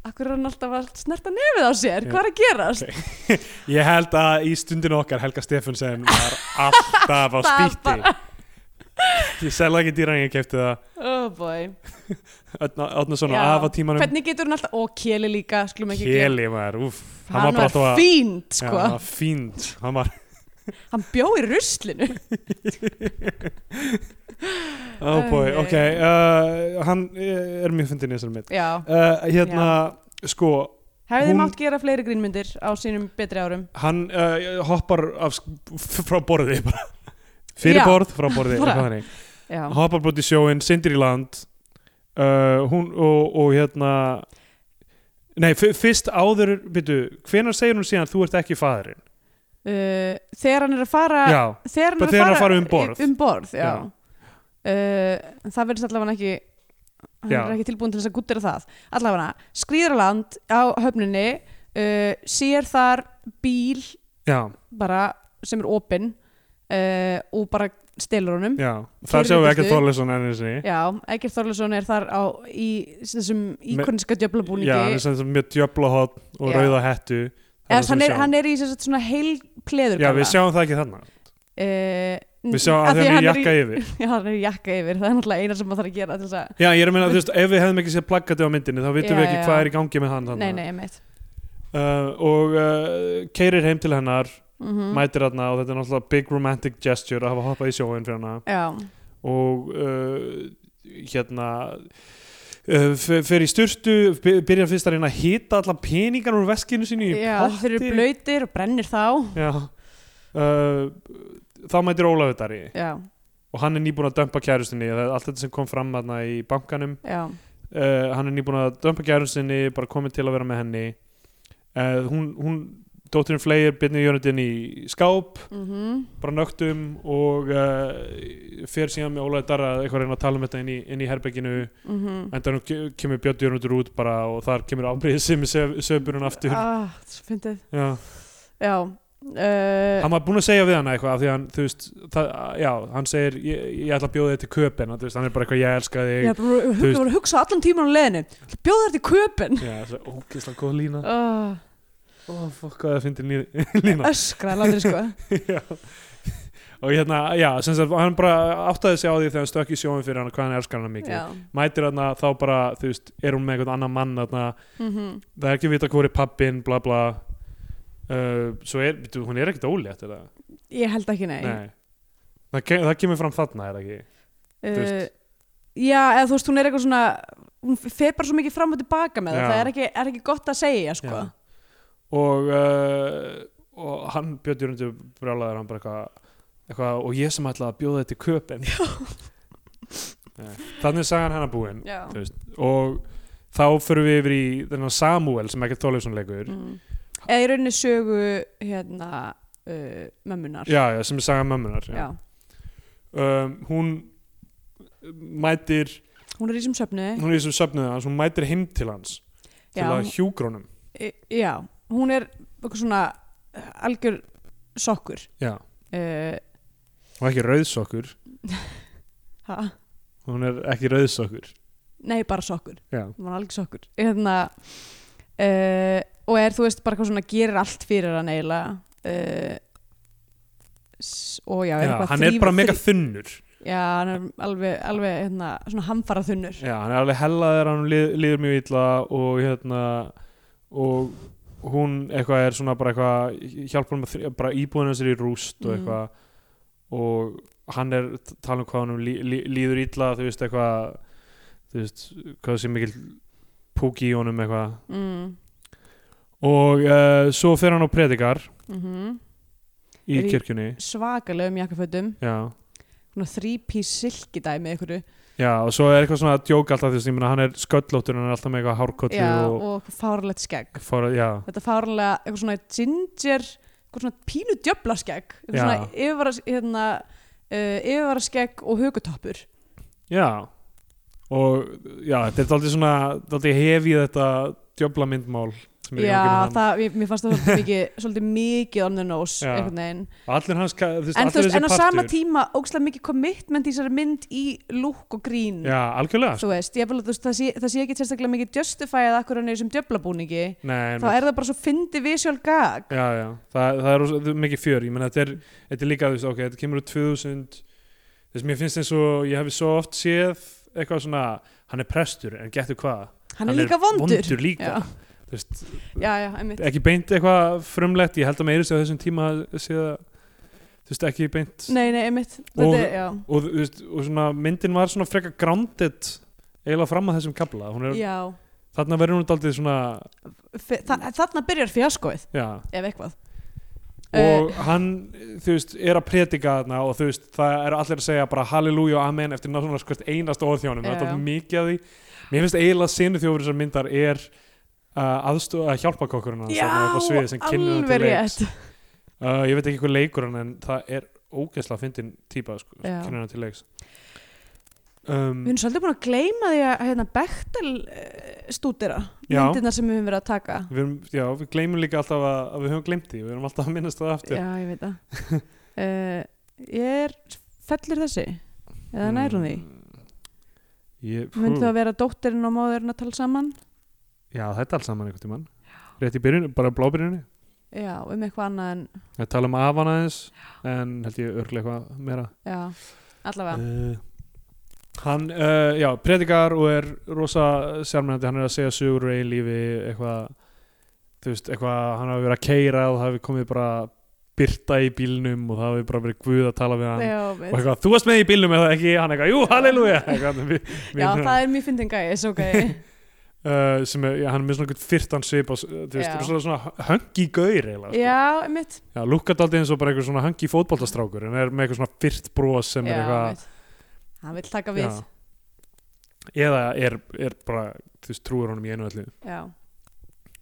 S3: akkur er hann alltaf að snerta nefið á sér, hvað er að gerast?
S2: Ég held að í stundinu okkar Helga Stefansen var alltaf á
S3: Það
S2: spýti Ég selða ekki dýran ég kefti það
S3: Oh boy.
S2: Átna svona
S3: Já.
S2: af á tímanum
S3: Hvernig getur hann alltaf, og Kjeli líka, skulum ekki gleyma.
S2: Kjeli maður, úff
S3: hann
S2: bara
S3: var,
S2: alltaf að-
S3: fínt
S2: Já,
S3: sko,
S2: hann var fínt Hann var,
S3: hann bjó í ruslinu
S2: oh boy,
S3: Æ.
S2: ok uh, Hann er mjög fyndin í þessari mitt
S3: já,
S2: uh, Hérna, sko
S3: hefði
S2: Hún-
S3: mátt gera fleiri grínmyndir á sínum betri árum
S2: Hann uh, hoppar af, sk- f- frá borði bara Fyrir
S3: Já.
S2: borð, frá borði
S3: Bara.
S2: eitthvað þannig.
S3: já.
S2: hoppar bara út í sjóin, syndir í land uh, hún og, og hérna nei, f- fyrst áður byrju, hvenær segir hún síðan þú ert ekki fadurinn?
S3: Uh, þegar hann er að fara
S2: Já,
S3: þegar
S2: bara
S3: hann
S2: þegar
S3: er að
S2: hann
S3: fara,
S2: fara um borð.
S3: um borð já.
S2: Já.
S3: Uh, en það verðist allavega ekki hann
S2: Já.
S3: er ekki tilbúin til þess að guttir það allavega, skrýður á land á höfninni uh, sér þar bíl
S2: já,
S3: bara sem er opinn uh, og bara stelur honum
S2: já
S3: Keyrir
S2: þar sjáum við
S3: í
S2: ekki
S3: burtu.
S2: Þorleifsson ennir sinni
S3: Já, Egert Þorlesson er þar á í þessum
S2: Me-
S3: íkoniska djöflabúningi
S2: já, hann er sem sagt með djöflahot og
S3: Já.
S2: rauða hettu Það
S3: Eða,
S2: það sem
S3: hann,
S2: við
S3: er,
S2: sjáum.
S3: hann er í sem sagt svona heil pleður
S2: já, við sjáum það ekki þarna
S3: Eh,
S2: við sjáum að því hann er jakka yfir
S3: Já, hann er í jakka yfir, það er náttúrulega eina sem maður þarf að gera til þess að
S2: já, ég er að meina, þú veist, ef við hefðum ekki séð plaggati á myndinni þá vitum
S3: Já,
S2: við ekki
S3: já.
S2: hvað er í gangi með hann
S3: Nei,
S2: þarna.
S3: nei, mitt
S2: Uh, og uh, keirir heim til hennar
S3: mm
S2: mætir hérna og þetta er náttúrulega big romantic gesture að hafa hoppað í sjóin fyrir hana
S3: Já,
S2: og uh, hérna uh, f- fer í styrtu byrjar fyrst að reyna að hita alla peningar úr veskinu sínu í
S3: já
S2: potti.
S3: þeir eru blöytir og brennir þá
S2: Já. Uh, þá mætir Ólafur Dari
S3: Já,
S2: og hann er nýbúin að dömpa kærustinni Það er allt þetta sem kom fram hérna í bankanum
S3: já,
S2: uh, hann er nýbúin að dömpa kærustinni bara komið til að vera með henni uh, hún, hún dótturinn fleir byrnir jörnundin í skáp
S3: mhm
S2: bara nögtum og uh, fer síðan með Ólaði Darra að eitthvað reyna að tala um þetta inn í, inn í herberginu
S3: mhm.
S2: en þannig kemur Björn Jörgundur út bara og þar kemur afbríðið sem sögburun aftur
S3: Ah, svo fyndið
S2: já.
S3: Já uh,
S2: hann var búinn að segja við hann eitthvað af því að hann, þú veist, það, já, hann segir ég, ég ætla að bjóða þig til köpen þú veist, hann er bara eitthvað ég elska þig
S3: Ég var bara að
S2: þú veist-
S3: hugsa- var að hugsa allan tíman á leiðinu Bjóð þær til köpinn
S2: já, það er ógeðslega góð lína
S3: oh,
S2: ó, fokk hvað það fyndir lína
S3: Öskraði látið sko
S2: Já. og hérna, já, sem sagt hann bara áttaði sig á því þegar hann stökk í sjóin fyrir hann hvað hann elskar hann mikið
S3: Já,
S2: mætir hann þá bara, þú veist, er hún með einhvern annan mann þarna
S3: mhm
S2: það er ekki vita hvað er pappin, bla bla uh, svo er, veitu, hún er ekkert ólétt er það?
S3: Ég held ekki nei,
S2: Nei. Það, ke það kemur fram þarna, er það ekki?
S3: Uh,
S2: Þú veist.
S3: Já, eða þú veist, hún er eitthvað svona hún fer bara svo mikið fram og tilbaka með
S2: Já.
S3: það það er ekki, er ekki gott að segja, sko
S2: Já. og uh, og hann Björn Jörgundur brjálaður hann bara eitthvað eitthva, og ég sem ætla að bjóða þetta í köpen Nei. þannig sagði hann búinn
S3: Já,
S2: og þá förum við yfir í þennan Samuel sem ekki Þorleifsson leikur
S3: Mm. Eða í rauninni sögu hérna uh, mömmunar
S2: já, já, sem er saga mömmunar já.
S3: Já.
S2: Um, hún mætir
S3: Hún er í sem söfni
S2: hún er í þessum söfnuðu hans, hún mætir heim til hans til
S3: Eh? Já.
S2: að hjúgrónum
S3: Í- Já, hún er eitthvað svona uh, algjör sokkur
S2: já.
S3: uh,
S2: og ekki rauðsokkur
S3: ha?
S2: hún er ekki rauðsokkur
S3: Nei, bara sokkur
S2: já,
S3: hún var algjör sokkur hérna, uh, og er þú veist bara hvað svona gerir allt fyrir hann eiginlega uh, s- og já,
S2: já
S3: er eitthvað
S2: hann er
S3: þrífur-
S2: bara mega
S3: þrí-
S2: þunnur
S3: já, hann er alveg, alveg hérna, svona hamfara þunnur
S2: já, hann er alveg hellaður, hann lið, líður mjög illa og hérna og hún eitthvað er svona bara eitthvað hjálpa hann að þrý- bara íbúðin hans er í rúst og
S3: Mhm.
S2: eitthvað og hann er t- tala um hvað hann lí, lí, líður illa þú veist eitthvað þú veist hvað sé mikil púki í honum eitthvað
S3: mm,
S2: og uh, svo fer hann á predikar
S3: mm -hmm.
S2: í
S3: Er í-
S2: kirkjunni
S3: svakalegum um jakkafötum
S2: já.
S3: þrípís silki dæmi ykkur
S2: já, og svo er eitthvað svona að djóka alltaf þess að hann er sköllóttur hann er alltaf með eitthvað hárkottu
S3: já,
S2: og,
S3: og fárlegt skegg
S2: og fór, já,
S3: þetta fárlega, eitthvað svona ginger eitthvað svona pínu djöfla skegg eitthvað
S2: Já.
S3: svona yfir, hérna, uh, yfirvaraskegg og hugutoppur
S2: Já og já, þetta er daldið svona daldið hefið þetta djöfla myndmál sem er í gangi með
S3: Já,
S2: hann.
S3: það, mér, mér fannst það svolítið mikið, svolítið mikið on the nose
S2: Já.
S3: einhvern veginn
S2: allir hans, ka- þú veist,
S3: en, þú
S2: allir
S3: veist,
S2: þessi
S3: en á
S2: partur
S3: sama tíma ógstlega mikið commitment í þessari mynd í lúk og grín
S2: Já, algjörlega sko.
S3: þú veist, ég vil að þú veist, það sé, það sé ekki sérstaklega mikið justifyið akkur hann er í þessum djöflabúningi
S2: Nei,
S3: þá
S2: einmitt.
S3: er það bara svo fyndi visual gag
S2: Já, já, það, það er rosa- það er mikið fjör ég menn þetta er, þetta er líka, þú veist, ok, þetta kemur úr 2000 þess, mér finnst eins og ég hefði svo oft séð eitthvað svona, hann er prestur en getur hvað,
S3: hann er líka vondur,
S2: líka
S3: Já.
S2: Þú veist,
S3: já, já, einmitt
S2: ekki beint eitthvað frumlegt, ég held að meiri sér á þessum tíma séð, þú veist, ekki beint
S3: nei, nei, einmitt
S2: Og-
S3: Þetta er- já.
S2: og, þú veist, og svona, myndin var svona frekar grounded eiginlega fram að þessum kabla Hún er,
S3: Já.
S2: þarna verður hún daldið svona
S3: Fe- þa- þarna byrjar fjaskoið
S2: já,
S3: ef eitthvað Eh.
S2: og hann þú veist, er að predika þarna og þú veist, það eru allir að segja bara halleluja og amen eftir náttúrulega sko einast orðhjónum,
S3: Já,
S2: þetta
S3: já.
S2: er mikið af því mér finnst eiginlega sinu þjófur þessar myndar er uh, aðstoð, að hjálpa kokkurinn
S3: já, alveg rétt
S2: uh, ég veit ekki hvað leikur hann en það er ógeðslega fyndin típa sko,
S3: Já.
S2: kynna hann til leiks um,
S3: Við erum svolítið búin að gleyma því að hérna, Bechtel uh, stúdera
S2: Já.
S3: myndirna sem við höfum verið að taka
S2: Við, erum, já, við gleymum líka alltaf að, að við höfum gleymt því, við erum alltaf að minnast það aftur.
S3: Já, ég veit það uh, Ég er fellur þessi eða nær hún því
S2: Mm. Ég,
S3: Myndi það að vera dóttirinn og móðurinn að tala saman
S2: Já, þetta er alls saman einhvern tímann. Rétt í byrjun, bara blábyrjunni.
S3: Já, um eitthvað annað en
S2: Við talum af hana aðeins, en held ég örglega eitthvað meira.
S3: Já, allavega
S2: Uh, hann, uh, já, predikar og er rosa sérmennandi, hann er að segja sögur og eigin lífi, eitthvað, þú veist, eitthvað, hann hafi verið að keira og það hafi komið bara byrta í bílnum og það hafi bara verið guð að tala við hann.
S3: Já,
S2: og
S3: veit.
S2: eitthvað, þú varst með í bílnum eða ekki, hann eitthvað, jú, halleluja Eitthvað, við- við- hérna,
S3: Já, það er mjög fyndin gæi, svo gæi
S2: uh, sem er, já, hann er með svona einhvern fyrtan svip og s- þú veist,
S3: Já.
S2: er svona, svona höngi gaur eiginlega, sko.
S3: Já, einmitt
S2: já, lúkkar daldið eins og bara einhver svona höngi fótboltastrákur en er með eitthvað svona fyrt bros sem er
S3: Já,
S2: eitthvað
S3: einmitt. Hann vill taka við
S2: já. eða er, er bara, þú veist, trúir honum í einu öllu
S3: Já,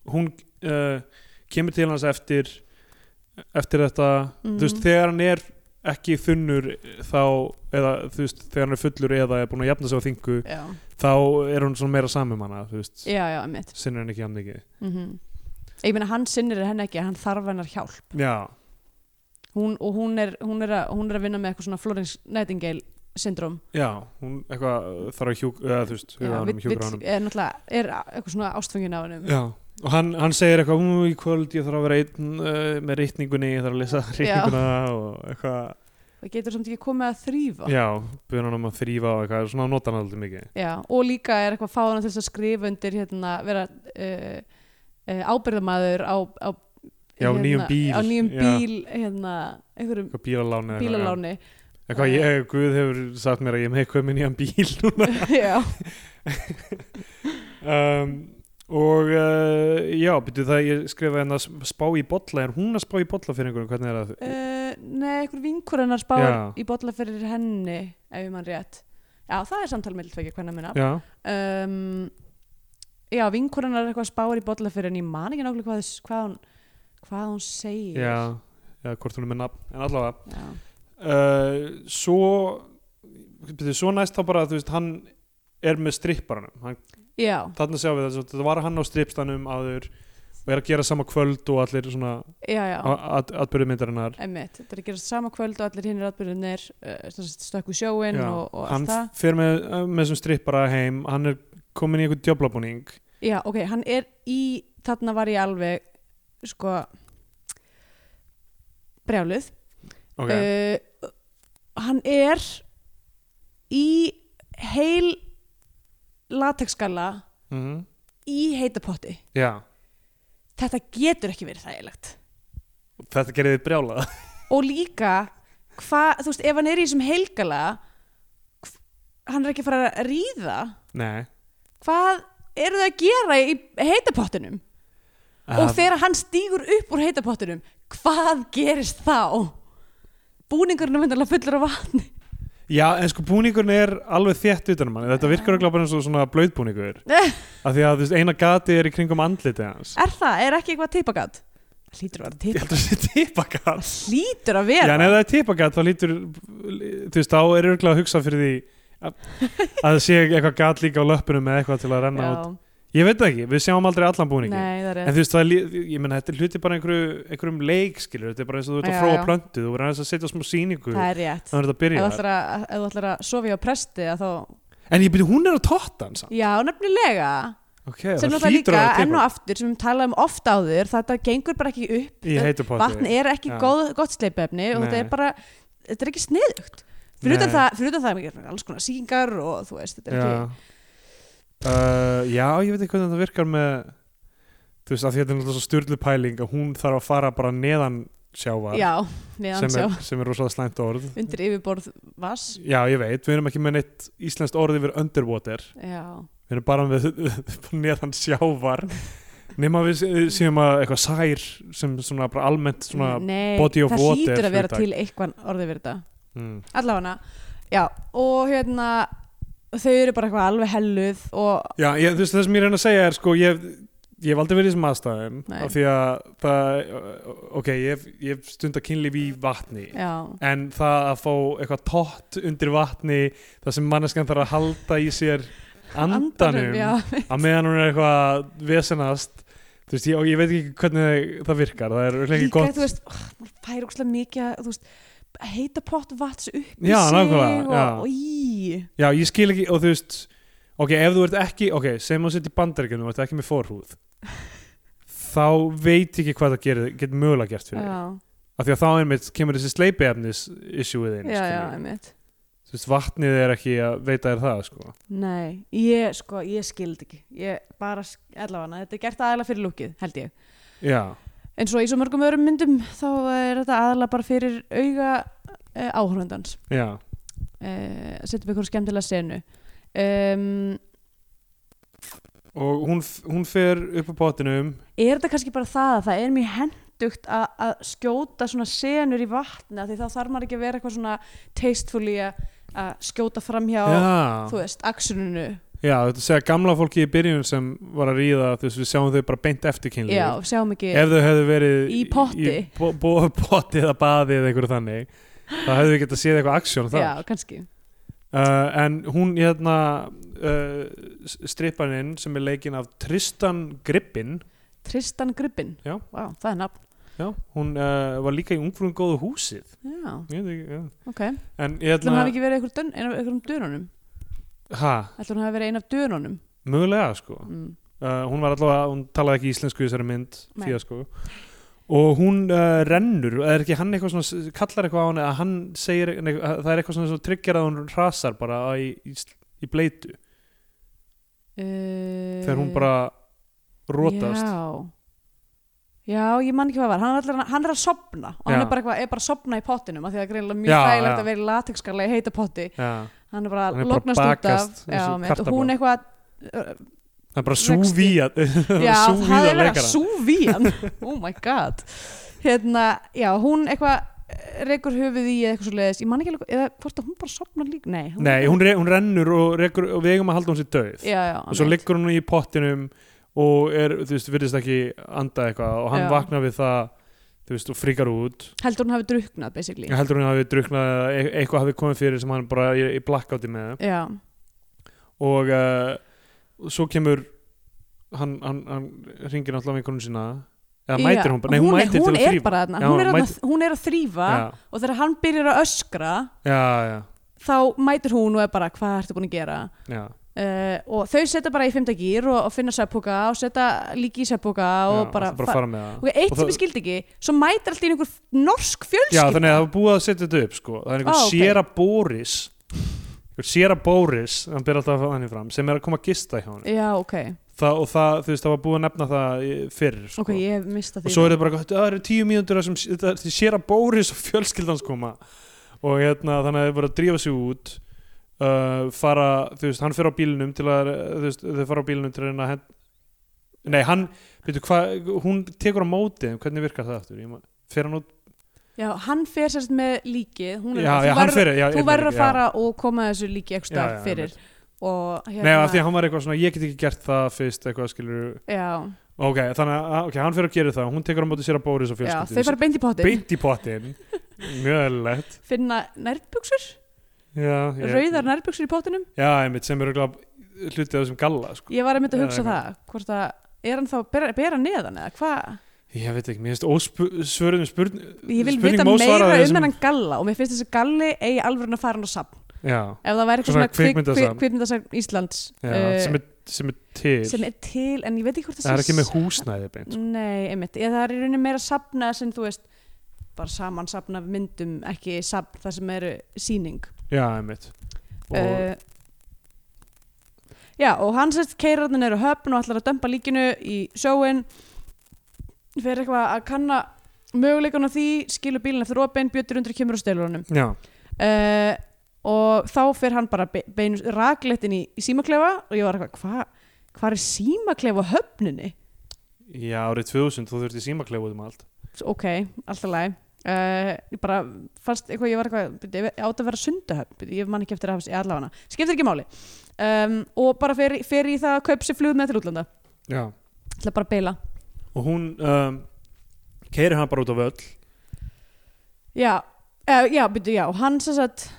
S2: hún uh, kemur til hans eftir eftir þetta
S3: Mhm.
S2: þú veist, þegar hann er ekki þunnur þá, eða þú veist, þegar hann er fullur eða er búin að jafna sig á þingu
S3: já,
S2: þá er hún svona meira samum hana þú veist,
S3: já, já einmitt
S2: sinnir henni ekki hann ekki
S3: mm Ég meina, hann sinnir henni ekki, hann þarf hennar hjálp
S2: já,
S3: hún, og hún er, hún, er að, hún er að vinna með eitthvað svona Florence Nightingale syndrom
S2: já, hún eitthvað uh, þarf að hjúk, eða þú veist, huga honum, hjúkra honum
S3: er náttúrulega er eitthvað svona ástfengin á hennum
S2: já, og hann, hann segir eitthvað "Ú, í kvöld ég þarf að vera einn uh, með rítningunni, ég þarf að lesa rítninguna og eitthvað,
S3: það getur samt ekki komið að þrýfa
S2: já, byrja hann um að þrýfa og eitthvað, svona nota hann alltaf mikið
S3: Já, og líka er eitthvað fáðan til þess að skrifa undir hérna, vera uh, uh, ábyrðamaður á, á, hérna,
S2: Já, á nýjum bíl,
S3: á nýjum
S2: já.
S3: bíl hérna, einhverjum
S2: eitthvað bílaláni eða eitthvað,
S3: bílaláni
S2: já. eitthvað ég, Guð hefur sagt mér að ég er með eitthvað minn í hann bíl núna
S3: Já,
S2: um, og uh, já, byrju það ég skrifaði henn að spá í bolla er hún að spá í bolla fyrir einhverjum, hvernig er það
S3: uh, nei, einhver vinkur hennar spáir
S2: Já.
S3: í bolla fyrir henni ef ég mann rétt Já, það er samtal með tvekja hvernig minna
S2: já,
S3: um, já, vinkonan er eitthvað spáir í bolla fyrir en ég man ekki nákvæmlega hvað, þess- hvað, hún, hvað hún segir
S2: já, já, hvort hún er með nafn, en allavega
S3: Já.
S2: uh, svo byrju, svo næst þá bara þú veist hann er með stripparanum hann,
S3: já,
S2: þarna sjáum við þess að þetta var hann á strippstanum áður og er að gera sama kvöld og allir svona
S3: já, já
S2: atbyrðu myndarinnar
S3: Einmitt. þetta er að gerast sama kvöld og allir hinnir atbyrðunir uh, stökku sjóin
S2: Já,
S3: og, og
S2: hann
S3: allt það
S2: fer með, eh, með þessum strippara heim hann er komin í einhvern djöflabúning
S3: já, ok, hann er í, þarna var ég alveg sko brjáluð
S2: ok,
S3: uh, hann er í heil latexskalla
S2: mhm,
S3: í heitapotti
S2: já
S3: þetta getur ekki verið þægilegt
S2: þetta gerði þið brjála
S3: og líka hvað, þú veist, ef hann er í þessum helgala hv- hann er ekki að fara að ríða
S2: nei
S3: hvað eru þau að gera í heitapottinum og þegar hann stígur upp úr heitapottinum hvað gerist þá búningurinn er vendarlega fullur af vatni
S2: já, en sko búningurinn er alveg þétt utanum hann þetta virkar ekki bara eins og svona blöðbúningur af því að þú veist, eina gati er í kringum andliti hans
S3: er það, er ekki eitthvað tippagat hlýtur að vera
S2: ég
S3: tipa
S2: held að það sé tipagat
S3: hlýtur að
S2: já,
S3: vera
S2: en ef það er tipagat þá lítur þú veist, þá er örgulega að hugsa fyrir því að að það sé eitthvað gat líka á löppunum eða eitthvað til að renna út
S3: Já,
S2: ég veit það ekki, við sjáum aldrei allan búningi
S3: nei, það er
S2: en þú veist, það er, lí- ég menna, þetta er hluti bara einhverju, einhverjum leik, skilur, þetta er bara eins og þú ert
S3: Já,
S2: að fróa
S3: já.
S2: plöntu, þú verður aðeins að setja smá sýningu
S3: það er rétt
S2: þannig er þetta að
S3: ef þú
S2: byrja þar.
S3: ætlar að- ef þú ætlar að sofa hjá presti að þá,
S2: en ég byrja, hún er að totta hans
S3: já, nefnilega
S2: okay,
S3: sem
S2: það
S3: náttúrulega
S2: hlýtur að
S3: líka
S2: vera
S3: enn og
S2: tipagat.
S3: aftur sem við talaðum oft áður þetta gengur bara ekki upp
S2: Ég heitu potti.
S3: vatn er ekki
S2: Já.
S3: góð, gott sleipefni og
S2: Nei.
S3: þetta er bara þetta er ekki sniðugt fyrir utan
S2: Nei.
S3: það, fyrir utan það er mikið alls konar síkingar og þú veist, þetta er
S2: já. Uh, já, ég veit ekki hvernig það virkar með þú veist, af því að þetta er náttúrulega svo styrlu pæling að hún þarf að fara bara neðan sjávar
S3: ekki já, neðan
S2: sem,
S3: sjá
S2: er, sem er rosalega slæmt orð
S3: undir yfirborð vass
S2: já, ég veit, við erum ekki með neitt íslenskt orð yfir underwater
S3: já,
S2: við erum bara með bara neðan sjávar nema við séum að eitthvað sær sem svona bara almennt svona
S3: Nei,
S2: body of
S3: það
S2: water
S3: hlýtur að vera
S2: hugtak.
S3: til eitthvað orðið verið þetta
S2: mm,
S3: allavega, já, og hérna þau eru bara eitthvað alveg helluð og
S2: Já, ég, þú veist, það sem ég reyna að segja er sko, ég, hef- ég hef aldrei verið í þessum aðstæðum
S3: Nei.
S2: af því að það, ok, ég hef, ég hef stundar kynlíf í vatni
S3: já,
S2: en það að fá eitthvað tótt undir vatni þar sem manneskan þarf að halda í sér andanum
S3: já,
S2: að meðan hún er eitthvað að vesenast þú veist, ég, og ég veit ekki hvernig það virkar það er örugglega ekki
S3: líka,
S2: gott
S3: þú veist, oh, maður fær úkslega mikið að, þú veist, að heita pott vats upp
S2: Já,
S3: í sig
S2: nákvæmlega, já.
S3: og, og í,
S2: Já, ég skil ekki, og þú veist ok, ef þú ert ekki, ok, sem þú sitt í bandaríkjunum og ert ekki með forhúð þá veit ég ekki hvað það gerir, getur mögulega gert fyrir þig.
S3: já,
S2: af því að þá einmitt kemur þessi sleipiefnis issue inn,
S3: já, já,
S2: skilur.
S3: einmitt
S2: þú veist, vatnið er ekki að veita þér það, sko
S3: Nei, ég sko, ég skildi ekki ég bara, sk- allavega, þetta er gert aðalega fyrir lúkið, held ég
S2: Já,
S3: En svo í svo mörgum öðrum myndum þá er þetta aðalega bara fyrir auga eh, áhörundans
S2: já,
S3: eh, Settum við ykkur skemmtilega senu um,
S2: og hún, f- hún fer upp á pottinum
S3: Er þetta kannski bara það að það er mjög hendugt að, að skjóta svona senur í vatna því þá þarf maður ekki að vera eitthvað svona tasteful í að að skjóta framhjá, þú
S2: Já,
S3: veist, aksjuninu
S2: já þú veist að segja gamla fólki í byrjun sem var að ríða, þú veist, við sjáum þau bara beint eftir kynlíf
S3: Já, sjáum ekki
S2: ef þau hefðu verið
S3: Í potti.
S2: í bo, bo, potti eða baði eða einhverju þannig þá hefðu við getað séð eitthvað aksjón þar
S3: Já, kannski
S2: uh, en hún hérna uh, strippaninn sem er leikinn af Tristan Grippin
S3: Tristan Grippin,
S2: Já.
S3: Vá, það er nafn
S2: já, hún uh, var líka í ungfrúin góðu húsið
S3: Já,
S2: Ég veit ekki, já.
S3: ok
S2: en
S3: Ætlum hún
S2: hérna
S3: hafi ekki verið einhver dön, ein af einhverjum dönunum
S2: ha,
S3: Ætlum hún hafi verið ein af dönunum
S2: mögulega sko
S3: mm.
S2: uh, hún var allavega, hún talaði ekki íslensku í þessari mynd
S3: Nei.
S2: því að sko og hún uh, rennur, er ekki hann eitthvað svona kallar eitthvað á hann eða hann segir, nei, eh, það er eitthvað svona sem tryggjar að hún rasar bara í, í, í bleitu þegar hún bara rótast
S3: Já Já, ég man ekki hvað var, hann er, allir, hann er að sopna og hann
S2: Já.
S3: er bara, eitthvað, er bara að sopna í pottinum af því að það er greinilega
S2: Já,
S3: mjög þægilegt
S2: já.
S3: að vera í latexskarlega í heita potti
S2: Já.
S3: hann er bara
S2: Hann er
S3: að
S2: bara
S3: lognast út af
S2: bakast
S3: já,
S2: eins og
S3: mitt, og
S2: kartafla.
S3: hún eitthvað uh,
S2: það er bara
S3: Vexti.
S2: súvíja
S3: já, það er verið að
S2: leikara
S3: súví hann oh my god hérna, já, hún eitthvað reykur höfuð í eða eitthvað svo leiðis ég man ekki alveg, eða hvort að hún bara sopnar líka nei, hún,
S2: nei, hún, re hún rennur og, rekur, og við eigum að halda hún sér döð
S3: já, já,
S2: og svo
S3: einmitt.
S2: liggur hún í pottinum og er, þú veist, virðist ekki anda eitthvað og hann
S3: Já.
S2: vaknar við það þú veist, og fríkar út
S3: heldur hún hafi druknað basically
S2: Ég heldur hún hafi druknað eða e- eitthvað hafi komið fyrir sem hann bara í, í blackouti með það.
S3: já,
S2: og uh, svo kemur hann, hann, hann ringir náttúrulega vinkonun sína eða mætir hún bara, nei hún,
S3: er-
S2: mætir
S3: hún
S2: til að
S3: er
S2: þrýfa
S3: bara þarna,
S2: Já,
S3: hún, er
S2: hún
S3: þarna- hún er að þrýfa
S2: já,
S3: og þegar hann byrjar að öskra
S2: já, já,
S3: þá mætir hún og er bara hvað ertu búin að gera
S2: já,
S3: uh, og þau setja bara í fymta gýr og, og finna sæpúka og setja líki í sæpúka og
S2: já,
S3: bara,
S2: bara fara með það
S3: ok, eitt
S2: Og
S3: sem
S2: það-
S3: ég skildi ekki svo mætir alltaf í einhver norsk fjölskyld
S2: já, þannig að það var búið að setja þetta upp sko. það er einhver
S3: Ó,
S2: ah,
S3: ok.
S2: Sierra Boris einhver Sierra Boris, hann byrja alltaf þannig fram sem er að koma að gista hjá hann
S3: já, ok,
S2: það, og það, þú veist, það var búið að nefna það í- fyrr sko.
S3: ok, ég hef mistað
S2: og
S3: því
S2: svo er þetta bara eitthvað, það eru tíu mínútur þar sem þetta- þið sér að Bóris og fjölskyldans koma og hérna, þannig að þau bara drífa sig út uh, fara, þú veist, hann fer á bílnum til að, þú veist, þau fara á bílnum til að reyna að hend... nei, hann veitu hvað, hún tekur á móti þeim, hvernig virkar það aftur, ég maður fer hann út
S3: já, hann fer sérst með líkið hún er
S2: já,
S3: bara,
S2: já,
S3: þú
S2: hann
S3: verður-
S2: fer, já,
S3: þú
S2: ég-
S3: verður að
S2: já.
S3: fara og koma þessu líki
S2: Já,
S3: ekstra
S2: já,
S3: fyrir
S2: einmitt.
S3: og hérna
S2: Nei, af því að hann var eitthvað svona, ég get ekki gert það fyrst eitthvað skilur
S3: já,
S2: Ok, þannig að okay, hann fyrir að gera það og hún tekur á móti sér að Bóris og
S3: já, þau fara
S2: fjölskyldu
S3: beint í pottin
S2: Beint í pottin Mjög eðlilegt
S3: finna nærbuksur,
S2: já, ég-
S3: rauðar nærbuksur í pottinum
S2: Já, einmitt, sem eru örugglega hluti af þessum galla sko.
S3: ég var að mynda að
S2: Já,
S3: hugsa
S2: eitthvað.
S3: það hvort að, er hann þá að bera, bera neðan eða hvað,
S2: Ég veit ekki, mér finnst ósvörðum spurn
S3: ég vil
S2: spurning
S3: vita
S2: má svara
S3: meira um
S2: þessum-
S3: þennan galla og mér finnst þessi galli eigi alveg að fara hann á safn
S2: Já,
S3: ef það væri eitthvað
S2: Svona
S3: svona kvik-
S2: kvikmyndasafn.
S3: kvik- kvikmyndasafn Íslands
S2: já
S3: eh,
S2: sem, er, sem er til
S3: sem er til, en ég veit ekki hvort
S2: Það er
S3: sé
S2: ekki með húsnæði beint sko.
S3: Nei, einmitt, ég, það er í rauninni meira safna sem þú veist, bara saman safna af myndum, ekki safn það sem eru sýning
S2: Já, einmitt Og
S3: uh, Já, og hann sérst keirarnin eru höfn og ætlar að dömpa líkinu í sjóin fer eitthvað að kanna möguleikana því, skilur bílinn eftir opinn, bjötur undir kemur á stelunum
S2: Já,
S3: uh, og þá fer hann bara be- beinu rakleitt inn í, í símaklefa og ég var eitthvað, hvað hva er símaklefa á höfninni?
S2: já, árið 2000 þú þurfti símaklefa út um allt
S3: ok, alltaf læg Uh, ég bara fannst eitthvað, ég var eitthvað byrju, ég átt að vera sundahöfn, byrju, ég man ekki eftir að hafa allavega hana, skiptir ekki máli um, og bara fer, fer í það að kaup sér flug með til útlanda,
S2: Já
S3: ætla bara að beila
S2: Og hún um, keiri hann bara út á völl
S3: já, uh, já, byrju, já og hann sem sagt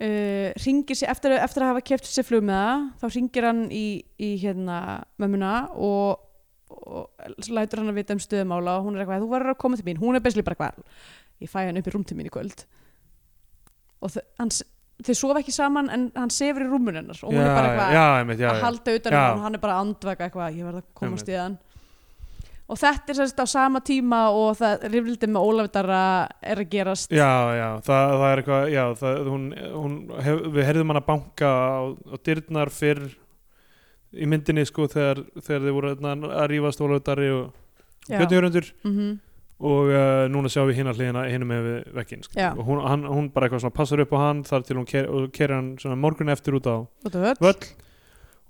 S3: uh, ringir sér, eftir, að- eftir að hafa keft sér flug með það, þá ringir hann í, í hérna mömmuna og, og lætur hann að vita um stöðumála og hún er eitthvað, þú verður að koma til mín, hún er besli bara hvað ég fæ hann upp í rúm til mín í kvöld og þau- hann, s- þau sofa ekki saman en hann sefur í rúmun hennar og hún
S2: já,
S3: er bara
S2: já,
S3: eitthvað
S2: já, einmitt, já,
S3: að
S2: já.
S3: halda utan
S2: Já.
S3: um hann og hann er bara að andvaka eitthvað, ég verð að komast
S2: Einmitt.
S3: í hann og þetta er sérst á sama tíma og það rifrildi með Ólaf Darra er að gerast
S2: Já, já, það, það er eitthvað, já, það, hún, hún hef, við heyrðum hana banka á, á dyrnar fyrr í myndinni sko þegar, þegar þið voru þarna að rífast ólöfdari og
S3: Já.
S2: björnjörundur
S3: Mhm.
S2: og uh, núna sjáum við hinn að hliðina hinum með vekkin sko.
S3: Já.
S2: og hún, hann, hún bara eitthvað svona passar upp á hann þar til hún ker, og kerir hann svona morgun eftir út á
S3: Út á völl.
S2: völl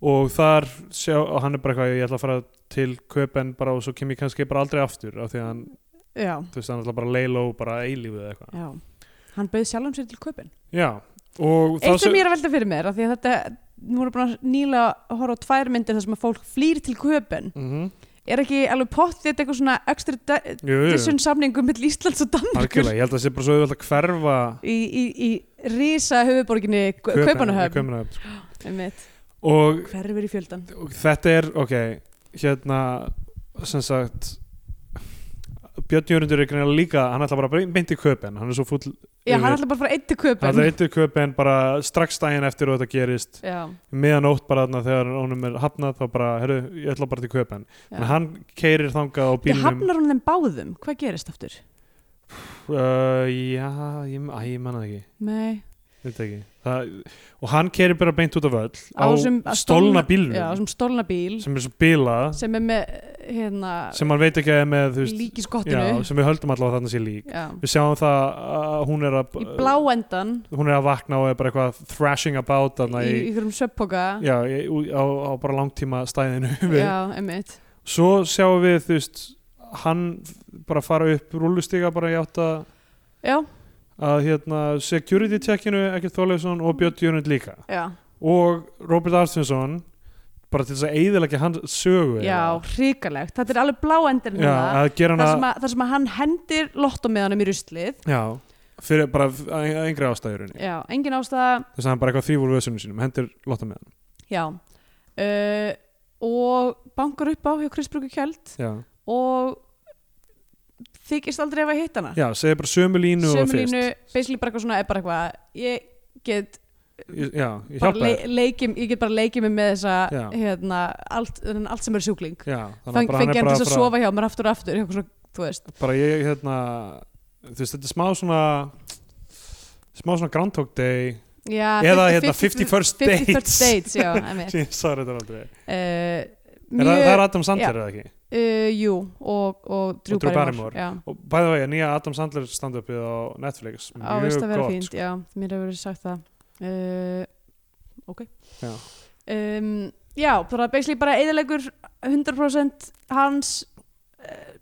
S2: og þar sjá, og hann er bara eitthvað ég ætla að fara til köpen bara og svo kem ég kannski bara aldrei aftur af því að hann,
S3: já,
S2: þú veist, hann ætla bara að leila og bara eilífið eða eitthvað
S3: já hann bauð sjálfum sér til kaupin
S2: Já, og þá
S3: eitt sem
S2: sem-
S3: ég er að velta fyrir mér af því að þetta, nú erum búin að nýla að horfa á tvær myndir þar sem að fólk flýr til kaupin
S2: Mhm.
S3: er ekki alveg pottið eitthvað svona ekstra
S2: Jú, jú,
S3: þessum samningum mitt Íslands og Danmarkur
S2: algjörlega, ég held að það sé bara svo auðvitað að hverfa
S3: í, í, í risa höfuborginni Kaupanahöfn
S2: Kaupanahöfn, sko.
S3: Einmitt.
S2: og,
S3: hverfur í fjöldan
S2: og þetta er, ok hérna, sem sagt Björn Jörundur er greinilega líka, hann ætla bara að myndi köpen, hann er svo full
S3: já,
S2: Einmitt.
S3: hann ætla bara að fara eitt til
S2: hann ætla
S3: Kaupan
S2: eittu köpen bara strax daginn eftir og þetta gerist
S3: já,
S2: meðanótt bara þarna þegar honum er hafnað þá bara, herru, ég ætla bara til köpen en
S3: já.
S2: hann keirir þangað á
S3: ég
S2: bílnum
S3: hafnar hún þeim báðum hvað gerist aftur?
S2: uh, já, ég, æ, ég manna ekki
S3: Nei,
S2: Veit ekki. Það, og hann keirir bara beint út af öll
S3: á þessum- að
S2: stolna bílnum
S3: já, á þessum stólna bíl
S2: sem er svo bílað
S3: sem er með hérna,
S2: sem hann veit ekki að er með þú veist,
S3: lík í
S2: já,
S3: skottinu
S2: sem við höldum allavega þarna sé lík
S3: já.
S2: við sjáum það að hún er að
S3: í bláendan
S2: hún er að vakna og er bara eitthvað thrashing about þarna
S3: í
S2: í,
S3: ykkurum söppoka
S2: já, í, ú- á, á bara langtíma stæðinu
S3: já, einmitt
S2: svo sjáum við þú veist hann bara fara upp rúllustiga bara í átt að
S3: já,
S2: að hérna security checkinu ekkert Þorleifsson og Björn Jörnund líka
S3: já,
S2: og Robert Artvinsson bara til þess að eiðilegja hans sögu
S3: já, hrikalegt þetta er alveg bláendan
S2: já
S3: hérna
S2: að gera
S3: þar sem,
S2: hana
S3: að, þar sem að hann hendir lottomiðanum í ruslið
S2: já, fyrir bara f- að að yngri ástæðurinni
S3: já, engin ástæða
S2: þess að hann bara eitthvað þrýfur vöðsunum sínum hendur lotta með hann
S3: já uh, og bankar upp á hjá Kristbrúku kjöld
S2: já,
S3: og þykist aldrei ef að hitta hana
S2: já segir bara sömu línu og
S3: sömulínu, basically bara eitthvað svona er bara eitthvað, ég get
S2: fyrst já, ég
S3: bara
S2: hjálpa
S3: le
S2: þér
S3: leikið, ég get bara leikið mig með þessa
S2: Já.
S3: hérna, allt, þennan allt sem er sjúkling
S2: já,
S3: þannig
S2: að bara
S3: fengi hann
S2: bara
S3: til að
S2: frá-
S3: sofa hjá mér aftur og aftur eitthvað svona, þú veist,
S2: bara ég hérna þú veist þetta er smá svona smá svona Groundhog Day
S3: já
S2: eða hérna 51st
S3: 51st
S2: Dates
S3: dates, já, emmitt
S2: ég sagði þetta aldrei er,
S3: uh,
S2: það, það er
S3: mjög,
S2: Adam
S3: já.
S2: Sandler eða ekki
S3: uh, jú og, og Drew
S2: Og Drew
S3: Barrymore,
S2: Barrymore.
S3: já
S2: og bæði vegi, nýja Adam Sandler stand-upið á Netflix,
S3: á veist
S2: mjög
S3: að vera
S2: gott sko.
S3: fínt, já, mér hefur verið sagt það uh, ok
S2: Já.
S3: um, já, bara basically bara eðilegur 100% hans uh,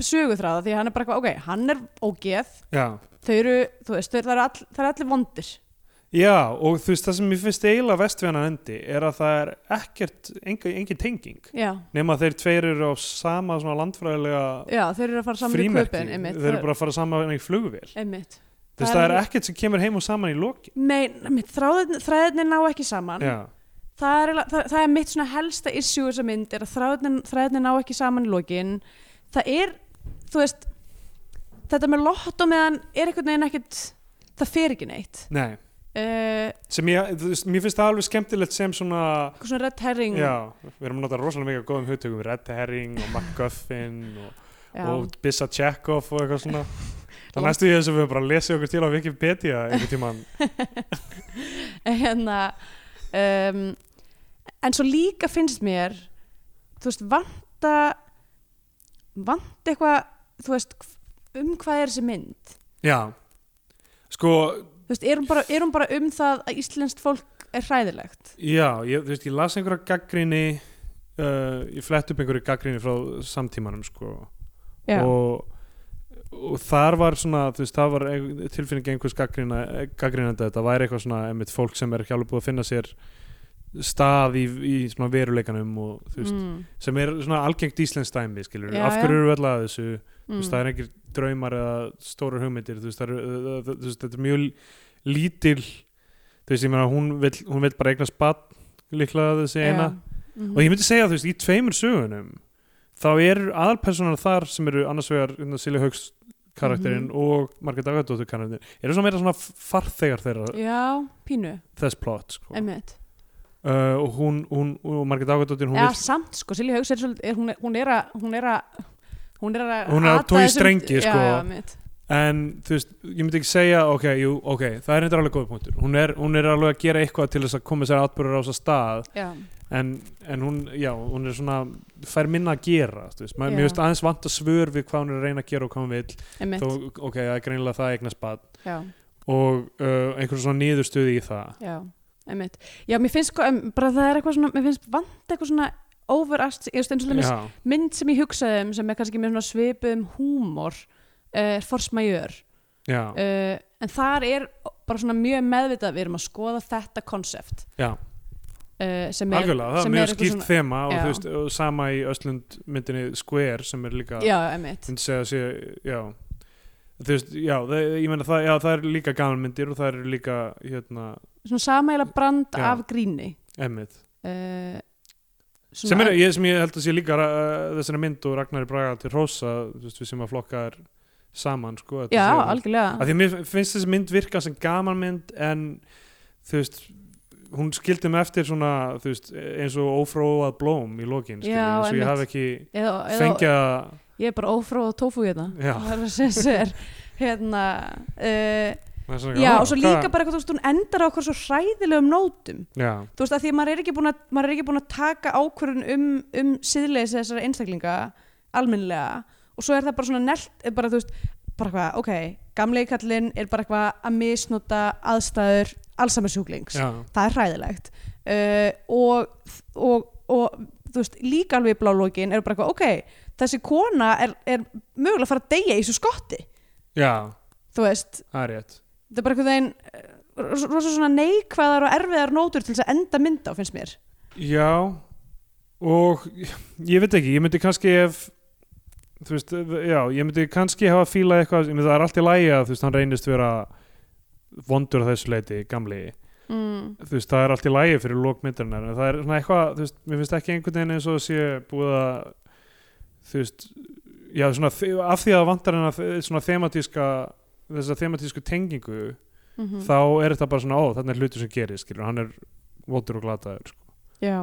S3: söguþráða því að hann er bara eitthvað, ok, hann er ógeð
S2: Já,
S3: þau eru, þú veist, þau eru, það eru all, það eru allir vondir
S2: Já, og þú veist, það sem ég finnst eiginlega vestfjana endi er að það er ekkert, engin, engin tenging
S3: já,
S2: nema þeir tveir eru á sama svona landfræðilega
S3: já, þeir eru að fara saman í
S2: frímerki
S3: köpinn einmitt,
S2: þeir eru bara að fara saman í flugvél
S3: einmitt.
S2: þú veist,
S3: Það
S2: það
S3: er-
S2: er ekkert sem kemur heim og saman í lokin
S3: Nei, einmitt, þráðin, þræðinni ná ekki saman
S2: Já,
S3: það er, eiginlega- það, það er mitt svona helsta issue þessa mynd er að þræðinni, þræðinni ná ekki saman í lokin það er, þú veist þetta með lott og meðan er einhvern veginn ekkert það fer ekki neitt
S2: nei
S3: uh,
S2: sem ég, þú veist, mér finnst það alveg skemmtilegt sem svona
S3: eitthvað svona red herring
S2: Já, við erum að nota rosalega mikið af góðum hugtökum Red Herring og MacGuffin og,
S3: Já.
S2: og Bissa Chekhov og eitthvað svona Það næstu ég þess að við höfum bara að lesa okkur til á Wikipedia einhvern tímann
S3: hérna um, en svo líka finnst mér þú veist, vanta vanta eitthvað þú veist, um hvað er þessi mynd
S2: Já Sko,
S3: þú veist, er hún bara, er hún bara um það að íslenskt fólk er hræðilegt
S2: já, ég, þú veist, ég las einhverja gaggrinni uh, ég flett upp einhverju gaggrinni frá samtímanum sko. og, og þar var svona, þú veist, það var ein- tilfinning einhvers gaggrina, gaggrinanda þetta væri eitthvað svona, einmitt fólk sem er ekki alveg búið að finna sér stað í, í svona veruleikanum og þú veist,
S3: mm,
S2: sem er svona algengt íslensk dæmi, skilur
S3: Já,
S2: af
S3: já.
S2: hverju eru við alltaf þessu þú veist, það
S3: mm,
S2: er engir draumar eða stóru hugmyndir þú veist, það er, uh, þú veist, þetta er mjög lítil þú veist, ég meina, hún vill, hún vill bara eignast bann líklega þessi eina
S3: mm,
S2: og ég myndi segja, þú veist, í tveimur sögunum þá eru aðalpersonar þar sem eru annars vegar hérna, Silja Hauks karakterinn
S3: Mhm.
S2: og Margrét Agadóttur karakterinn eru svona meira svona farþegar þeirra
S3: já, pínu,
S2: þess plot sko.
S3: einmitt
S2: uh, og hún, hún og Margrét Agadóttur hún,
S3: eða
S2: vill-
S3: samt, sko, Silja Hauks er, svolítið- er, hún, er, hún er að hún er að hún er að
S2: Hún er að
S3: ata
S2: toga í
S3: þessum-
S2: strengi,
S3: já,
S2: sko.
S3: já, einmitt.
S2: en þú veist, ég myndi ekki segja ok, jú, ok, það er eitthvað alveg góð punktur hún er, hún er alveg að gera eitthvað til þess að koma sér atbyrður á þess stað
S3: já,
S2: en, en hún, já, hún er svona fær minna að gera, þú veist maður,
S3: Já.
S2: mér veist aðeins vant að svör við hvað hún er að reyna að gera og hvað hún vil,
S3: einmitt,
S2: þó, ok, það er greinilega það eignast bad
S3: já
S2: og uh, einhverjum svona niðurstöði í það
S3: Já, einmitt. Já, mér finnst sko, em, bara það er eitthvað svona, mér finnst vant eitthvað svona overast, ég veist eins og það
S2: já,
S3: mynd sem ég hugsaði um sem er kannski með svona svipum húmor er uh, Force Major
S2: já,
S3: uh, en þar er bara svona mjög meðvitað við erum að skoða þetta konsept
S2: já,
S3: uh, sem er,
S2: algjörlega það
S3: sem
S2: er mjög
S3: er eitthvað
S2: skýrt
S3: svona-
S2: þema og
S3: Já.
S2: þú veist, og sama í Östlund myndinni Square sem er líka
S3: já, einmitt
S2: myndi segja að sé, já þú veist, já, það, ég meina það, já, það er líka gamanmyndir og það eru líka, hérna
S3: svona samægilega brand
S2: Já.
S3: af gríni
S2: emmið,
S3: uh, svona-
S2: sem er, ég, sem ég held að sé líka uh, þessari mynd og Ragnari Braga til Rósa, þú veist, við sem að flokka er saman, sko þetta
S3: já,
S2: sé-
S3: algjörlega
S2: að því að mér finnst þessi mynd virka sem gamanmynd en, þú veist hún skildi mig eftir svona þú veist, eins og ófróað blóm í lokin, skilur,
S3: Já,
S2: eins og ég
S3: einmitt.
S2: haf ekki
S3: eða,
S2: fengja,
S3: ég er bara ófróð og tófu hérna
S2: Já.
S3: það er að segja sér hérna uh,
S2: það er svona,
S3: já
S2: "Ah,
S3: og svo líka
S2: hvað?"
S3: bara eitthvað þú veist hún endar á okkur svo hræðilegum nótum
S2: já,
S3: þú veist að því að maður er ekki búin að, maður er ekki búin að taka ákvörðun um, um síðleis þessara einstaklinga almennlega og svo er það bara svona nelt er bara þú veist bara hvað ok gamlegi kallinn er bara eitthvað að misnota aðstæður allsamar sjúklings
S2: já,
S3: það er hræðilegt uh, og, og, og þú veist, líka alveg í blálókin er bara eitthvað, ok, þessi kona er, er mögulega að fara að deyja í þessu skotti
S2: já,
S3: þú veist,
S2: það er rétt
S3: þetta er bara einhvern veginn eh, ros- rosa svona neikvæðar og erfiðar nótur til þess að enda mynda á, finnst mér
S2: Já og ég veit ekki, ég myndi kannski ef þú veist, já, ég myndi kannski hafa fílað eitthvað, ég myndi það er allt í lægi að þú veist, hann reynist vera vondur að þessu leiti, gamli
S3: mm.
S2: þú veist, það er allt í lægi fyrir lókmyndarinnar en það er svona eitthvað, þú veist, mér finnst ekki einhvern veginn eins og sé búið að þú veist, já, svona þe- af því að það vantar hennar svona thematíska þessa thematísku tengingu
S3: Mm
S2: þá er þetta bara svona, ó, þarna er hlutur sem gerir skilur, hann er vondur og glataður sko.
S3: já,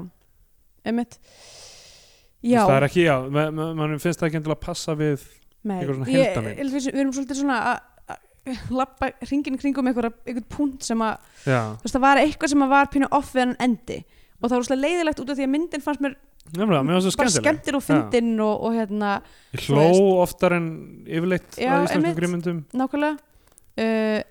S3: einmitt
S2: Þú
S3: já,
S2: veist, það er ekki, já, ma- ma- mann finnst það ekki endilega að passa við
S3: nei
S2: einhver svona
S3: Ég-
S2: heildarmynd.
S3: ég- við erum svolítið svona að- að lappa hringin kringum einhver, einhver punkt sem að
S2: já,
S3: þú veist, það var eitthvað sem að var pínu off við hann endi og það var svolítið leiðilegt út af því að myndin fannst mér
S2: nefnilega, mér finnst það
S3: bara
S2: skemmtileg
S3: skemmtir og fyndin og, og hérna,
S2: ég
S3: þú
S2: hló oftar en yfirleitt
S3: Já,
S2: að íslenskum
S3: einmitt.
S2: grímyndum
S3: nákvæmlega uh,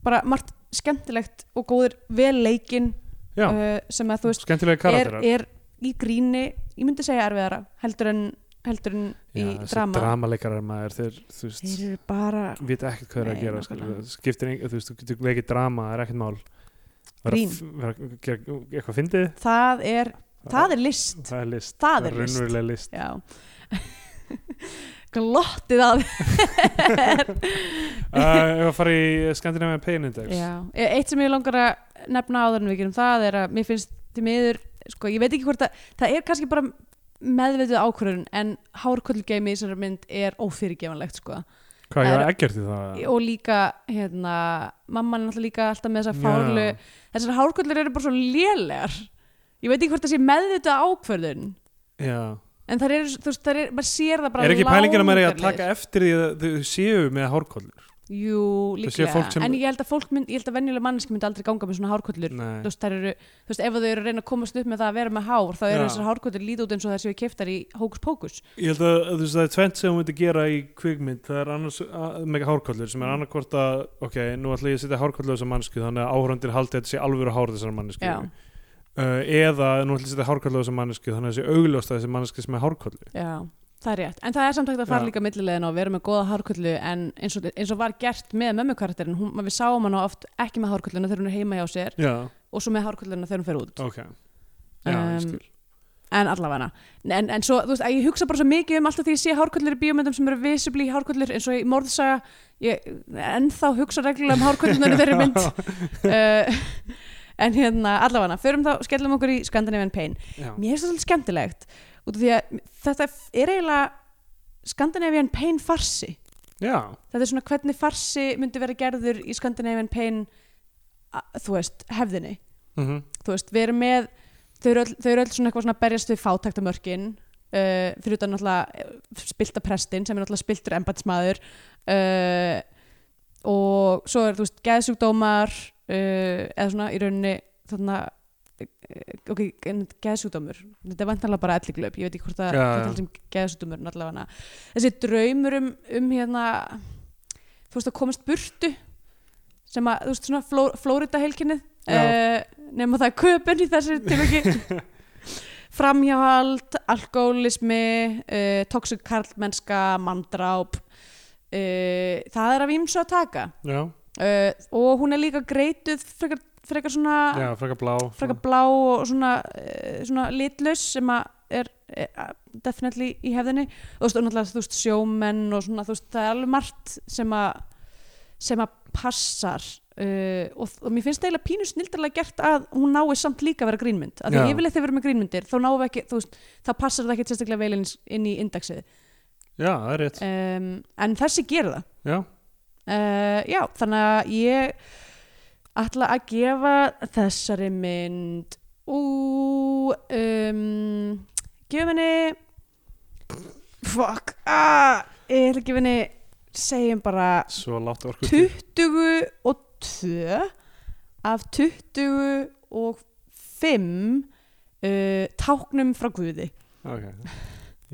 S3: bara margt skemmtilegt og góðir vel leikinn
S2: já,
S3: uh, sem að þú veist
S2: skemmtilega
S3: er,
S2: karakterar
S3: er í gríni, ég myndi segja erfiðara heldur en, heldur en í
S2: já, þessi
S3: drama
S2: dramaleikarar maður, þeir, þú veist
S3: þeir eru bara
S2: vita ekkert hvað þeir eru að
S3: Nei,
S2: gera
S3: nákvæmlega.
S2: skilur, það skiptir, ein, þú veist, þú getur leikið drama það er ekkert mál Vera
S3: Grín.
S2: f- vera að gera eitthvað fyndið
S3: það er, það er list
S2: það er list
S3: það er list.
S2: raunverulega list
S3: já glottið að
S2: uh, ef að fara í Scandinavian Pain Index
S3: Já, e- eitt sem ég langar að nefna áður en við gerum það er að mér finnst til miður, sko, ég veit ekki hvort að það er kannski bara meðvituð ákvörðun en hárköllgeimi í þessari mynd er ófyrirgefanlegt, sko
S2: hvað ég
S3: Er-
S2: var ekkert í það
S3: og líka, hérna, mamman er náttúrulega líka alltaf með þessar
S2: Já.
S3: fárlu þessar hárköllur eru bara svo lélegar ég veit ekki hvort það sé meðvituð ákvörðun
S2: já.
S3: en það eru, þú veist, það er, maður sér það bara
S2: er ekki pælingin að maður er að
S3: langar
S2: taka eftir því að þau séu með hárkollur
S3: leiðir. Jú,
S2: Þú sér
S3: líklega,
S2: fólk sem-
S3: en ég held að fólk mynd, ég held að venjulega manneski myndi aldrei ganga með svona hárköllur
S2: Nei.
S3: þú veist, þær eru, þú veist, ef þau eru að reyna að komast upp með það að vera með hár, þá eru
S2: Já.
S3: þessar hárkvöldur lítið út eins og þær séu keftar í hókus pókus
S2: Ég held að þú veist það er tvent sem hún myndi gera í kvikmynd, það er annars að- með hárkollur sem er annarkvort að, ok, nú ætla ég að setja hárkollur á þessar mannsku þannig að áhörundir haldi að þetta sé alvöru hár þessar mannsku
S3: Já.
S2: uh, eða nú ætla ég að setja hárkollur á þessar mannsku þannig að það sé augljóst að þessi mannsku sem er hárkollu
S3: Já, það er rétt, en það er samt hægt að fara
S2: Já.
S3: líka millilegin og vera með góða hárkvöldu en eins og, eins og var gert með mömmukarakterin hún, við sáum hana oft ekki með hárkvölduna þegar hún er heima hjá sér
S2: Já,
S3: og svo með hárkvölduna þegar hún fer út
S2: ok Já, ég
S3: Um,
S2: skil.
S3: en allavega en, en svo, þú veist, að ég hugsa bara svo mikið um alltaf því ég sé hárköllur í bíómyndum sem eru visibli hárköllur eins og í morðsaga ég ennþá hugsa reglulega um hárköllunum þeirri mynd uh, en hérna, allavega förum þá, skellum okkur í Scandinavian Pain
S2: Já.
S3: mér finnst það svolítið skemmtilegt út af því að þetta er eiginlega Scandinavian Pain farsi
S2: Já,
S3: þetta er svona hvernig farsi myndi vera gerður í Scandinavian Pain að- þú veist, hefðinni
S2: mhm,
S3: þú veist, við erum með þau eru öll, þau eru öll svona eitthvað svona að berjast við fátæktamörkin uh, fyrir utan náttúrulega spilta prestin sem er náttúrulega spiltur embatsmaður uh, og svo er þú veist geðsjúkdómar uh, eða svona í rauninni þarna eh, ok, en geðsjúkdómur þetta er vantanlega bara elliglöp, ég veit ekki hvort það
S2: Já, já.
S3: það er sem geðsjúkdómur náttúrulega hana þessi draumur um, um hérna þú veist að komast burtu sem að, þú veist, svona Fló, Flórida heilkinnið
S2: Já.
S3: nema það er köpun í þessu tilvæki framhjáhald, alkoholismi uh, toxic karlmennska mandráp uh, það er af ímsu að taka
S2: já,
S3: uh, og hún er líka greituð frekar, frekar svona
S2: já, frekar blá
S3: Ah. frekar blá og svona, eh, svona litlaus sem að er, er eh, definitely í hefðinni og þú veist, og náttúrulega þú veist sjómenn og svona þú veist, það er alveg margt sem að sem að passar uh, og, og mér finnst það eiginlega pínu snildarlega gert að hún nái samt líka að vera grínmynd af því
S2: Já.
S3: að yfirleitt þegar við erum með grínmyndir þá náum við ekki, þú veist, þá passar það ekki sérstaklega vel inn, inn í indexið
S2: Já, það er rétt
S3: um, en þessi gerir það
S2: Já,
S3: uh, já, þannig að ég ætla að gefa þessari mynd ú um, gefa henni fuck ah, ég ætla að gefa henni segjum bara
S2: svo látt orku
S3: 22 af 25 uh, táknum frá Guði
S2: Ok,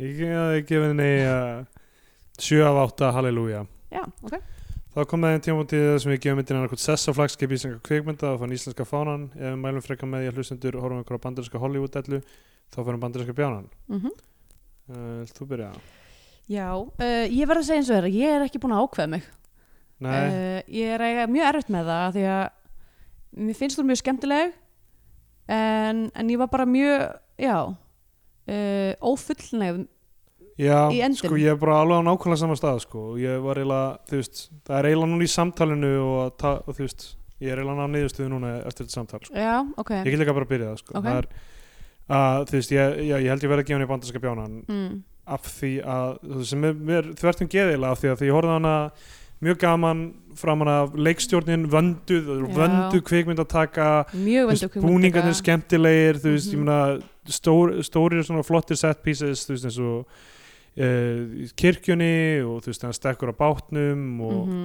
S2: ég hefði gefið henni uh, 7 af 8 halleluja
S3: já, ok
S2: Þá kom það einn tímapunktið sem við gefum myndin annarkot sess á flagskip íslenska kvikmynda og fann íslenska fánan ef við mælum frekar með því að hlustendur horfum ykkur á bandarinska Hollywood-ellu þá fyrir bandarinska bjánan
S3: mhm
S2: uh, vilt Þú byrja
S3: Já, uh, ég verð að segja eins og þér að ég er ekki búin að ákveða mig
S2: Nei,
S3: uh, Ég er eiga mjög erfitt með það af því að mér finnst þú mjög skemmtileg en, en ég var bara mjög, já uh, ófullnefn í
S2: já,
S3: endinum.
S2: sko ég er bara alveg á nákvæmlega sama stað sko og ég var eiginlega, þú veist það er eiginlega núna í samtalinu og, að ta- og þú veist, ég er eiginlega á niðurstöðu núna eftir þetta samtal sko.
S3: Já, ok
S2: Ég get líka bara að byrja það sko
S3: Eh. Ok.
S2: það er, uh, Þú veist, ég, ég, ég held ég verið að gefa henni bandarinska bjánan
S3: mm,
S2: af því að þú veist, sem er, mér þvertum geðilega af því að því ég horfði á hana mjög gaman framan af leikstjórnin vönduð,
S3: Já.
S2: vönduð kvikmynd að taka
S3: Mjög vendu
S2: búningarnir skemmtilegir þú veist,
S3: Mhm.
S2: ég meina stór, stórir svona flottir set pieces þú veist, eins og uh, kirkjunni og þú veist, hann stekkur á bátnum og
S3: Mhm.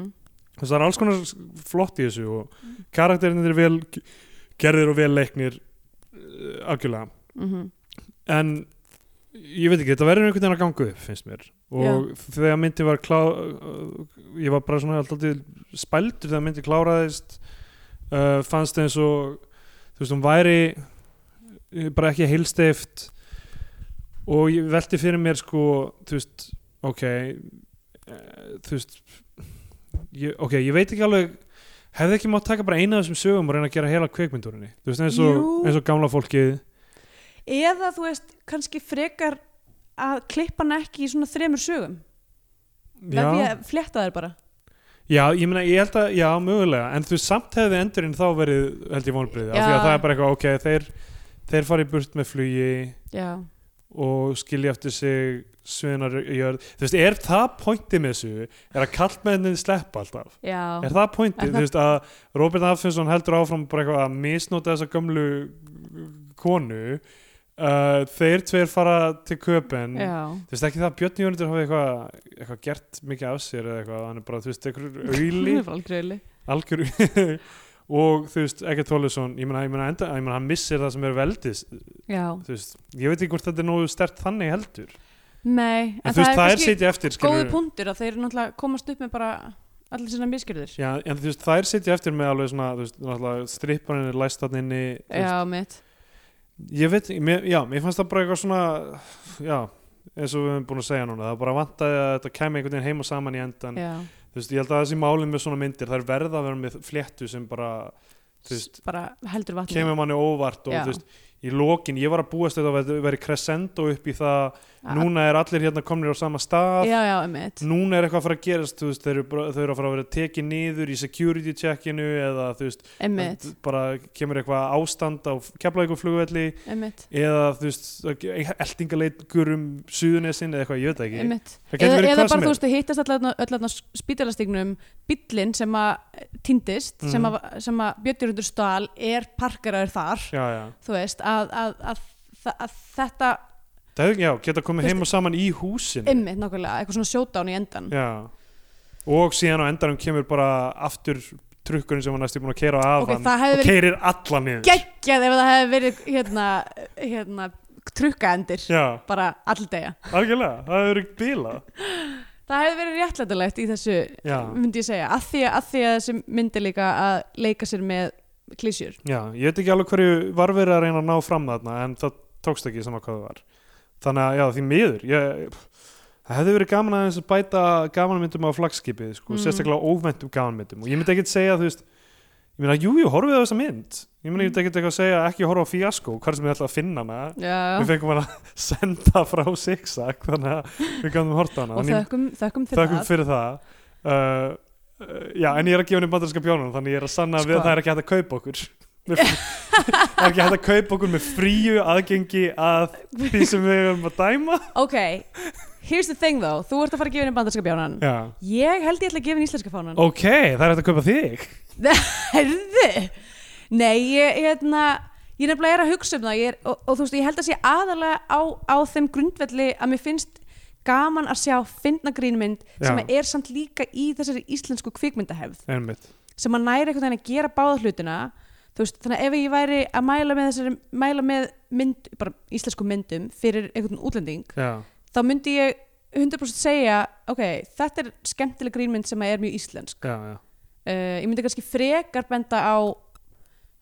S2: þú veist, það er alls konar s- flott í þessu og karakterinir er vel gerðir og vel leiknir uh, algjörlega
S3: mhm.
S2: en ég veit ekki, þetta verður einhvern veginn að ganga upp finnst mér og þegar myndin var klá ég var bara svona alltaf spældur þegar myndin kláraðist uh, fannst eins og þú veist, hún væri eh, bara ekki heilsteift og ég velti fyrir mér sko, þú veist, ok eh, þú veist ég, ok, ég veit ekki alveg hefði ekki mátt taka bara eina af þessum sögum og reyna að gera heila kveikmyndurinni þú veist eins og,
S3: Jú.
S2: eins og gamla fólkið
S3: eða þú veist, kannski frekar að klippa hann ekki í svona þremur sögum með því
S2: já,
S3: að fletta þær bara
S2: já, ég meina, ég held að, já, mögulega en þú veist, samt hefði endurinn þá verið held ég vonbrið, af því
S3: Já.
S2: að það er bara eitthvað, ok þeir, þeir fari burt með flugi
S3: já,
S2: og skilja eftir sig svinar jörð, þú veist, er það pointið með þessu, er að kallmennin sleppa alltaf,
S3: já,
S2: er það
S3: Er
S2: pointið
S3: það-
S2: þú veist, að Robert Affinsson heldur áfram bara eitthvað að misnóta þessa gömlu konu uh, þeir tveir fara til köpen
S3: já.
S2: þú veist ekki það að Björn Jónundur hafi eitthvað, eitthvað gert mikið af sér eða eitthvað, hann er bara, þú veist, eitthvað auðli
S3: Hún er bara aldrei auðli.
S2: algjör og þú veist, Egert Tólusson ég meina, ég meina, enda, ég meina, hann missir það sem er veldis
S3: já,
S2: þú veist, ég veit ekki hvort þetta er nógu stert þannig heldur, en,
S3: nei, en,
S2: þú veist, það er
S3: kannski
S2: sitja eftir
S3: góðu
S2: skilurðu.
S3: punktur að þeir náttúrulega komast upp með bara allir sinna miskjörður
S2: Já, en þú veist, þær sitja eftir með alveg svona, þú veist, náttúrulega stripparinn er læst þarna inni, þú veist,
S3: já, mitt
S2: ég veit, mér, já, mér fannst það bara eitthvað svona, já, eins og við höfum búin að segja núna, það bara vantaði að þetta kæmi einhvern veginn heim og saman í endan,
S3: já,
S2: þú veist, ég held að þessi málið með svona myndir, þær verða að vera með fléttu sem bara, þú veist,
S3: bara heldur vatni
S2: kemur manni óvart og
S3: Já.
S2: þú veist, í lokin, ég var að búast þetta að þetta veri crescendo upp í það, núna er allir hérna komnir á sama stað,
S3: já, já, mitt
S2: núna er eitthvað að fara að gerast, þú veist, þau eru, bara- þau eru að fara að vera tekið niður í security checkinu eða þú veist,
S3: Emmitt,
S2: en bara kemur eitthvað ástand á keflaðingum flugvelli
S3: emmitt,
S2: eða þú veist, eldingaleikur um suðunesin eða eitthvað, ég veit það ekki
S3: emmitt
S2: það getur
S3: Eða,
S2: verið
S3: eða
S2: hvað
S3: bara
S2: sem
S3: þú
S2: er
S3: veist, þau hittast öllarna spítalastignum bíllinn sem að týndist
S2: Mhm.
S3: sem, að, sem að Björnjörundur Stahl er parkeraður þar
S2: já, já.
S3: þú veist, að, að, að, að, að þetta
S2: Það, hefði- já, geta komið
S3: Þú
S2: heim og saman í húsin
S3: emmitt nákvæmlega, eitthvað svona sjótán í endan
S2: já. og síðan á endanum kemur bara aftur trukkurinn sem var næstu búin að keira af
S3: Ok,
S2: hann
S3: það hefði
S2: og keirir alla niður
S3: geggjað ef það hefði verið hérna, hérna trukkaendir
S2: já,
S3: bara alldega
S2: algjörlega, það hefur ekki bíla
S3: það hefði verið réttlætilegt í þessu
S2: Já.
S3: myndi ég segja, að því að, því að þessi myndi líka að leika sér með klísjur
S2: já, ég veit ekki alveg hverju var verið að reyna að ná fram þarna en það tókst ekki saman hvað það var þannig að já, því miður ég, það hefði verið gaman aðeins að bæta gamanmyndum á flagskipið, sko,
S3: Mm.
S2: sérstaklega óvæntum gamanmyndum og ég myndi ekkit segja, þú veist ég meina, jú, jú, horfið á þessa mynd ég myndi ekkit eitthvað að segja, ekki horfa á fíasko hvað sem ég ætla að finna hana
S3: Já,
S2: við fengum hana senda frá zigzag þannig að við gæmum horta hana
S3: og
S2: Þannig-
S3: þökkum, þökkum fyrir
S2: þökkum fyrir það uh, uh, já, en ég er að gefa henni bandarinska bjánunum þannig ég er að sanna
S3: Sko.
S2: við að það er ekki hægt að kaupa okkur Með frí- það er ekki hægt að kaupa okkur með fríu aðgengi að því sem við erum að dæma
S3: það Ok, here's the thing though þú ert að fara að gefa henni bandarska bjánan
S2: já.
S3: Ég held ég ætla að gefa henni íslenska fánan
S2: ok, það er hægt að kaupa þig
S3: Herðu Nei, ég, ég, hérna, ég nefnilega er að hugsa um það ég er, og, og þú veist, ég held að sé aðalega á, á þeim grundvelli að mér finnst gaman að sjá fyndnagrínmynd sem
S2: Já.
S3: er samt líka í þessari íslensku kvikmyndahefð
S2: einmitt,
S3: sem að næri einhvern veginn að gera báða hlutina þú veist, þannig að ef ég væri að mæla með þessari, mæla með mynd, bara íslensku myndum fyrir einhvern útlending
S2: já,
S3: þá myndi ég 100% segja ok, þetta er skemmtileg grínmynd sem er mjög íslensk
S2: já, já
S3: uh, ég myndi kannski frekar benda á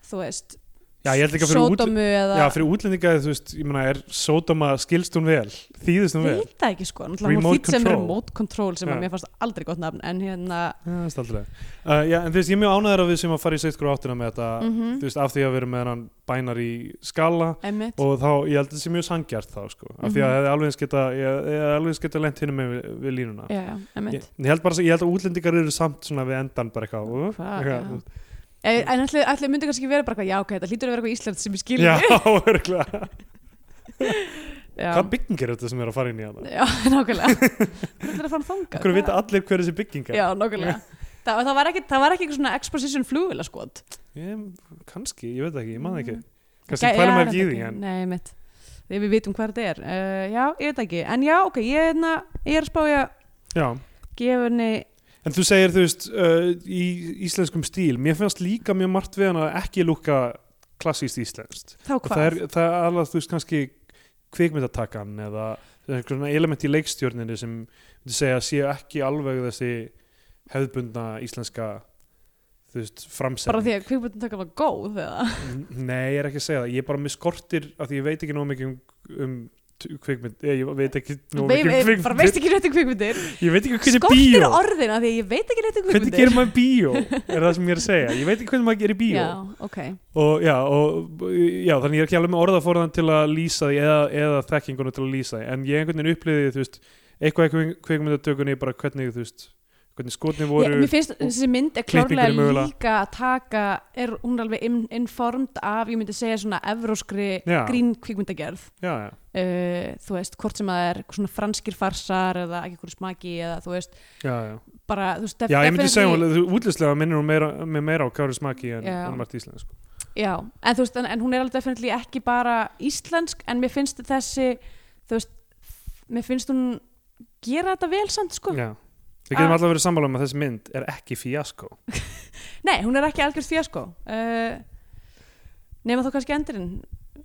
S3: þú veist
S2: já, ég held ekki að fyrir, út,
S3: sódómu eða
S2: já, fyrir útlendingaði þú veist, ég meina, er sódóma skilst hún vel þýðist hún vel
S3: veit það ekki sko, náttúrulega hún
S2: Remote
S3: þýtt sem
S2: control.
S3: remote control sem
S2: Já.
S3: að mér fannst aldrei gott nafn en hérna,
S2: Já, það er staldurlega. Uh, já, en þú veist, ég er mjög ánæður að við sem að fara í 6 gráð áttina með þetta,
S3: Mhm.
S2: þú veist, af því að við erum með hennan bænar í skala
S3: emmitt
S2: og þá, ég held að þetta sé mjög sangjart þá, sko, af því að
S3: Mhm.
S2: ég hefði alveg eins geta, ég ég hefði alveg eins geta lent hinum með við, við línuna.
S3: já, já,
S2: Ég,
S3: emmitt
S2: ég held bara, að- ég held að útlendingar eru samt svona við endan bara eitthvað. Uh,
S3: Hvað,
S2: eitthvað.
S3: en Eh, en ætli, ætli myndi kannski vera bara eitthvað, já ok, þetta hlýtur að vera eitthvað íslenskt sem ég skil
S2: Já, örgulega.
S3: Já.
S2: Hvað bygging er þetta sem er að fara inn í hana?
S3: Já, nákvæmlega Það er að fara þangað
S2: Okkur vita allir hver þessi bygging
S3: Já,
S2: er.
S3: nákvæmlega Það, það var ekki, það var ekki eitthvað svona exposition flugvila skot
S2: Ég, kannski, ég veit það ekki, ég man það ekki.
S3: Mm. Gæ-
S2: Kannski pælum
S3: já,
S2: við ekki í því, en
S3: Nei, mitt Við við vitum hvað þetta er uh, Já, ég veit ekki En já, ok, ég, er hérna, ég er að spája
S2: já.
S3: gefa henni
S2: En þú segir, þú veist, uh, í íslenskum stíl, mér finnst líka mjög margt við hann að ekki lúka klassíst íslenskt.
S3: Þá
S2: Og
S3: hvað
S2: Það er, það er alveg, þú veist, kannski kvikmyndatakan eða það er einhver svona element í leikstjórninni sem þú segja séu ekki alveg þessi hefðbundna íslenska þú veist, framsetning.
S3: Bara því að kvikmyndin taka var góð eða?
S2: N- Nei, ég er ekki að segja það. Ég bara með skortir, af því ég veit ekki nóg mikið um, um t- kvikmynd ég, ég veit ekki nú
S3: Veif,
S2: mikið um
S3: ég bara veist
S2: kvikmyndir.
S3: ekki réttu kvikmyndir
S2: ég veit ekki hvernig
S3: Skortir
S2: bíó
S3: orðina því að ég veit ekki réttu
S2: hvernig
S3: kvikmyndir
S2: gerir maður bíó er það sem ég er að segja ég veit ekki hvernig maður gerir bíó
S3: Já, ok
S2: og já, og, já, þannig ég er ekki alveg með orðaforðan til að lýsa því eða, eða þekkingunum til að lýsa því en ég einhvern veginn upplýði þú veist, eitthvað í kveikmyndatökunni bara hvernig þú veist, hvernig skotni
S3: Ég,
S2: voru
S3: mér finnst þessi mynd er
S2: klippingunni
S3: klárlega
S2: mögulega.
S3: líka að taka er hún er alveg in, informed af ég myndi segja svona evróskri
S2: Já.
S3: grín kvikmyndagerð
S2: já, já,
S3: uh, þú veist, hvort sem það er svona franskir farsar eða ekki hverju smaki eða þú veist,
S2: já, já.
S3: bara þú veist, def-
S2: já ég myndi
S3: definitely-
S2: segja hún, þú- útlitslega minnir hún meira, með meira á Kári Smaki en,
S3: Já.
S2: en Mart Ísland sko.
S3: Já, en þú veist, en, en hún er alveg definitely ekki bara íslensk, en mér finnst þessi, þú veist mér finnst hún gera þetta vel samt, sko.
S2: já. við getum
S3: Ah.
S2: alltaf verið sammála um að þessi mynd er ekki fíasko
S3: Nei, hún er ekki algjörð fjasko uh, nema þá kannski endurinn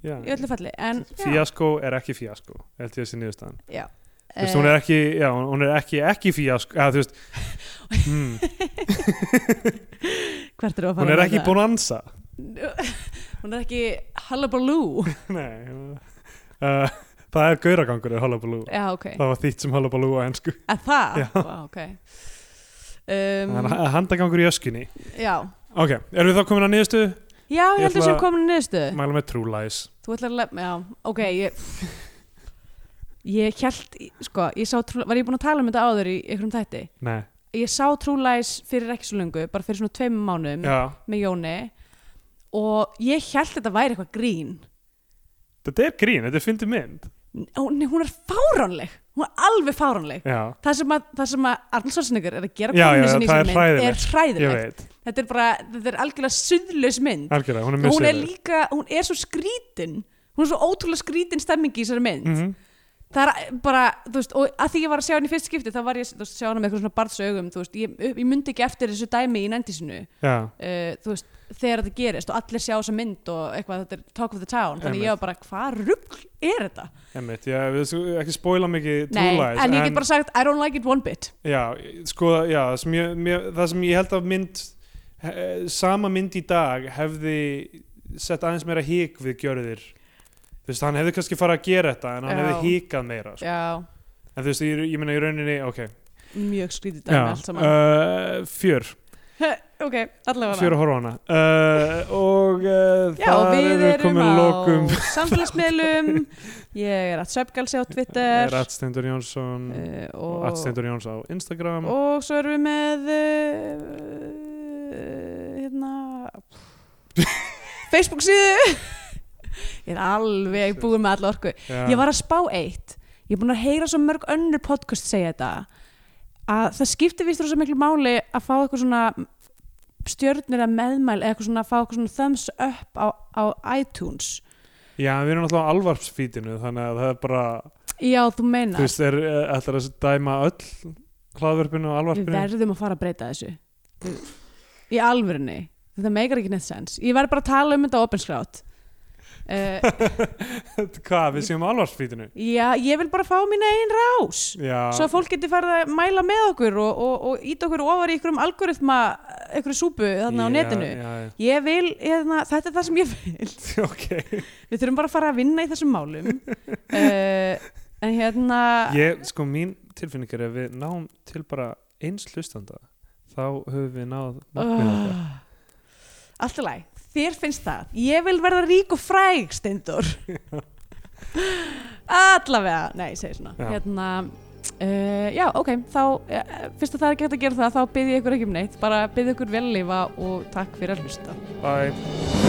S2: já.
S3: í öllu falli, en já,
S2: fíasko er ekki fíasko held ég að sé niðurstaðan
S3: já.
S2: Þú
S3: Eh.
S2: veist, hún er ekki, já, hún er ekki, ekki fíasko eða þú veist mm,
S3: Eh, Hvert er að fara
S2: hún er
S3: með
S2: ekki
S3: það?
S2: bonanza
S3: Hún er ekki Hallabaloo
S2: Nei, uh, það er gauragangur er Hullabaloo.
S3: Já, ok,
S2: Það var þýtt sem Hullabaloo á ennsku.
S3: að það
S2: Já.
S3: Vá, ok um,
S2: Þannig að handagangur í öskunni.
S3: Já,
S2: Ok, erum við þá komin að niðurstu?
S3: já, ég
S2: Ég
S3: held að
S2: ætla-
S3: sem komin nýðstu
S2: Mælum með True Lies.
S3: Þú ætlar að lef, já, ok Ég, ég held, í- sko, ég sá trú, Var ég búin að tala um þetta áður í einhverjum þætti?
S2: Nei,
S3: Ég sá Trúlæs fyrir ekki svo lengu Bara fyrir svona tveimum mánum
S2: já.
S3: með Jóni Og ég held þetta væri eitthvað grín
S2: Þetta er grín, þetta er fyndið mynd.
S3: Hún, hún er fáránleg Hún er alveg fáránleg
S2: Já,
S3: það sem að, það sem að Arnold Schwarzenegger er að gera
S2: Já,
S3: konunni
S2: já,
S3: sinni í
S2: það er
S3: þessari mynd er
S2: hræðilegt. ég
S3: hræðilegt
S2: veit.
S3: þetta er bara, þetta er algjörlega suðlaus mynd
S2: Algjörlega, hún er
S3: og hún er
S2: missefið.
S3: líka, hún er svo skrítin hún er svo ótrúlega skrítin stemming í þessari
S2: Mhm.
S3: mynd það er bara, þú veist, og að því ég var að sjá henni í fyrst skipti þá var ég, þú veist, sjá henni með eitthvað svona barðsögum þú veist, ég, ég myndi ekki eftir þessu dæmi í nændisinu,
S2: Já,
S3: uh, þú veist þegar þetta gerist og allir sjá þessa mynd og eitthvað, þetta er talk of the town, þannig
S2: Einmitt.
S3: ég var bara hvað rugl er þetta?
S2: emmitt, já, við skulum ekki spóila mikið True
S3: Nei,
S2: Lies.
S3: en ég get bara sagt, I don't like it one bit
S2: Já, sko, já, það sem ég, mér, það sem ég held að mynd, he- sama mynd í dag hefði sett aðeins meira hík við gjörðir. Þú veist, hann hefði kannski farið að gera þetta en hann
S3: Já.
S2: hefði híkað meira. Sko.
S3: já,
S2: En þú veist, ég, ég meina í rauninni, ok.
S3: mjög skrítið dæmi allt saman
S2: uh, fjör,
S3: ok, allavega
S2: fjör að horfa á hana. Uh, og uh,
S3: Já, og
S2: það
S3: við
S2: eru
S3: erum
S2: komin
S3: á
S2: lokum.
S3: samfélagsmiðlum Ég er að Söpgalsi á Twitter
S2: Rattstendur Jónsson, uh,
S3: eh,
S2: og
S3: og,
S2: Rattstendur Jónsson á Instagram.
S3: og svo erum við með uh, hérna Facebook síðu Ég er alveg búið með alla orku
S2: Já.
S3: Ég var að spá eitt Ég er búin að heyra svo mörg önnur podcast segja þetta að það skiptir vístur svo miklu máli að fá eitthvað svona stjörnir að meðmæl eða eitthvað svona að fá eitthvað svona thumbs up á, á iTunes
S2: já, við erum náttúrulega á alvarpsfítinu, þannig að það er bara...
S3: Já, þú
S2: Þú
S3: meinar
S2: veist, er alltaf að dæma öll hlaðvörpinu og
S3: Við
S2: alvarpinu?
S3: verðum að fara að breyta þessu Við- Í alvörunni Þetta meikar ekki neitt sens Ég verð bara að tala um þetta opinskrát uh,
S2: Hvað, við séum á alvarpsfítinu?
S3: Já, ég vil bara fá mín einn rás
S2: Já,
S3: Svo að fólk geti farið að mæla með okkur og, og, og íta okkur ofar í einhverjum algoritma einhverju súpu þarna á
S2: Já,
S3: netinu
S2: Já, já,
S3: Ég vil, hérna, þetta er það sem ég vil
S2: ok.
S3: Við þurfum bara að fara að vinna í þessum málum uh, En hérna
S2: Ég, sko, mín tilfinning er að við náum til bara eins hlustanda þá höfum við náð markmiðum okkar.
S3: Oh. Ah. Allt í læg, þér finnst það Ég vil verða rík og fræg, Steindor Allavega Nei, ég segi svona
S2: Já.
S3: Hérna, uh, já, ok Þá, uh, fyrst að það er ekki hægt að gera það Þá byrði ég ykkur ekki um neitt Bara byrði ykkur vel að lifa og takk fyrir að hlusta
S2: Bye.